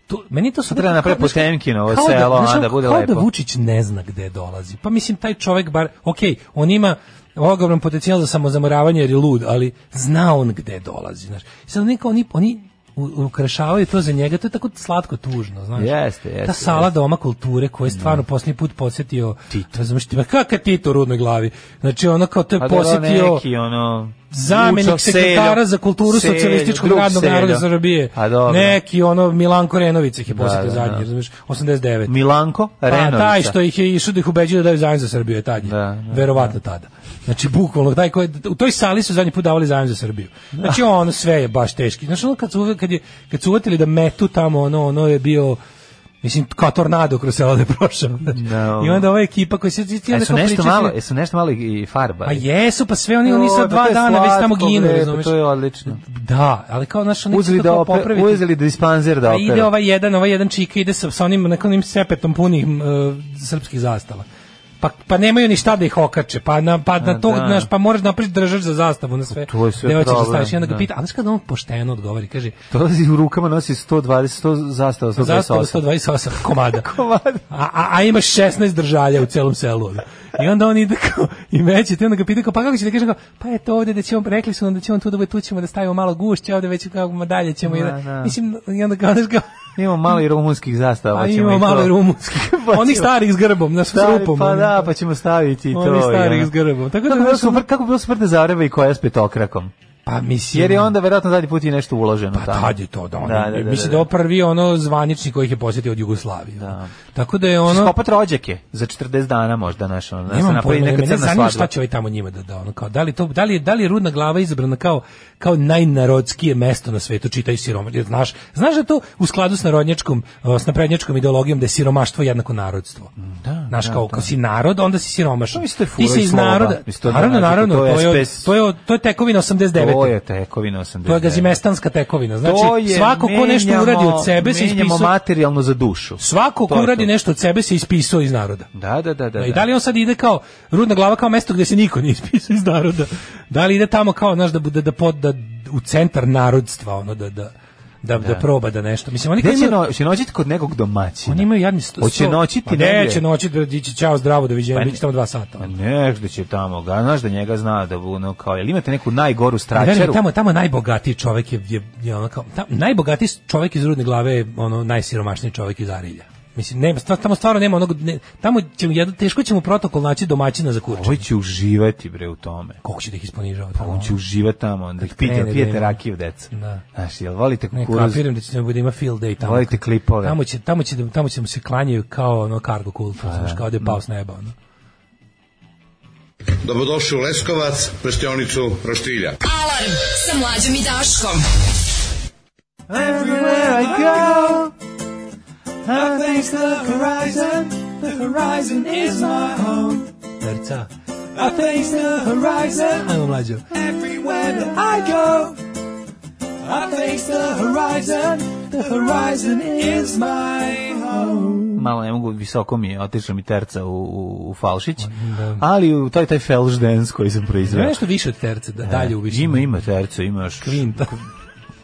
to, meni to su Treba napraviti Potemkinovo selo, a, da bude kao lepo. da Vučić ne zna gde dolazi. Pa mislim, taj čovek bar, ok, on ima ogroman potencijal za samozamoravanje jer je lud, ali zna on gde dolazi. Znaš. I Sad neka oni, oni u- ukrašavaju to za njega, to je tako slatko tužno, znaš. Jeste, jeste, Ta sala doma kulture koja je stvarno posljednji put posjetio Tito. Razumeš, ti, ma kakav Tito u rudnoj glavi? Znači ono kao to je A dobro, posjetio Pa neki, ono, zamenik Vučov sekretara seljo, za kulturu seljo, socijalističkog drug radnog seljo. naroda Srbije. A dobro. Neki ono Milanko Renović ih je posjetio da, da. zadnji, razumeš, 89. Milanko Renovica. Pa, taj što ih je išao da ih ubeđuje da daju zajem za Srbiju je tad. je. Da, da, Verovatno tada. Znači, bukvalno, taj koji, u toj sali su zadnji put davali zajem za Srbiju. Znači, ono sve je baš teški. Znači, ono kad su, uve- kad je, kad su uvatili da metu tamo, ono, ono je bio, mislim, kao tornado kroz selo da je prošao. znači. Da, I onda ova ekipa koja se... ti onda Jesu kao nešto pričaš- malo, e, jesu nešto malo i farba. A jesu, pa sve oni, oni sa dva dana već tamo ginu, razumeš? pa To je odlično. Da, ali kao naš oni Uzeli to da kao opre, popraviti. uzeli da dispanzer da Pa opere. ide ovaj jedan, ovaj jedan čika ide sa, sa onim nekim sepetom punih m, e, srpskih zastava. Pa, pa nemaju ni šta da ih okače, pa na, pa na to, da. Pa znaš, pa moraš napraviti držač za zastavu, na sve. To je sve gde hoćeš da problem, staviš. I onda ga da. pita, a znaš kada on pošteno odgovori, kaže, Dolazi u rukama, nosi 120, 100 zastava, 128. zastava 128 komada. Komada. A, a, a imaš 16 držalja u celom selu. ono. I onda on ide kao, i meće, te onda ga pita kao, pa kako će da kaže, kao, pa eto ovde da ćemo, rekli su nam da ćemo tu da bude, tu ćemo da stavimo malo gušće, ovde već kao, ma dalje ćemo. i da- Da, da. Mislim, i onda kao, znaš kao, Imamo malo i rumunskih zastava. a pa ćemo ima i to- malo i rumunskih. Pa Onih ćemo- starih s grbom, na s Stavi- rupom. Pa ono. da, pa ćemo staviti i to. Oni starih ja. s grbom. Tako da, kako, bi bilo znaš, ono- super, kako bi bilo super da zareba i koja s petokrakom? Pa mislim... Jer je onda verovatno zadnji put i nešto uloženo Pa tamo. tad je to, da. Oni, Da, da, da, mislim da. da je ovo prvi ono zvaničnik koji ih je posjetio od Jugoslavije. ono. Tako da je ono... ono... Skopat rođake za 40 dana možda, znaš, ono, da se Nemam napravi pojma, neka mene crna zanima šta svadba. će ovaj tamo njima da da ono kao da li to da li je da li je rudna glava izabrana kao kao najnarodskije mesto na svetu čitaj siroma jer znaš znaš da je to u skladu s narodnjačkom o, s naprednjačkom ideologijom da je siromaštvo jednako narodstvo Mm, da znaš kao ako si narod onda si siromašan Pa mislim, to je ti fura si i iz sloba. naroda Mislim, pa, to je naravno da, naravno to to je je od- SPS. to je od- to je tekovina 89 To je tekovina 89. to je gazimestanska tekovina znači To je, svako ko nešto menjamo- uradi od sebe se Menjamo ispisuje materijalno za dušu. svako To ko je uradi to. nešto od sebe se ispisao iz naroda Da, da, da, da. da, I da li on sad ide kao rudna glava kao mesto gdje se niko nije ispisao iz naroda? Da li ide tamo kao znaš da bude da pod da u centar narodstva ono da da da, da, proba da nešto. Mislim, oni Gde kad će, imaju... no, će noćiti Znači, kod nekog domaćina? Oni imaju jadni sto... Hoće sto- noćiti Ma ne, negdje? će noćiti, da dići ćao, zdravo, Pa doviđenja, pa ne. biće tamo dva sata. Pa negde će tamo, ga, znaš da njega zna da bu, ono, kao, jel imate neku najgoru Verujem, stračaru? Pa tamo tamo najbogatiji čovjek je je, je ono kao tam, najbogatiji čovjek iz rudne glave je ono najsiromašniji čovjek iz Arilja. Mislim nema sta- tamo stvarno nema onog ne, tamo će mu jedno teško će mu protokol naći domaćina za kurče. Ovo Ovaj će uživati, bre, u tome. Kako će da ih isponižava? Pa on će uživati tamo, onda ih krene pita, da pijete ima. rakiju, deca. Da. Znaš, jel volite Ne, kukuruz? kapiram da će da ima field day tamo. Volite klipove? Tamo će, tamo će, da- tamo će mu se klanjaju kao ono cargo kult, znaš, kao da je pao s neba. Ono. Dobrodošli u Leskovac, prštionicu Roštilja. Alarm sa mlađom i Daškom. Everywhere I go, I face the horizon. The horizon is my home. Terca. I face the horizon. Ajmo mlađo. Everywhere that I go, I face the horizon. The horizon is my home. malo ne mogu, visoko mi je, otišla mi terca u, u, u falšić, ali u taj taj felš dance koji sam Ima proizveo. nešto više od terce, da dalje u više. Ima, ima terca, ima još Kvinta.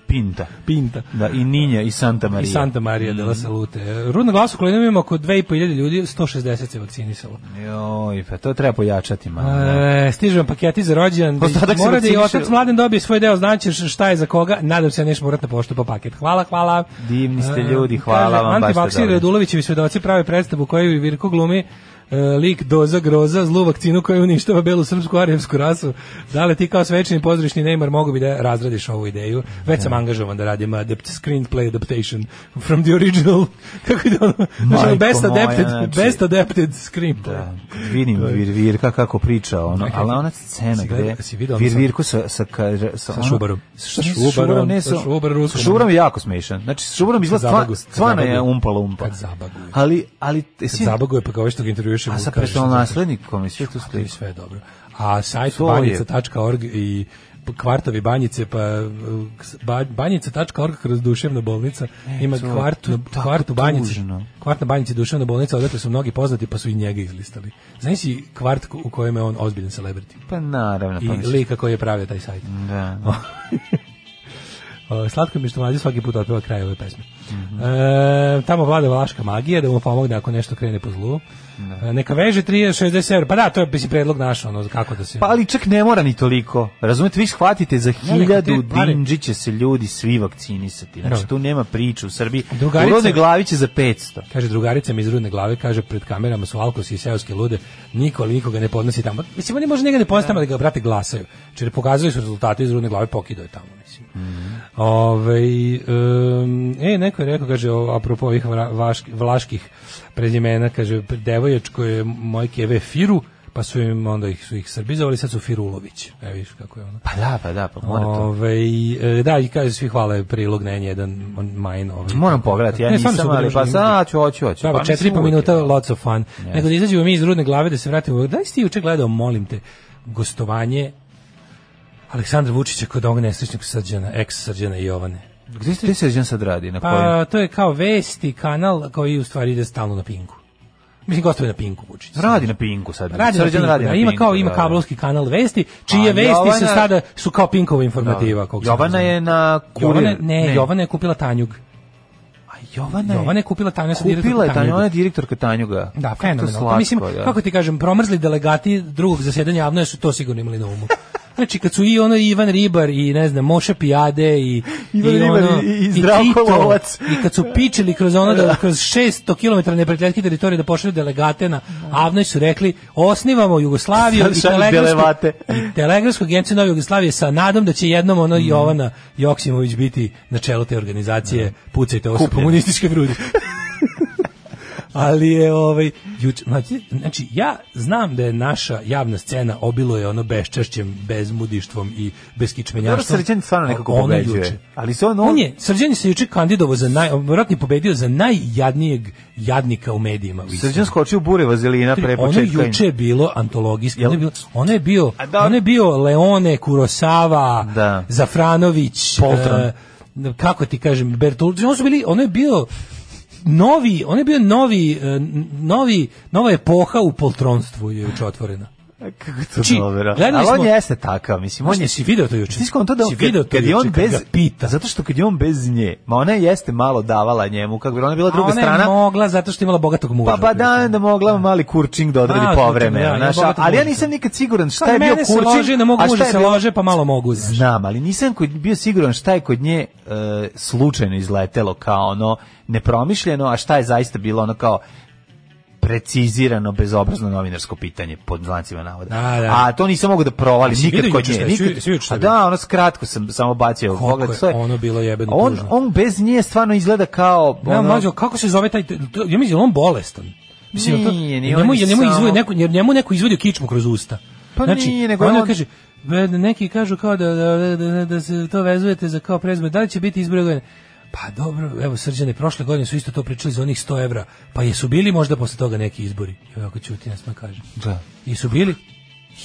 pinta. Pinta. Da, i Ninja, i Santa I Maria. Mhm. Santa Maria della Salute. Rudna glas u Kolinu ima oko 2500 ljudi, 160 se vakcinisalo. Joj, pa to treba pojačati malo. da. E, stižu vam paketi za rođendan. Ostatak se Mora da i vakciniše. otac mladen dobije svoj deo, znači šta je za koga. Nadam se da nećeš morati na poštu po paket. Hvala, hvala. Divni ste E, ljudi, kaže, hvala vam, baš ste Antivaksir dobri. Radulovićevi svedoci prave predstavu u kojoj Virko glumi e, lik doza groza, zlu vakcinu koja uništava belu srpsku arijevsku rasu. Da li ti kao svečani pozorišni Neymar mogu bi da razradiš ovu ideju? Već sam angažovan da radim adapt, screenplay adaptation from the original. Kako je to ono? Znači, ono, Majko best moja, adapted, znači. best adapted screenplay. Da, kad vidim vir, Virka kako priča, ono, ali ona scena Si gde gleda- si vidio ono Vir sa- Virko sa, sa, kaže- sa, Sa ono- Šubarom. Sa Ne, sa Šubarom, ne Šubarom, sa, sa Šubar sa Ruskom. Šubarom je jako smešan. Znači, sa Šubarom izgleda stvarno, zabagu- kad stvarno je zabagu- umpa lumpa. kad zabaguje. Ali, ali, Kad zabaguje pa kao što ga intervjuješ A sa prestolonaslednikom i sve to stoji. sve je dobro. A sajt To je. banjica.org i p- kvartovi banjice pa uh, ba- banjica.org kroz duševna bolnica ima E, to- kvartu, to je kvartu tako banjice tužno. kvart na banjici duševna bolnica odakle su mnogi poznati pa su i njega izlistali znaš si kvart ko- u kojem je on ozbiljan celebrity Pa naravno, i pa mislim. lika koji je pravio taj sajt Da. O, Slatko mi što mlađe svaki put otpeva kraj ove pesme. E, tamo vlada vlaška magija da mu pomogne ako nešto krene po zlu. E, neka veže 360 evra. Pa da, to je mislim, predlog naš, ono, kako da se... Pa ali čak ne mora ni toliko. Razumete, vi shvatite za Ne, neka ti hiljadu pare- dinđi će se ljudi svi vakcinisati. Znači, Dobro. tu nema priče u Srbiji. Drugarica- U rodne glavi će za 500. Kaže drugarica mi iz rudne glave, kaže pred kamerama su alkosi i seoske lude, niko ali nikoga ne podnosi tamo. Mislim, oni možda njega ne podnosi tamo, ali ga, brate, glasaju. Čer pokazali su rezultate iz rudne glave, pokidao je tamo, mislim. Ovaj, em, e, neko je rekao, kaže, o, apropo ovih vra- vaški- vlaških prezimena, kaže, devojačko je moje keve Firu, pa su im, onda ih, su ih srbizovali, sad su Firulović. Evo viš kako je ono. Pa da, pa da, pa mora to. Ove, da, i kaže, svi hvale prilog na jedan majn. Ovaj, Moram pogledati, ja Ne, stvarno nisam, su ali pa odlični. sad ću, hoću, hoću. Da, pa mislim, četiri i po uvijek minuta, je. lots of fun. Nego da izađemo mi iz rudne glave, da se vratimo. Da li si ti juče gledao, molim te, gostovanje Aleksandra Vučića kod ovog nesrećnog srđana, ex srđana Jovane. Gde ste Seđan sad radi? Na kojem? Pa to je kao vesti, kanal koji u stvari ide stalno na Pinku. Mislim, gostuje na Pinku Vučić. Radi na Pinku sad. Radi na Srđan Pinku, radi da, na ima Pinku, kao ima da, da. kablovski kanal vesti, čije A vesti se Jovana- sada su kao Pinkova informativa. Da. koliko se Jovana razumem. je na kurir. Jovana, ne, Jovana je kupila Tanjug. A Jovana je... Jovana je kupila Tanju, sad direktor Kupila je Tanju, Tanjuga. ona je direktorka Tanjuga. Da, Kako je to fenomenalno. Pa slatko, mislim, da. kako ti kažem, promrzli delegati drugog zasedanja javno su to sigurno imali na umu. Znači, kad su i ono Ivan Ribar i, ne znam, Moša Pijade i, Ivan i, Ribar ono, i- i Zdravko Tito, Lovac. I kad su pičili kroz ono, da, kroz 600 km neprijateljske teritorije da pošalju delegate na Avnoj su rekli, osnivamo Jugoslaviju Sad i šalju telegrafsku, delevate. i telegrafsku agenciju Nove Jugoslavije sa nadom da će jednom ono Mm. Jovana Joksimović biti na čelu te organizacije Pucajte ovo su komunističke brudi. Ali je ovaj juč, znači, znači ja znam da je naša javna scena obilo je ono beščešćem, bezmudištvom i Dobro, beskičmenjaštvom. Srđan stvarno nekako Ono pobeđuje. juče. Ali se on... On je, Srđan je se juče kandidovao za naj, vjerojatno je pobedio za najjadnijeg jadnika u medijima. u Istri. Srđan skočio u bure vazelina pre Ono početka. juče je bilo antologijski, ono je bilo, ono je bio, A da- ono je bio Leone, Kurosava, Da. Zafranović, Poltron. e, kako ti kažem, Bertolucci, ono su bili, ono je bio eh, novi, ono je bio novi, e, n- novi, nova epoha u poltronstvu je juče otvorena. Kako to dobro. Ali on jeste takav, mislim, on je si video to juče. Ti skonto da on, si video kad, to kad je juče on kad bez ga pita, zato što kad je on bez nje, ma ona jeste malo davala njemu, kako bi ona je bila druga A ona strana. je mogla zato što je imala bogatog muža. Pa pa da, da mogla mali kurčing da odradi A, povremeno, kurčing, da, znaš, ja bogato ali ja možda. nisam nikad siguran šta Kao je bio Pa mene se kurčing, lože, ne mogu a šta muža je se bio- lože, pa malo mogu, znaš. Znam, ali nisam kod- bio siguran šta je kod nje e, slučajno izletelo kao ono nepromišljeno, a šta je zaista bilo ono kao precizirano bezobrazno novinarsko pitanje pod znacima navoda. Da, da. A to nisam mogu da provalim Jesi nikad vidio kod juče nje. šta nikad. je? Jesi vidio juče šta A je bilo? da, ono skratko sam samo bacio Koliko pogled. je to je- ono bilo jebeno on, tužno. on bez nje stvarno izgleda kao... Ne, ono- mlađo, kako se zove taj, to- ja mislim, je li on bolestan. Mislim, je li to- Nije, nije, jel njemu, on je jel njemu, samo- izvodio neko, jel njemu neko izvodio kičmu kroz usta. Pa nije, nego ona on- kaže, "Be- neki kažu kao da, da, da, da, da se to vezujete za kao prezme, da li će biti izbore godine? Pa dobro, evo srđane, prošle godine su isto to pričali za onih 100 evra, pa jesu bili možda posle toga neki izbori? Evo ako ćuti, nas ma kaže. Da. Jesu bili?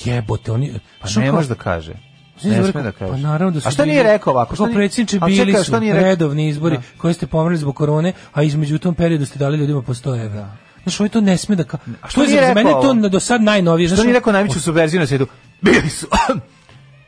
Jebote, oni... Pa Znaš, ne kao- može da kaže. Znaš, Ne rekao, sme da kaže. Pa naravno da su A šta bili- nije rekao ovako? Šta Kao nije- predsjedniče A bili čekaj, su šta nije rekao? redovni izbori koje ste pomrli zbog korone, a između u tom periodu ste dali ljudima po 100 evra. Znaš, ovo to ne sme da... Ka... A što to je nije za, za mene je rekao to ovo? na- do sad najnovije. Što znaš, nije ono- rekao najveću subverziju na svijetu? Bili su.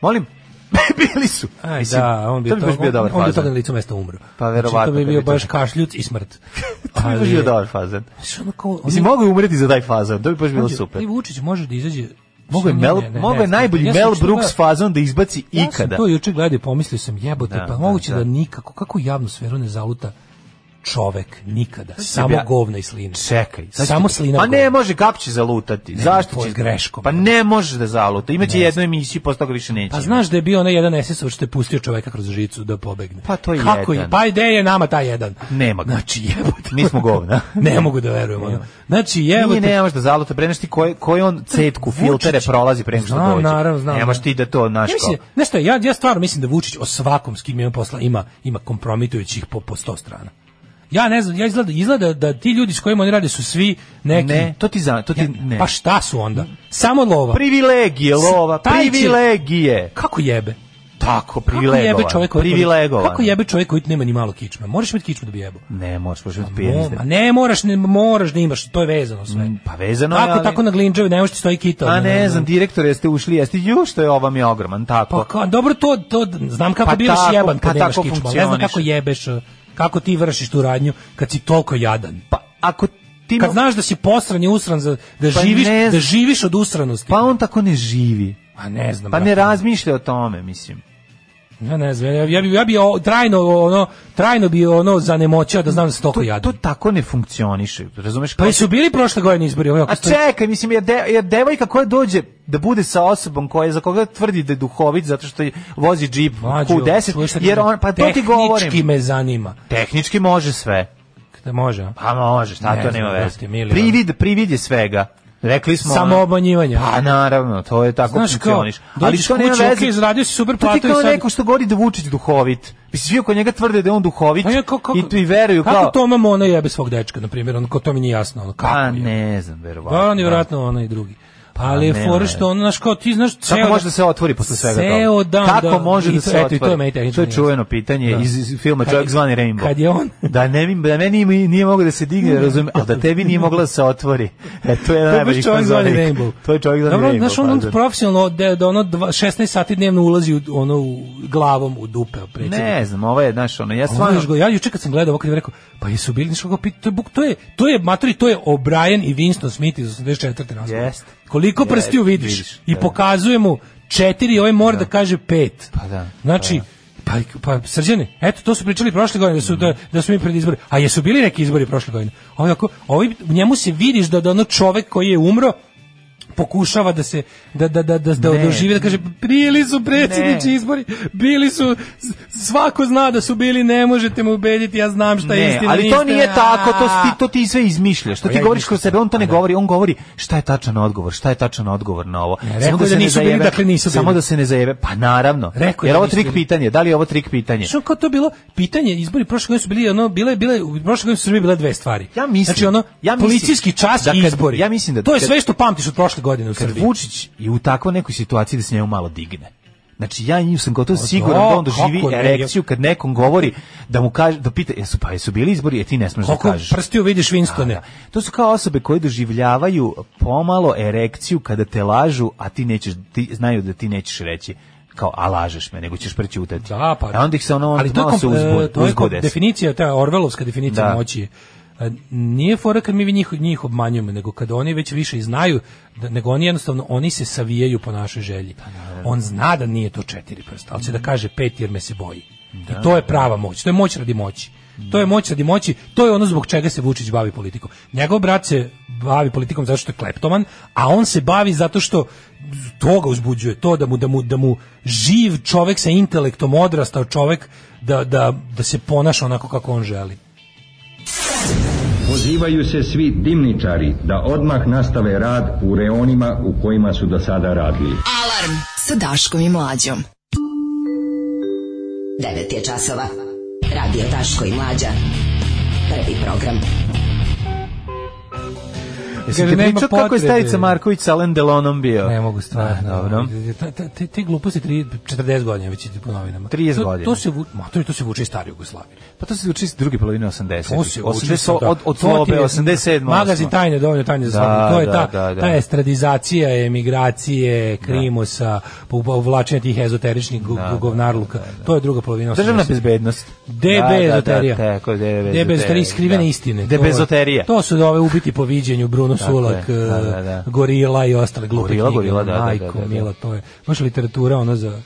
Molim, bili su. Aj, Mislim, da, on bi to bi baš bio dobar on, on bi fazon. toga na licu mesta umro. Pa verovatno Znači, to kad bi bi bio to- baš kašljuc i smrt. To bi baš Ali- bio dobar fazan. Znaš, ono kao, oni- Mislim, mogu je umreti za taj fazan, to bi baš bilo Mlađe, super. I Vučić može da izađe Mogu je, Mislim, Mel, ne, ne, ne, mogu ne je znam. najbolji Ja sam Mel juče Brooks gledao- fazon da izbaci ikada. Ja sam to juče gledao i pomislio sam jebote, Da, pa da, moguće da. da, nikako, kako u javnu sferu ne zaluta čovek nikada, Sad ću samo ja- govna i slina. Čekaj, sad Samo ću- slina. Pa i ne govna. može, kap će zalutati. Ne, Zašto to će? je greškom. Pa ne može da zaluta. Imaće jednu emisiju, posle toga više neće. Pa znaš da je bio onaj jedan SS-ov što je pustio čoveka kroz žicu da pobegne. Pa to je Kako jedan. Je? Pa ide je nama taj jedan. Nema ga. Znači jebote. Mi smo govna. ne mogu da verujem. ono. Znači Nije, jebote. ne možeš da zaluta, pre nego što ti koji koji on cetku Vučić. filtere prolazi pre nego što Znam, dođe. naravno, znam, Nemaš da. ti da to naš Ja mislim, znaš šta, ja, ja stvarno mislim da Vučić o svakom s kim ima posla ima, ima kompromitujućih po, po sto strana. Ja ne znam, ja izgleda, izgleda da ti ljudi s kojima oni rade su svi neki... Ne, to ti za, to ti Ja- ne. Pa šta su onda? Samo lova. privilegije lova, Taj će- privilegije. Kako jebe? Tako Kako jebe čovjek koji... privilegovan. Kako jebe čovjek koji nema ni malo kičme? Moraš imati kičmu da bi jebo. Ne, možeš, možeš biti Mo- pijezde. a ne moraš, ne moraš da imaš, to je vezano sve. Pa vezano je, tako, ali- tako na glinđavi, ne možeš ti stoji kita. A ne znam, direktor jeste ušli, jeste ju što je ova mi ogroman, Pa tako. ka- dobro, to, to znam kako Pa bivaš tako, jeban pa kad nemaš tako kičmu, ali ne znam funkcioniš. kako jebeš, eh, kako ti vršiš tu radnju kad si toliko jadan. Pa ako ti Kad znaš da si posran i usran, za, da, Pa živiš, ne da znam. živiš od usranosti. pa on tako ne živi. A ne znam. Pa ne brate. razmišlja o tome, mislim. Ja ne znam, ja, ja bi, ja bi o- trajno, ono, trajno bi ono zanemoćao da znam da sam toliko To, jadan. to tako ne funkcioniše, razumeš? Pa Kao- jesu bili prošle godine izbori? Ovo, A ako stoji- čekaj, mislim, jer, de, jer devojka koja dođe da bude sa osobom koja je za koga tvrdi da je duhovit zato što je- vozi džip Mlađo, čuješ šta Q10, ti jer kažem? on, pa to ti Tehnički govorim. me zanima. Tehnički može sve. Da može. a? Pa može, šta Ne to znam, nema veze. brate, mili, ono. Privid, privid je svega. Rekli smo... Samo ono- obmanjivanje. Pa naravno, to je tako Pa, Znaš kao, funkcioniš. Ali dođeš što nema kući, veze. okej, zaradio si super to ti platu i kao sad- neko što govori da je Vučić duhovit. Mislim, svi oko njega tvrde da je on duhovit Pa ja kao- kako- i, i veruju kako kao... Toma Mona jebe svog dečka, na primjer, ono, ko to mi nije jasno, ono, kako Pa je? ne znam, verovatno. Pa on je vjerojatno onaj drugi. Pa Ali je nema fora veze. što ono, znaš, kao ti znaš... Kako ceo može dan- da se otvori posle svega toga? Ceo dan Kako da- može i da to- se eto, otvori? i to je meni tehnički To je nejasno. čuveno pitanje Da. iz, iz filma Kad Čovjek je- zvani Rainbow. kad je on- Da, ne, mi- da meni nije, nije mogao da se digne, razumem, ali da tebi nije mogla da se otvori. E, to je To jedan je baš najbolji čovjek zvani Rainbow. To je čovjek zvani Dobro, Rainbow. Znaš, on, on pardon. profesionalno, da, da ono dva, 16 sati dnevno ulazi u, ono, u, glavom u dupe. predsjednika. Ne znam, ovo je, znaš, ono, ja Stvarno stvarno... još go, ja juče kad sam gledao, kad je rekao, pa jesu bili nešto kako to je, buk- to je, to je maturi, to je O'Brien i Winston Smith iz 84. razgovora. Jest. Koliko Jest, prstiju vidiš, vidiš, i da. pokazuje mu četiri, ovaj mora da kaže pet. Pa da, pa Znači, pa, pa, srđane, eto, to su pričali prošle godine, da su, da, da su mi pred izbori. A jesu bili neki izbori prošle godine? Ovi, ako, ovi, njemu se vidiš da, da ono čovek koji je umro, pokušava da se da da da da da Ne. doživi da kaže bili su predsjednički Ne. izbori bili su svako zna da su bili ne možete me ubediti ja znam šta je Ne, istina ali to niste- nije tako, to si ti, A. to ti sve izmišljaš. To Pa ti ja govoriš izmišljam. kroz sebe, on to ne Pa da. govori, on govori šta je tačan odgovor, šta je tačan odgovor na ovo. rekao je da se ne nisu bili, zajebe, dakle nisu Samo bili. da se ne zajebe, pa naravno. Rekao je Jer da ovo nisu trik bili. pitanje, da li je ovo trik pitanje? Što kao to bilo pitanje izbori prošle godine su bili ono bile bile u prošle godine su bile bile dve stvari. Ja mislim- znači ono ja mislim policijski čas da i kad- izbori. ja mislim da- to je kad- sve što pamtiš od prošle godine u Kad Srbiji. Vučić je u takvoj nekoj situaciji da se njemu malo digne. Znači ja njim sam gotovo Pa siguran da, da on doživi kako ne, erekciju kad nekom govori da mu kaže da pita jesu pa jesu bili izbori, je ti ne smeš da Koliko kažeš. prstiju vidiš Winstone? To su kao osobe koje doživljavaju pomalo erekciju kada te lažu, a ti nećeš ti znaju da ti nećeš reći kao a lažeš me, nego ćeš prećutati. Da, pa. A onda ih se ono Ali to je malo kom- se uzbude. e, to je kom- uzbude se. definicija, ta Orvelovska definicija Da. moći. E, Nije fora kad mi njih, njih obmanjujemo, nego kad oni već više i znaju, da, nego oni jednostavno, oni se savijaju po našoj želji. On zna da nije to četiri prsta, ali će da kaže pet jer me se boji. I to je prava moć, to je moć radi moći. To je moć radi moći, to je ono zbog čega se Vučić bavi politikom. Njegov brat se bavi politikom zato što je kleptoman, a on se bavi zato što to ga uzbuđuje, to da mu, da mu, da mu živ čovek sa intelektom odrastao čovek da, da, da se ponaša onako kako on želi. Pozivaju se svi dimničari da odmah nastave rad u reonima u kojima su do sada radili. Alarm sa Daškom i Mlađom. 9 je časova. Radio Daško i Mlađa. Prvi program. Jesi Kaže, ti nema pričao kako je potrebe. Stavica Marković sa Alain Delonom bio? Ne mogu stvarno. Dobro. Te, te, te, te gluposti tri- 40 godina već ide po novinama. 30 to, godina. To se, vu- ma, to, je- to se vuče iz stare Jugoslavije. Pa to se uči iz druge polovine 80. To se vuče 80 da. od od To ti je Slobe 87. Magazin tajne dovoljno tajne za Da, slavu. To je da, ta, da, da. ta estradizacija, emigracije, krimosa, pa uvlačenje tih ezoteričnih gu- govnarluka. To je druga polovina 80. Državna bezbednost. DB Da, da, da, ezoterija. tako, DB DB ezoterija, ezoterija, skrivene da. istine. DB To je- ezoterija. To su ove ubiti po viđenju, Bruno Tako Sulak, je, da, da, e, da. Gorila i ostale glupe Gorila, knjige. ono, Gorila, da, da, da, Majko, da, da. mila, to je. Baš literatura ono za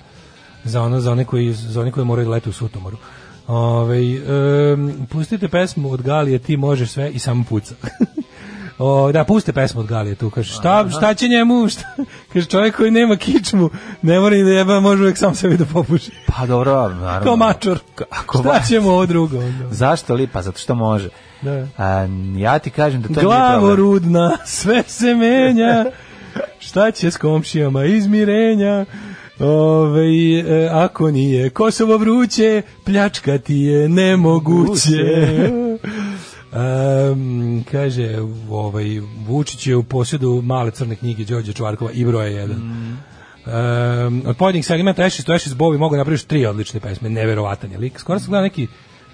za ono za one koji za one koji moraju da lete u sutomoru. Ovaj em, pustite pesmu od Galije, ti možeš sve i samo puca. O, da, puste pesmu od Galije tu, kaže, šta, šta će njemu, šta, kaže, čovjek koji nema kičmu, ne mora ni da jeba, može uvek sam sebi da popuši. Pa dobro, naravno. Kao mačor. Ako Šta va- ćemo ono? ovo drugo? onda? Zašto li? Pa zato što može. Da. A, ja ti kažem da to nije Glavo problem. rudna, sve se menja. Šta će s komšijama izmirenja? Ove, e, ako nije Kosovo vruće, pljačkati je nemoguće. Em, kaže, ovaj, Vučić je u posjedu male crne knjige Đorđe Čvarkova i broja jedan. Mm. Um, od pojedinih segmenta Ashes to Ashes Bowie mogu napraviti tri odlične pesme, neverovatan je lik. Skoro sam gledao neki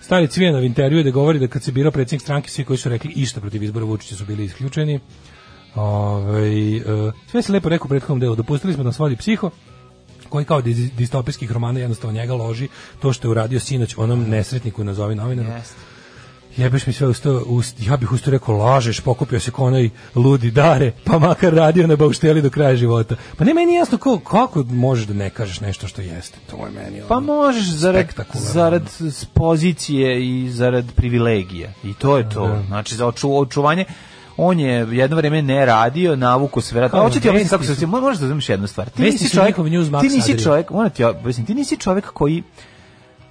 stari Cvijanov intervju da govori da kad se birao predsjednik stranke, svi koji su rekli išta protiv izbora Vučića su bili isključeni. Ovaj, e, sve se lepo rekao u prethodnom delu, dopustili smo da nas vodi psiho, koji kao diz- distopijskih romana jednostavno njega loži to što je uradio sinoć onom nesretniku nazovi novinaru. Jebeš mi sve usto, ust, ja bih usto rekao, lažeš, pokupio se ko onaj ludi dare, pa makar radio na baušteli do kraja života. Pa ne, meni je jasno ko, kako možeš da ne kažeš nešto što jeste. To je meni ono. Pa možeš zarad, Spektakularno. zarad s pozicije i zarad privilegija. I to je to. Znači, za oču, očuvanje on je jedno vreme ne radio, navuku se vjerojatno. Kao Hoće ti objasniti kako vesti se su- mo- možeš da razumiješ jednu stvar. Ti Vesti nisi su čovjek, njihov Newsmax ti nisi Adria. čovjek, moram ti objasniti, ti nisi čovjek koji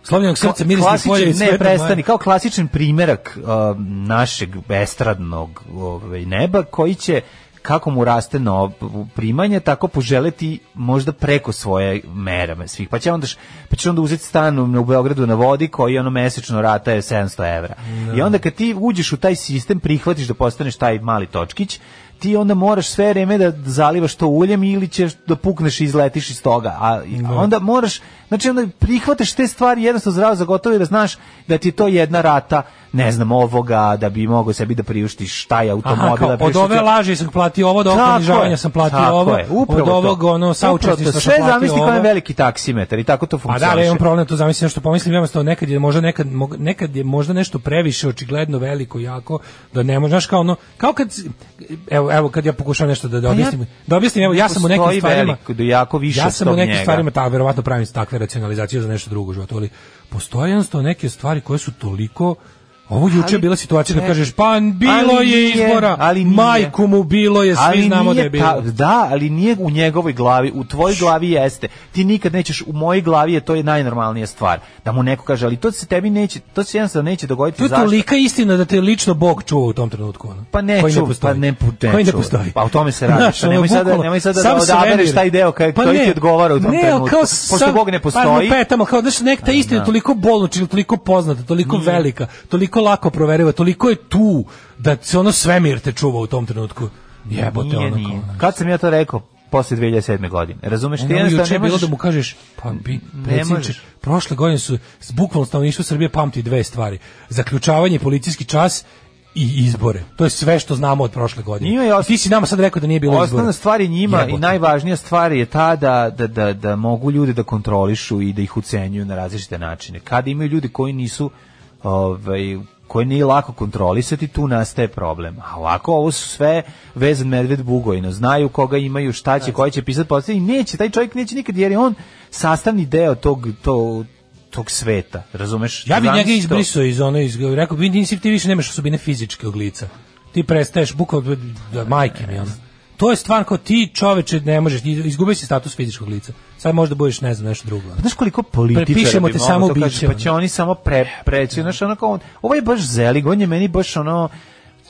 Slavljenog srca, mirisne klasičan- polje i ne svetom prestani, maju. kao klasičan primjerak um, našeg estradnog ovaj, neba koji će kako mu raste no primanje tako poželeti možda preko svoje mere svih pa će onda š- pa će onda uzeti stan u- u Beogradu na vodi koji ono mesečno rata je 700 evra. I onda kad ti uđeš u taj sistem prihvatiš da postaneš taj mali točkić ti onda moraš sve vreme da zalivaš to uljem ili ćeš da pukneš i izletiš iz toga. A, i- a onda moraš, znači onda prihvataš te stvari jednostavno zdravo za gotovo i da znaš da ti je to jedna rata, ne znam, ovoga, da bi mogao sebi da priuštiš taj automobil. Aha, kao, da od priuštiš- ove laži sam platio ovo, od ovog Tako je, ponižavanja sam platio tako ovo, je, upravo od to. ovog ono, Upravo to, saučesništva sam Sve platio zamisli kao ovo. je veliki taksimetar i tako to A funkcioniše. da, ali ja imam problem, to zamislim što pomislim, jednostavno nekad je možda nekad, mog- nekad je možda nešto previše očigledno veliko jako da ne može, znaš kao ono, kao kad si- evo evo kad ja pokušavam nešto da Pa da ja- objasnim, da objasnim, evo ja sam u nekim Postoji stvarima veliko, da jako više ja od sam u tog nekim njega. stvarima ta verovatno pravim takve racionalizacije za nešto drugo u životu, ali postoje jednostavno neke stvari koje su toliko Ovo juče je Ali- bila situacija da ne. kažeš pa bilo Ali je nije, izbora, ali nije. majku mu bilo je, svi Ali znamo da nije je bilo. ta- da, ali nije u njegovoj glavi, u tvojoj glavi jeste. Ti nikad nećeš, u mojoj glavi je to je najnormalnija stvar. Da mu neko kaže, ali to se tebi neće, to se jednostavno neće dogoditi. To je Zašto? tolika istina da te lično Bog čuva u tom trenutku. Ono. Pa ne, Koji ču, postoji. pa ne, pu- ne Koji ne ču. postoji. Pa o tome se radi. Znaš, Pa ono, nemoj sada- bukvalno, nemoj sada sam da se odabereš remir. taj deo kaj- koji ti odgovara u tom ne, trenutku. Kao Pošto sam- Bog ne postoji. Pa lupetamo, kao, znaš, nek ta istina je Da. toliko bolno, čili toliko poznata, toliko velika, toliko lako proveriva, toliko je tu da se ono svemir te čuva u tom trenutku. Jebote, Nije, ono nije. kao, ono. Kad sam ja to rekao? posle 2007. godine. Razumeš, Ne, ti ono jednostavno juče je ne bilo možeš... da mu kažeš, pa bi, predsjedniče, možeš. prošle godine su, s- bukvalno stanovništvo Srbije pamti dve stvari. Zaključavanje i policijski čas i izbore. To je sve što znamo od prošle godine. Ti si nama sad rekao da nije bilo izbora. Osnovna stvar je njima i Jebote. najvažnija stvar je ta da, da, da, da mogu ljudi da kontrolišu i da ih ucenjuju na različite načine. Kada imaju ljudi koji nisu ovaj, koje nije lako kontrolisati, tu nastaje problem. A ovako ovo su sve vezan medved bugojno. Znaju koga imaju, šta će, koji će pisati poslije i neće, taj čovjek neće nikad jer je on sastavni deo tog, tog, tog sveta. Razumeš? Ja bih Zamisli njega to. izbrisao iz ono iz rekao bi nisi ti više nemaš osobine fizičkog lica. Ti prestaješ bukvalno da majke mi ono. To je stvar kao ti čoveče ne možeš izgubio si status fizičkog lica. Sad možda budeš ne znam nešto drugo. ono. Znaš koliko političara Prepišemo bi te moglo samo to kaže, ubiće, Pa će ono. oni samo pre, preći. Znaš, ono kao, on- ovo je baš zelig, on je meni baš ono,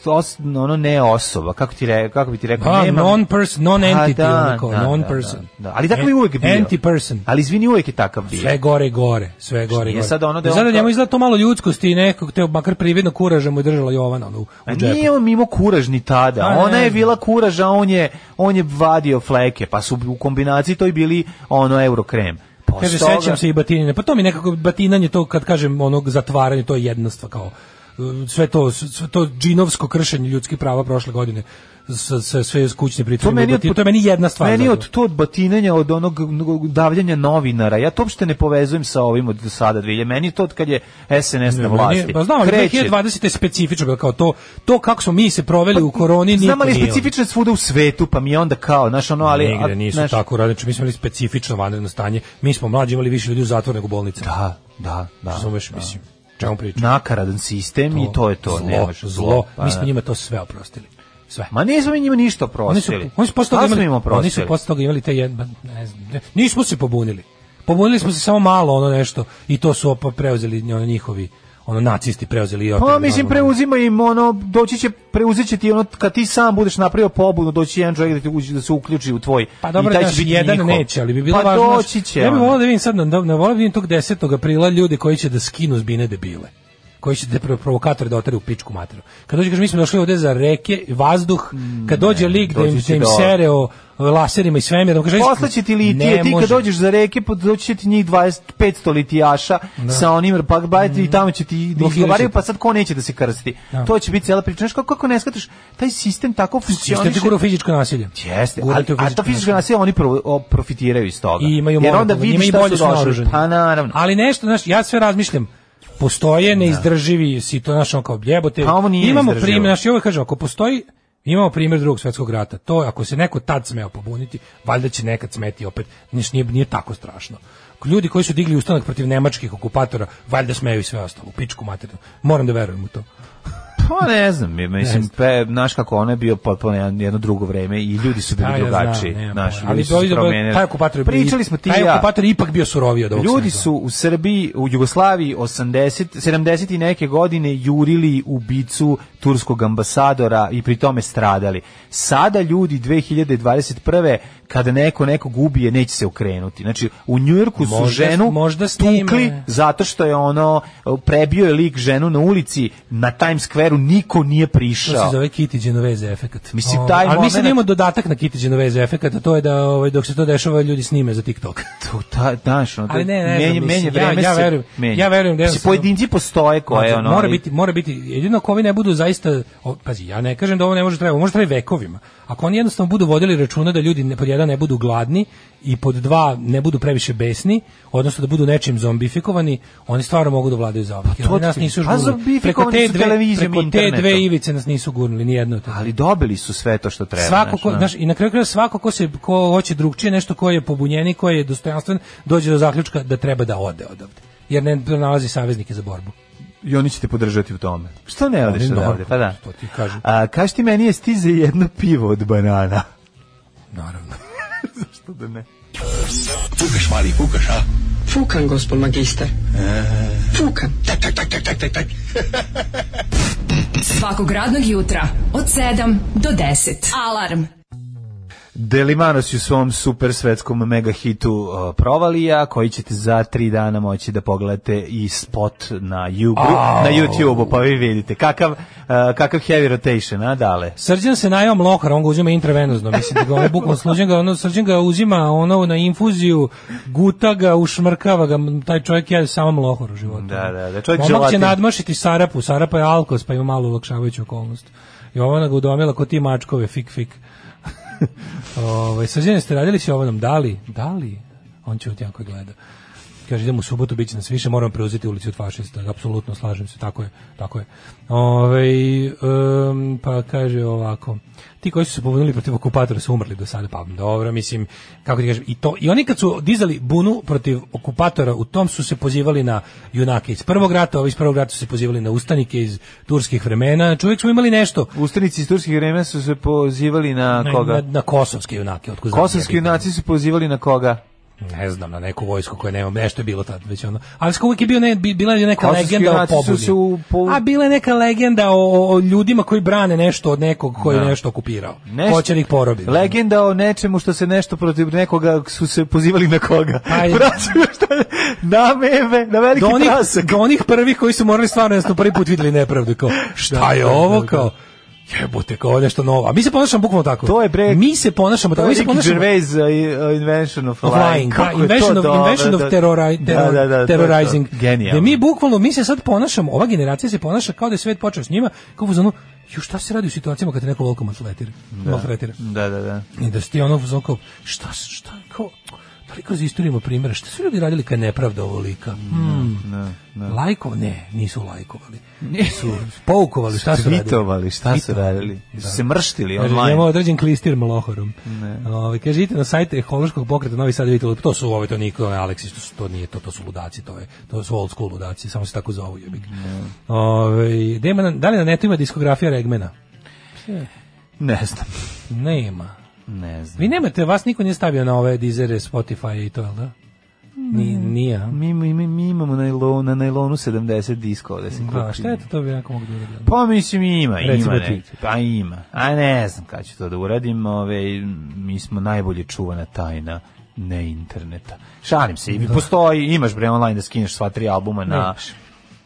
os, ono ne osoba, kako, ti re, kako bi ti rekao, A, nema... non person, non A, entity, da, onako, da, non da, person. Da, da. Ali tako je uvijek bio. Anti person. Ali izvini, uvijek je takav bio. Sve gore i gore, sve gore i Nije gore. sad ono da je on Zato kao- njemu izgleda to malo ljudskosti i nekog te makar prividno kuraža mu je držala Jovana ono, u, A u džepu. Pa nije on mimo kuraž ni tada. A, Ona ne je znam. bila kuraž, a on je, on je vadio fleke, pa su u kombinaciji to i bili ono eurokrem. Posle Kaže, toga- sećam se i batinine. Pa to mi nekako batinanje, to kad kažem onog zatvaranje, to je jednostva kao uh, sve to, sve to džinovsko kršenje ljudskih prava prošle godine sa, sa sve s kućnim pritvorima. i batin- to je meni jedna stvar. Meni zapravo. od to od batinanja od onog davljanja novinara. Ja to uopšte ne povezujem sa ovim od sada dvije. Meni je to od kad je SNS na Ne, vlasti. meni- Pa znam, ali Kreće. 2020 je specifično bilo kao to, to kako smo mi se proveli u koroni, niko Pa Znam, ali nije, ono. specifične svuda u svetu, pa mi je onda kao, znaš, ono, ali... Nigde a, nisu znaš, tako uradili, znači mi smo imali specifično vanredno stanje. Mi smo mlađi imali više ljudi u zatvoru nego u bolnici. Da, da, da. Razumeš, mislim. Čemu pričam? Nakaradan sistem i to je to. Zlo, nemaš, zlo. Pa mi smo da. njima to sve oprostili. Sve. Ma nismo mi njima ništa Oni su, oprostili. oni su posle toga Šta smo imali, im oni su oprostili? posle toga imali te jedba, ne znam, ne, nismo se pobunili. Pobunili smo se samo malo ono nešto i to su opa preuzeli ono, njihovi ono nacisti preuzeli i Pa oteli, mislim normalno. preuzima im ono doći će preuzet će ti ono kad ti sam budeš napravio pobunu doći će jedan čovjek da ti uđe da se uključi u tvoj Pa dobro, i taj znaš, će biti jedan njihov. neće, ali bi bilo pa važno. znaš, doći će. Ja bih ono. volao da vidim sad, na, na volao da vidim tog 10. aprila ljude koji će da skinu zbine debile. Koji će da pro- provokatore da otere u pičku materu. Kad dođe, kaže, mi smo došli ovde za reke, vazduh, kad dođe lik da doći im, Mm, će da im do- sere o o laserima i svemirom, kaže, Posle će ti litije, ne ti kad može. dođeš za reke, pod- doći će ti njih 20, 500 litijaša sa onim pak bajati i tamo će ti da Blokirat Mm. će izgovaraju, te. pa sad ko neće da se krsti. Da. To će biti cela priča. Znaš kako, kako ne shvataš, taj sistem tako Jeste ti funkcioniše. gura u fizičko nasilje? Jeste, Gura ali, te u a to fizičko nasilje oni pro- o, profitiraju iz toga. I imaju Pa Jer onda monopol, njima vidiš i šta su bolje su došli. naoružani. Pa naravno. Ali nešto, znaš, ja sve razmišljam. Postoje neizdrživi si to našo kao jebote. Pa ovo nije imamo izdrživo. primjer, znači ovo kažem, ako postoji Imamo primjer drugog svjetskog rata. To je, ako se neko tad smeo pobuniti, valjda će nekad smeti opet. Niš, nije, nije tako strašno. Ljudi koji su digli ustanak protiv nemačkih okupatora, valjda smeju i sve ostalo. Pičku materinu. Moram da verujem u to. Pa ne znam, je, mislim, pe, znaš kako ono je bio potpuno jedan- jedno drugo vreme i ljudi su bili Taj, ja znam, drugačiji. nemam znaš, pojma. ljudi Ali su se to- promijenili. taj okupator je bio- Pričali smo ti i taj ja. okupator je ipak bio suroviji od ovog Ljudi svega. su u Srbiji, u Jugoslaviji 80, 70 i neke godine jurili ubicu turskog ambasadora i pri tome stradali. Sada ljudi 2021. kada neko nekog ubije neće se okrenuti. Znači u Njujorku su Možda- ženu možda s time. tukli zato što je ono prebio je lik ženu na ulici na Times Square-u niko nije To se prišao. zove Kitty Genovese efekat. Mislim, Ovaj, taj ali mi sad momenat- imamo dodatak na Kitty Genovese efekat, a to je da ovaj, dok se to dešava ljudi snime za TikTok. To, ta, znaš, ono, Ali ne, ne menje, znam, menje mislim, ja- vreme ja se verujem- menja. ja verujem da Mislim, jednostavno- pojedinci postoje koje Znači, ono... mora ali- biti, mora biti, jedino ako ovi ne budu zaista, o, pazi, ja ne kažem da ovo ne može trebati, može trebati vekovima. Ako oni jednostavno budu vodili računa da ljudi ne, pod jedan ne budu gladni i pod dva ne budu previše besni, odnosno da budu nečim zombifikovani, oni stvarno mogu da vladaju za ovak. to Oni nas ti- nisu pa žgurnuli. Preko zombifikovani te su dve, televizijom i preko te internetom. dve ivice nas nisu gurnuli, ni jedno od toga. Ali dobili su sve to što treba. Svako ko, ono. znaš, i na kraju krajeva svako ko se ko hoće drugčije nešto ko je pobunjeni, ko je dostojanstven, dođe do zaključka da treba da ode odavde. Jer ne nalazi saveznike za borbu. i oni će te podržati u tome. Što ne radiš Oni odavde? naravno, Pa da. to ti kažem. A, kaži ti meni je stize jedno pivo od banana. Naravno. Zašto da ne? Fukaš, mali, fukaš, a? Fukan, gospod magister. Fukan. Tak, tak, tak, tak, tak, tak, tak. Svakog radnog jutra od 7 do 10. Alarm. Delimanos je u svom super svetskom mega hitu uh, Provalija, koji ćete za tri dana moći da pogledate i spot na, Jugru, Au. na YouTube-u, pa vi vidite kakav, uh, kakav heavy rotation, a dale? Srđan se najao mlohar, on ga uzima intravenozno, mislim da ga ono bukvalno srđan ga, ono, srđan ga uzima ono na infuziju, guta ga, ušmrkava ga, m, taj čovjek je samo mlohar u životu. Da, da, da, čovjek Momak će želatin. nadmašiti Sarapu, Sarapa je alkos, pa ima malu olakšavajuću okolnost. I ona ga udomila ko ti mačkove, fik, fik. Ovaj Srđane ste radili se ovo nam dali? Dali? On će jako gleda. Kaže, idemo u subotu, bit će nas više, moram preuzeti ulicu od fašista. Apsolutno, slažem se, tako je. Tako je. Ove, pa kaže ovako, ti koji su se pobunili protiv okupatora su umrli do sada, pa dobro, mislim, kako ti kažem, i, to, i oni kad su dizali bunu protiv okupatora, u tom su se pozivali na junake iz prvog rata, ovi iz prvog rata su se pozivali na ustanike iz turskih vremena, znači uvijek smo imali nešto. Ustanici iz turskih vremena su se pozivali na koga? Na, na kosovske junake, otkud znam, Kosovski jebi ga. junaci su pozivali na koga? ne znam, na neku vojsku koja nema, nešto je bilo tad već ono. Ali skoro uvijek je bio ne, bi- bila je neka Kosovski legenda o junaci su pobuni. se u A bila je neka legenda o, o- o ljudima koji brane nešto od nekog koji Da. je nešto okupirao. Ko će da ih porobi. Legenda o nečemu što se nešto protiv nekoga su se pozivali na koga. Ajde. Vraćaju šta na meme, na veliki Pa do onih, prasak. do onih prvih koji su morali stvarno da smo prvi put videli nepravdu. Kao, šta je Da, da, ovo? da. Kao, jebote, kao nešto novo. A mi se ponašamo bukvalno tako. To je bre... Mi se ponašamo To tako. je Mi se Ricky ponašamo... Gervais uh, i- uh, Invention of ono Of lying, Lying. da, Kako je invention to of, dobro, invention of da. terrori- terror- Da, da, da, to je to. terrorizing. Genijalno. Da mi bukvalno, mi se sad ponašamo, ova generacija se ponaša kao da je svet počeo s njima, kao u zonu, ju šta se radi u situacijama kad te neko volko maltretira? Da. maltretira. Da, da, da. I da si ti ono u zonu kao, šta, šta, kao, da li kroz istoriju ima primjera, šta su ljudi radili kad je nepravda ovolika? Hmm. Ne, ne. Lajko? Ne, nisu lajkovali. Su poukovali, šta su radili? Tweetovali, šta su Tweetovali, radili? Su se mrštili Kaže, online. Imamo određen klistir malohorom. Ne. Ove, kaže, idite na sajte Ekološkog pokreta Novi Sad, vidite, to su ove, to niko, Aleksić, to, su, to nije to, to su ludaci, to, je, to su old school ludaci, samo se tako zovu, jebik. Ove, da, ima na- da li na netu ima diskografija Regmena? Ne znam. Nema. Ne znam. Vi nemate, vas niko nije stavio na ove dizere, Spotify i to, jel da? Ni, nije. a? Mi, mi, mi, mi imamo na nailonu, na nailonu 70 diskova da se kupi. Da, Pa, šta je to, to bi jako mogu da uradim. Pa mislim ima, Recimo ima ti. neki, pa ima. A ne znam kada ću to da uradim, ove, mi smo najbolje čuvana tajna ne interneta. Šalim se, i Da. postoji, imaš bre online da skineš sva tri albuma na... Nemaš.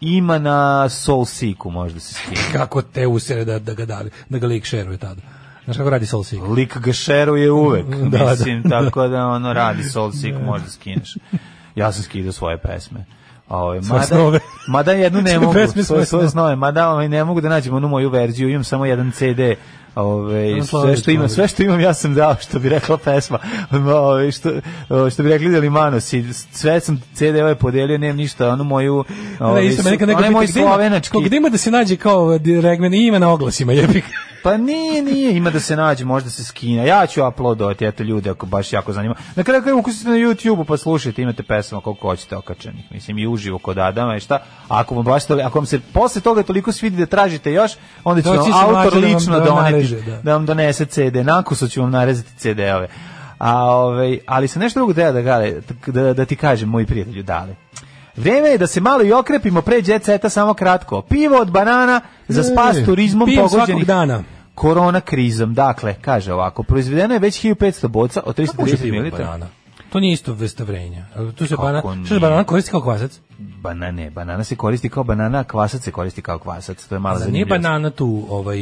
Ima na Soul Seeku možda se skine. Kako te usere da, da ga, davi, da ga lik šeruje tada. Znaš kako radi Soul Seek? Lik ga šeruje uvek, Da, da. mislim, tako da ono radi Soul Seek, možda skineš. Ja sam skidao svoje pesme. A Ove, Svoje snove. mada jednu ne Svoje mogu, pesme, svoje, svoje svoje, snove. snove, mada ovaj, ne mogu da nađem onu moju verziju, imam samo jedan CD, Ove, Ono sve što slavično, imam, ali. sve što imam ja sam dao, što bi rekla pesma, Ove, što, o, što bi rekli Delimanos, i sve sam CD-ove podelio, nemam ništa, onu moju, Ne, ove, isto me su- neka neka onaj pita, moj gde ima- slovenački, kao, Gde ima da se nađe kao di- Regmen i ima na oglasima, jebik. Pa nije, nije, ima da se nađe, možda se skine. Ja ću uploadovati, eto ljudi, ako baš jako zanima. Na kraju kraju ukusite na YouTube-u pa slušajte, imate pesama koliko hoćete okačenih. Mislim, i uživo kod Adama i šta. Ako vam, baš to, ako vam se posle toga toliko svidi da tražite još, onda će Doći vam će autor mlađe da vam- lično da vam doneti, nareže, da. da. vam donese CD. Nakusu ću vam narezati CD-ove. A, ovaj, ali sam nešto drugo teo da, gale, da, da ti kažem, moji prijatelju, dale. Vreme je da se malo i okrepimo pre jet seta samo kratko. Pivo od banana za spas E, turizmom pijem svakog pogođenih dana. korona krizom. Dakle, kaže ovako, proizvedeno je već 1500 boca od Kako može 330 pivo od ml. banana? To nije isto vrsta vrenja. Ali Tu se Kako banana, što se nije? Pa banana koristi kao kvasac? Banane, banana se koristi kao banana, a kvasac se koristi kao kvasac. To je mala Za nije zanimljivost. banana tu ovaj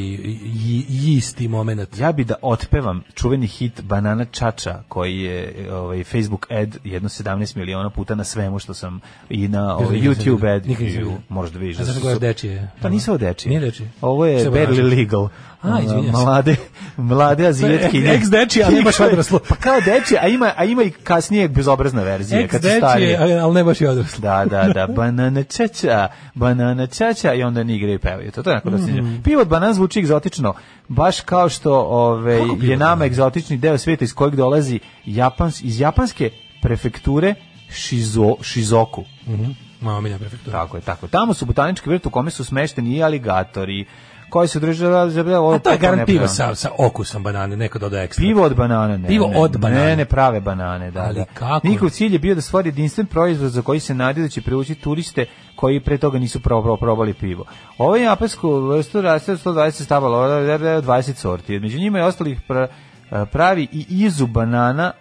isti moment. Ja bi da otpevam čuveni hit Banana Čača koji je ovaj Facebook ad jedno 17 miliona puta na svemu što sam i na ovaj, Nikad nisam YouTube vidio. ad. Nikad nisam vidio. Možeš da vidiš. A da zašto su- gledaš dečije? Pa nisu ovo dečije. Nije dečije. Ovo je Sve banana. Barely Legal. Ono, A, izvinjam se. Mlade, mlade azijetkinje. Ex dečije, ali ne baš odraslo. Pa kao dečije, a ima, a ima i kasnije bezobrazna verzija. Ex kad su dečije, starije. ali ali ne baš i odraslo. Da, da, da, banana čača, banana čača i onda oni igraju i pevaju. To, to je onako dosta Mhm. zanimljivo. Pivo od banana zvuči egzotično, baš kao što ove, Kako pivo je od nama banana? egzotični deo svijeta iz kojeg dolazi Japans, iz japanske prefekture Shizo, Shizoku. Mhm. Mama mi prefektura. Tako je, tako. je. Tamo su botanički vrt u kome su smešteni i aligatori, koji se država za A to je garant pivo sa, sa okusom banane, neko doda ekstra. Pivo od banana, ne. Pivo ne, od banane. Ne, ne prave banane, da. Ali da. kako? Njihov cilj je bio da stvori jedinstven proizvod za koji se nadaju da će privući turiste koji pre toga nisu pro, pro- probali pivo. Ovo je japansku vrstu raste od 120 stabala, ovo je 20 sorti. Među njima je ostalih pra- e, pravi i izu banana,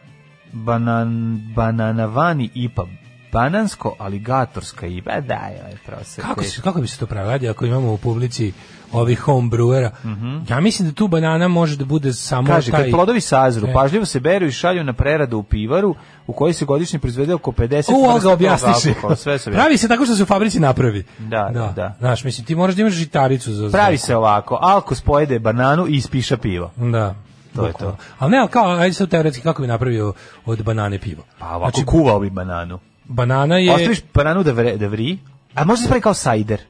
banan, bananavani IPA, banansko-aligatorska IPA, E, daj, ovaj prosek. Kako, se, kako bi se to pravilo ako imamo u publici ovih home brewera? Ja mislim da tu banana može da bude samo Kaže, taj... Mhm. kad plodovi sazru, E. pažljivo se beru i šalju na preradu u pivaru, u kojoj se godišnje proizvede oko 50 U, ali vrsta ga objasniš. alkohola, Sve se Pravi se tako što se u fabrici napravi. Da, da, da. Znaš, mislim, ti moraš da imaš žitaricu za... Pravi se ovako, alko spojede bananu i ispiša pivo. Da. To je Bukvalno. to. Ali ne, ali kao, ajde sad teoretski, kako bi napravio od banane pivo? Pa ovako kuvao bi bananu. Banana Znači, je... Ostaviš bananu da, vre, da vri, a može se pravi kao sajder.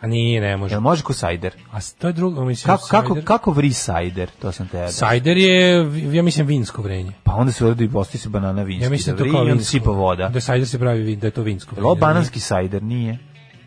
A nije, ne može. Jel može ko sajder? A s- to je drugo, mislim... Kako, kako, sajder- kako vri sajder? To sam te ja da. Sajder je, vi- ja mislim, vinsko vrenje. Pa onda se uradi i postoji se banana vinski. Ja mislim da to vri, kao i onda vinsko. sipa voda. Da sajder se pravi vin, da je to vinsko Jel ovo vrenje. bananski sajder? Nije.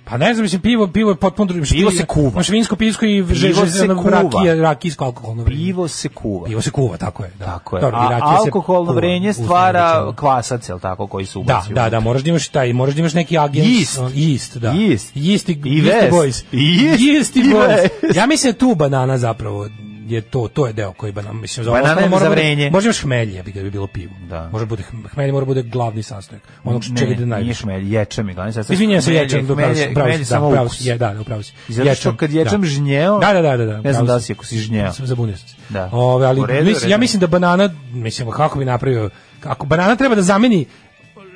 Pa ne znam, mislim, pivo, pivo je potpuno drugo. Pivo se kuva. Imaš vinsko, pivsko i Pivo že, se že, ono, kuva. rakija, rakijsko alkoholno vrenje. Pivo se kuva. Pivo se kuva, tako je. Da. Tako je. Dobro, i a rakija se alkoholno kuva, vrenje uslovno stvara rečeno. kvasac, jel tako, koji se Da, ubaci. da, da, moraš da imaš taj, moraš da imaš neki agens. Yeast. on, yeast, da. Yeast. Yeast i, I yeast i vest. boys. I yeast Yeast i i boys. vest. Ja mislim da tu banana zapravo je to, to je deo koji banana, mislim, za ovo Banana ostalo je mora za bude- vrenje. Može imaš hmelje, bi da bi bilo pivo. Da. Može bude, hmelje mora bude glavni sastojak. Onog ono što Ne, čega ide Nije najviše. šmelj, ječam je glavni sastav. Izvinjam se, Hmelj je- ječam, da, hmelj je- pravo si, pravo hmelj je si, da, samo pravo ukus. si, je, da, upravo si. I zato što Ječam, kad ječam da. žnjeo- Da, da, da, da, da. Ne znam pravo da si ako si žnjeo. Sam zabunio sam se. Da. Ove, ali U redu, mislim, u ja redu. mislim da banana, mislim, kako bi napravio, ako banana treba da zameni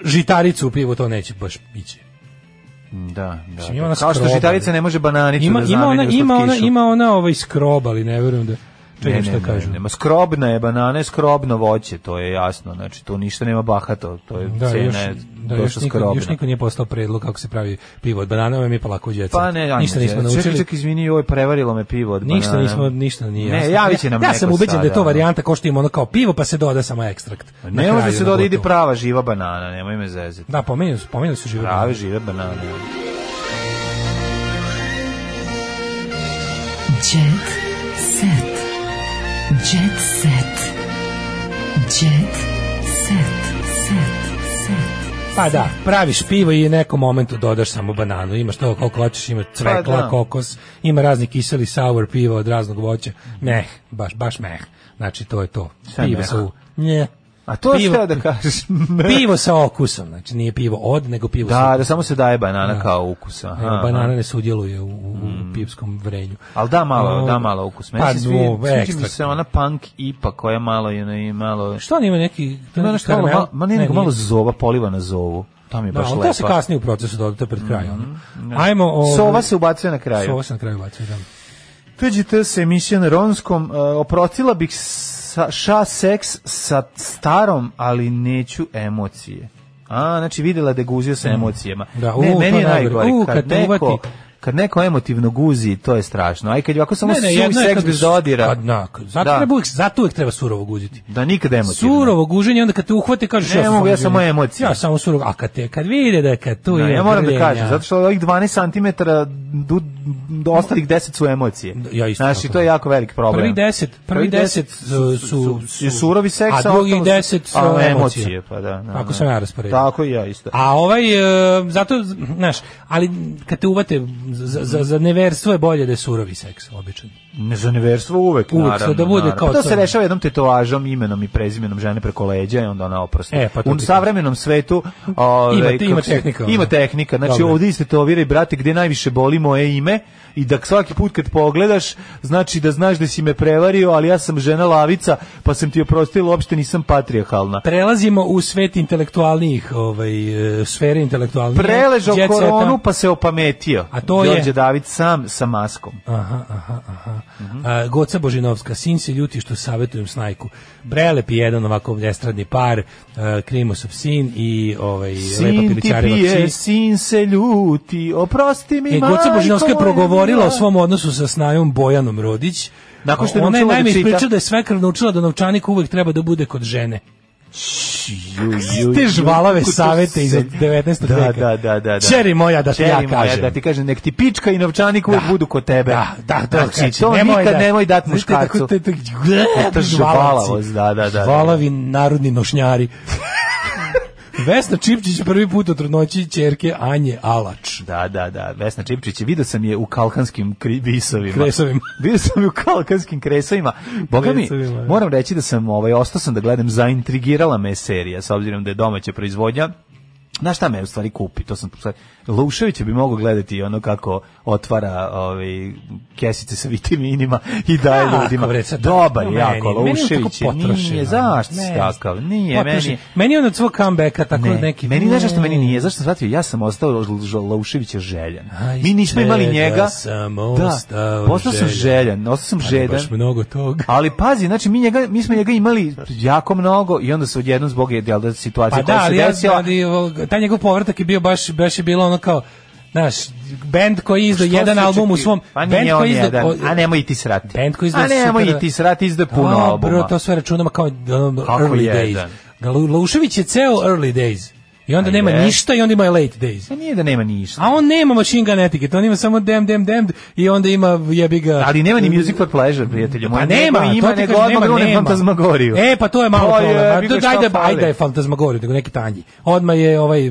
žitaricu u pivu, to neće baš ići. Da, da. Mislim, Znači, ima ona Kao što skroba, žitarica ne može bananicu Ima, da ima zameni ona, u ima ona, slatkišu. ima ona ovaj skrob, ali ne verujem da... Čekaj, šta kažu. ne, ma skrobna je banana, je skrobno voće, to je jasno. Znači, tu ništa nema bahato, to je Da, cena još, je da, još, došla niko, skrobna. još niko nije postao predlog kako se pravi pivo od banana, ovo mi je polako uđe. Pa ne, ajme, Ništa nismo čekaj, naučili. Čekaj, čekaj, izvini, joj, prevarilo me pivo od banana. Ništa nismo, ništa nije. Pa Ne, jasno. javit će nam ja, ja neko sam ubeđen da je to sada, varijanta kao što ima ono kao pivo pa se doda samo ekstrakt. ono. Na Ne može kraju, se ono, doda, ide gotovo. prava živa banana, nemoj me zezati. Da, pomenuli su, pomenuli su žive Prave banane. žive banane. Jet set. Jet set. Jet set. Set. Set. Pa da, praviš pivo i u nekom momentu dodaš samo bananu. Imaš to koliko hoćeš, ima cvekla, Pa da. kokos, ima razni kiseli sour piva od raznog voća. Meh, baš, baš meh. Znači, to je to. Šta je Pivo meh? sa u... Nje. A to je Pivo- šta da kažeš? Pivo sa okusom, znači nije pivo od, nego pivo sa Da, da samo se daje banana Da. kao ukus. Aha, Evo, aha. Mm. banana ne sudjeluje u, u, u pivskom vrenju. Ali da malo, O, da malo ukus. Meni pa, se no, svi, sviđa mi ekstrakt. se ona punk ipa koja malo je ono i malo... Što on ima neki... Ima nešto malo, karamel? malo, ma ne, nego nije. malo zova, poliva na zovu. To mi je Da, baš ali lepo. to se kasnije u procesu dodaje, to je pred kraj. ono. Ajmo... ovaj- mm. Sova se ubacuje na kraju. Sova se na kraju ubacuje, da. Tuđite se emisija na Ronskom, e, oprostila bih sa, ša seks sa starom, ali neću emocije. A, znači videla da je guzio sa emocijama. Mm. Da, ne, u, meni to je je najgore. najgore. U, kad, kad te neko, uvati. kad neko emotivno guzi, to je strašno. Aj, kad je ovako samo ne, suvi jedno je seks kad- bez dodira. Kad, na, kad- zato, Da. treba uvijek, zato uvijek treba surovo guziti. Da nikad emotivno. Surovo guženje, onda kad te uhvate, kažeš... Ne sam mogu, ja guženje. samo emocije. Ja samo surovo, a kad, te, kad vide da je kad tu Da, ima ja moram da grljenja. kažem, zato što ovih 12 cm do, do ostalih 10 su emocije. Ja isto Znaš, tako i to je jako velik problem. Prvi 10, prvi 10 su, su, je surovi seks, a drugi ostalo 10 su a, emocije. emocije. Pa da, da, Tako da. sam ja rasporedio. Tako i ja isto. A ovaj, e, zato, znaš, ali kad te uvate, za, za, za neverstvo je bolje da je surovi seks, običan. Ne za neverstvo uvek, Uvek, naravno. da bude naravno. kao Pa to to. se rešava jednom tetovažom, imenom i prezimenom žene preko leđa i onda ona oprosti. E, pa to U ti- savremenom svetu... Ove, Ima te- ima kako se- tehnika, ono. Ima tehnika. Znači, Dobro. ovdje istetoviraj, brate, gde najviše boli moje ime i da svaki put kad pogledaš, znači da znaš da si me prevario, ali ja sam žena lavica, pa sam ti oprostila, uopšte nisam patrijarhalna. Prelazimo u svet intelektualnih, ovaj, e, sfere intelektualnih. Preležao koronu pa se opametio. A to je- Đorđe David sam sa maskom. Aha, aha, aha. A, Goca Božinovska, sin se ljuti što savjetujem snajku. Prelep je jedan ovako estradni par, uh, Krimosov sin i ovaj, Lepa Sin ti Pilićareva pije, kći. sin se ljuti, oprosti mi, E, Goca majko Božinovska je moja progovorila mila. o svom odnosu sa snajom Bojanom Rodić. Nakon što je Ona je naučila da najme čita. ispričala da je svekar naučila da novčanik uvek treba da bude kod žene. Ju, ju, Te ju, žvalave kako to savete iz se- 19. da, veka. Da, da, da, da. Ćeri moja, da ti Ćeri ja moja, kažem. Da ti kažem, nek ti pička i novčanik uvijek budu kod tebe. Da, da, to znači, znači, to nemoj nikad da- nemoj dati Znaš, to je tako- muškarcu. to je tako- E, ta žvalavost, da, da, da, da. Žvalavi narodni nošnjari. Vesna Čipčić je prvi put od trudnoći ćerke Anje Alač. Da, da, da, Vesna Čipčić. Video sam je u kalkanskim kri- bisovima. Kresovima. Video sam je u kalkanskim kresovima. Boga mi, Kresovima, da. moram reći da sam, ovaj, ostao sam da gledam, zaintrigirala me je serija, s obzirom da je domaća proizvodnja. Znaš šta me u stvari kupi? To sam, Luševića bi mogao gledati ono kako otvara ovaj, kesice sa vitaminima i daje Kako, ljudima. bre, sad- Dobar je meni- jako, meni je Laušević je, tako potrošeno. nije, zašto si Ne, takav? Nije, potrošeno. meni je- Meni je on od svog comebacka tako neki... meni znaš što meni nije, zašto sam shvatio, ja sam ostao Ž- Ž- Lauševića željan. Aj, Mi nismo čega imali njega. sam da, ostao postao sam željan, željan. ostao sam Ali žedan. baš mnogo toga. Ali pazi, znači mi njega mi smo njega imali jako mnogo i onda se odjednom zbog je jel da situacija Pa koja da, se ali ja desila. ali, ovog- taj njegov povratak je bio baš, baš je bilo ono kao, znaš, bend koji je izdao Što jedan Pa se album u očekuje? svom... Pa bend nije on koji je jedan, izdao, a nemoj i ti srati. Band koji A izdaje nemoj super- i ti srati, izdaje puno Dobro, albuma. to sve računamo kao um, Kako early jedan? days. Lu- Laušević je ceo early days. I onda A nema je. ništa i onda ima late days. Pa nije da nema ništa. A on nema Machine Gun Etiquette, on ima samo dem, dem, dem i onda ima jebi ga... Ali nema ni Music for Pleasure, prijatelju. Pa moj. nema, nego to ima ti nego kažem, odmah nema, grune nema. fantazmagoriju. E, pa to je malo To je, problem. vidi Ma, šta Daj da fali. ajde je fantazmagoriju, nego neki tanji. Odmah je ovaj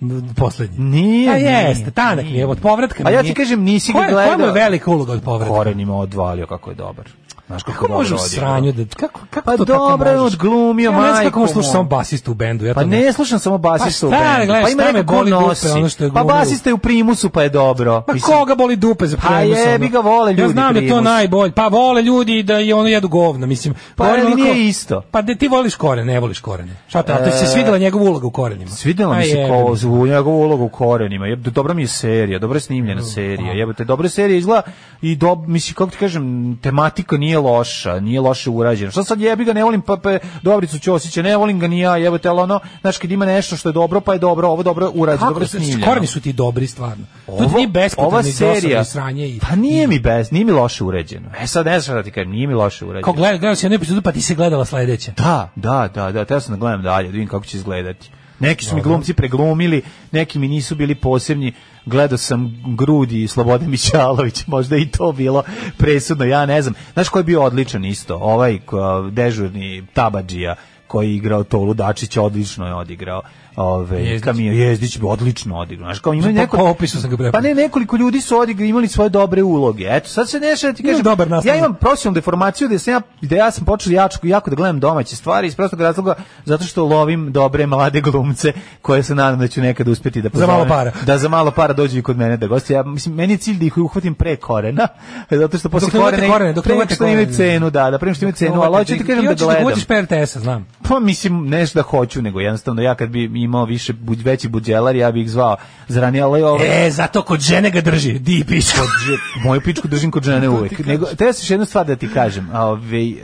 m, poslednji. Nije, A nije, jeste, tanak mi je, od povratka A mi ja nije. ti kažem, nisi ga Koja- gledao. Koja mu je velika uloga od povratka? Korenima odvalio kako je dobar. Znaš kako, Kako dobro može u odigrao. sranju da kako kako Pa to tako dobro je možeš? odglumio, Ja ne znam majko kako slušaš moja. samo basistu u bendu, ja to Pa ne slušam samo basista u Pa šta, bendu. gledaš, pa ima šta me neko ko boli dupe, nosi. ono što je pa glumio. basista je u primusu pa je dobro. Pa Mislim, koga boli dupe za Pa primus? jebi ono? ga, vole Ja ljudi znam da je to primus. najbolje. Pa vole ljudi da je ono jedu govno, mislim. Pa, Govorim ali ono nije kao- isto. Pa da ti voliš korene, ne voliš korene. Šta te, a to se E, svidela njegova uloga u korenima. Svidela mi A se Pa jebi ko ga. zvu njegovu ulogu u korenima. Jeb, dobra mi je serija, dobro je Mm, snimljena serija. pa. Jebote, dobra serija izgleda i dob, mislim kako ti kažem, tematika nije loša, nije loše urađena. Šta sad jebi ga ne volim pa, pa Dobricu Ćosića, ne volim ga ni ja, jebote, al ono, znaš kad ima nešto što je dobro, pa je dobro, ovo dobro urađeno, Kako dobro se- snimljeno. koreni su ti dobri stvarno. to ti Ovo- nije ova beskutani serija- dosadno sranje i Pa nije mi bez, nije mi loše uređeno. E sad ne znam šta da ti kažem, nije mi loše uređeno. kao gledao, gledao si jednu epizodu pa ti se gledala sledeća. Da, da, da, da, teo sam da gledam dalje, da vidim kako će izgledati. Neki su mi glumci preglumili, neki mi nisu bili posebni. Gledao sam Grudi i Slobode Mićalović, možda je i to bilo presudno, ja ne znam. Znaš ko je bio odličan isto? Ovaj ko- dežurni Tabadžija koji je igrao Tolu Dačić, odlično je odigrao. Ove, Jezdić. Kamil Jezdić bi odlično odigrao. Znaš, kao ima Pa, neko... pa, opisao sam ga Pa prepoznao. ne, nekoliko ljudi su odigrali, imali svoje dobre uloge. Eto, sad se nešto ti Imam kažem, dobar nastavnik. ja imam profesionalnu deformaciju da sam ja, da ja sam počeo jako, jako da gledam domaće stvari iz prostog razloga zato što lovim dobre mlade glumce koje se nadam da ću nekad uspjeti da pozovem. malo para. Da za malo para dođu i kod mene da gosti. Ja, mislim, meni je cilj da ih uhvatim pre korena, zato što posle Dok ne uvate korena, korene, dok ne pre nego uvate što imaju korene. cenu, da, da pre nego što imaju cenu, ali hoću ti kažem I da hoćeš da gledam. uvođiš PRTS-a, znam. Pa mislim, ne da hoću, nego jednostavno ja kad bi imao više, buđ- veći buđelar, ja bih ih zvao zranije, ali ovo... E, zato kod žene ga drži, di pičko. Kod že- moju pičku držim kod žene uvek. Nego treba se još jednu stvar da ti kažem. A, ovaj, em,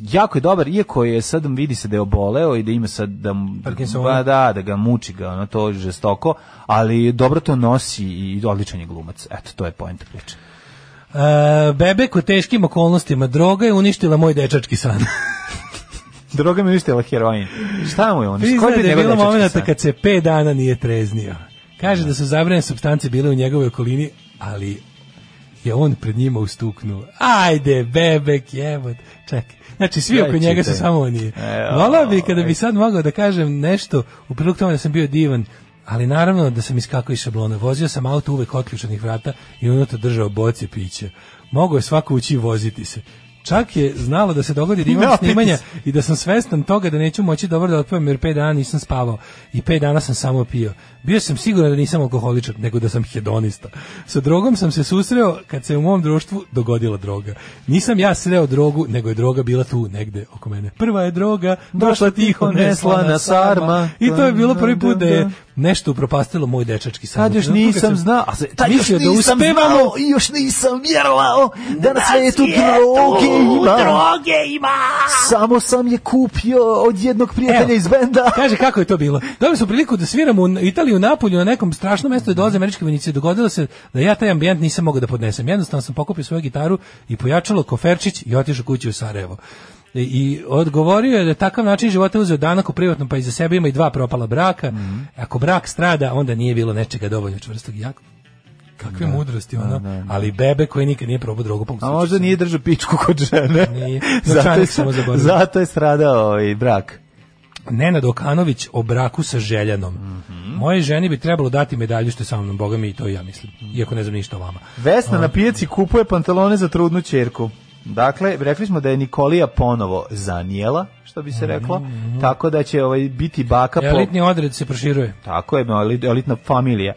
jako je dobar, iako je sad vidi se da je oboleo i da ima sad da m- Parkinsona. ba, da, da ga muči ga, ono to žestoko, ali dobro to nosi i odličan je glumac. Eto, to je poenta priče. E, bebek u teškim okolnostima droga je uništila moj dečački san. Droga mi je uništila heroin. Šta mu je on? Priznaje ono, Koji bi da je njegov bilo dečački momenta san? kad se 5 dana nije treznio. Kaže da su zabranjene substance bile u njegovoj okolini, ali je on pred njima ustuknuo. Ajde, bebek, jebot. Čekaj. Znači, svi Daj, oko njega su čitaj. samo on je. E, Volao bi oj. kada bi sad mogao da kažem nešto u prilog tome da sam bio divan, ali naravno da sam iskakao iz šablona. Vozio sam auto uvek otključenih vrata i unutra držao boce pića. Mogao je svako ući i voziti se. Čak je znalo da se dogodi da imam Opet snimanja i da sam svestan toga da neću moći dobro da otpavam jer 5 dana nisam spavao i 5 dana sam samo pio. Bio sam siguran da nisam alkoholičar, nego da sam hedonista. Sa drogom sam se susreo kad se u mom društvu dogodila droga. Nisam ja sreo drogu, nego je droga bila tu negde oko mene. Prva je droga, došla tiho, neslana sarma. I to je bilo prvi put da je nešto upropastilo moj dečački san. Tad još nisam znao, a se- tad još mislio da nisam uspevamo. znao i još nisam vjerovao da na svetu droge ima. Samo sam je kupio od jednog prijatelja Evo. iz benda. Kaže kako je to bilo. Dobili smo priliku da sviramo u Italiji u Napolju na nekom strašnom mestu i dolaze američki vojnici. Dogodilo se da ja taj ambijent nisam mogao da podnesem. Jednostavno sam pokupio svoju gitaru i pojačalo koferčić i otišao kući u Sarajevo. I- I odgovorio je da je takav način života uzeo danak u privatnom, pa i za sebe ima i dva propala braka. Mhm. Ako brak strada, onda nije bilo nečega dovoljno čvrstog i jakog. Kakve mudrosti, ono. Ali bebe koji nikad nije probao drogu. pa A možda nije držao pičku kod žene. Nije. zato, je, Novčanik sam mu zaboravio. zato je stradao i brak. Nenad Okanović o braku sa Željanom. Mhm. Moje ženi bi trebalo dati medalju što je sa mnom, boga mi i to i ja mislim. Iako ne znam ništa o vama. Vesna na pijaci kupuje pantalone za trudnu čerku. Dakle, rekli smo da je Nikolija ponovo zanijela, što bi se reklo, tako da će ovaj biti baka po... Elitni odred se proširuje. Tako je, elit- elitna familija. E,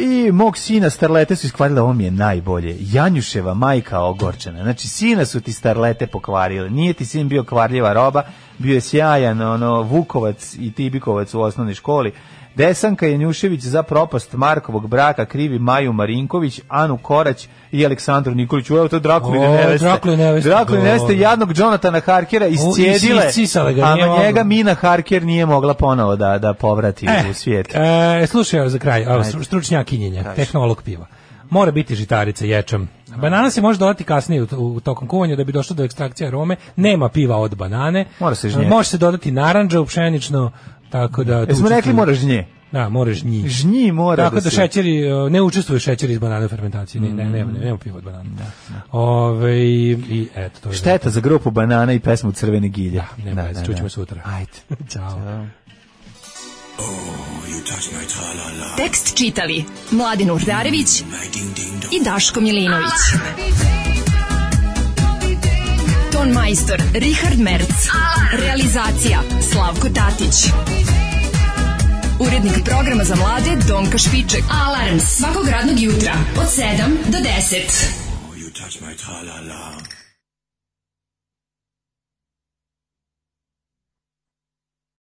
I mog sina starlete su iskvarile, ovo mi je najbolje. Janjuševa majka ogorčena. Znači, sina su ti starlete pokvarile. Nije ti sin bio kvarljiva roba, bio je sjajan ono, Vukovac i Tibikovac u osnovnoj školi. Desanka Janjušević za propast Markovog braka krivi Maju Marinković, Anu Korać i Aleksandru Nikoliću. Evo to Drakuline O, neveste. Drakuline neveste. Drakuline neveste, Dobro. jadnog Jonatana Harkera iscijedile, is- iscisale ga, a nije na mogla. njega Mina Harker nije mogla ponovo da, da povrati u svijet. E, slušaj, evo za kraj, ovo, Ajde. stru- stručnjakinjenja, Kaži. tehnolog piva. Mora biti žitarica, ječam. Banana se može dodati kasnije u, u tokom kuvanja da bi došlo do ekstrakcije arome. Nema piva od banane. Mora se žnjeti. Može se dodati narandža u pšenično, tako da... tu Jesmo rekli učestvuju- moraš nje. Da, mora žnji. Žnji mora Tako da da, se- Mm. šećeri, e, ne učestvuje šećer iz banane u fermentaciji. Ne, ne, ne, ne, nema piva od banane. Ove, i eto, to je Šteta za grupu Banana i pesmu Crvene gilje. Da, nema veze, čućemo sutra. Ajde. Ćao. Tekst čitali Mladin Urdarević i Daško Milinović. Ton majstor Richard Merc. Realizacija Slavko Tatić. Urednik programa za mlade Donka Špiček. Alarms svakog radnog jutra od 7 do 10. You touch my tra-la-la.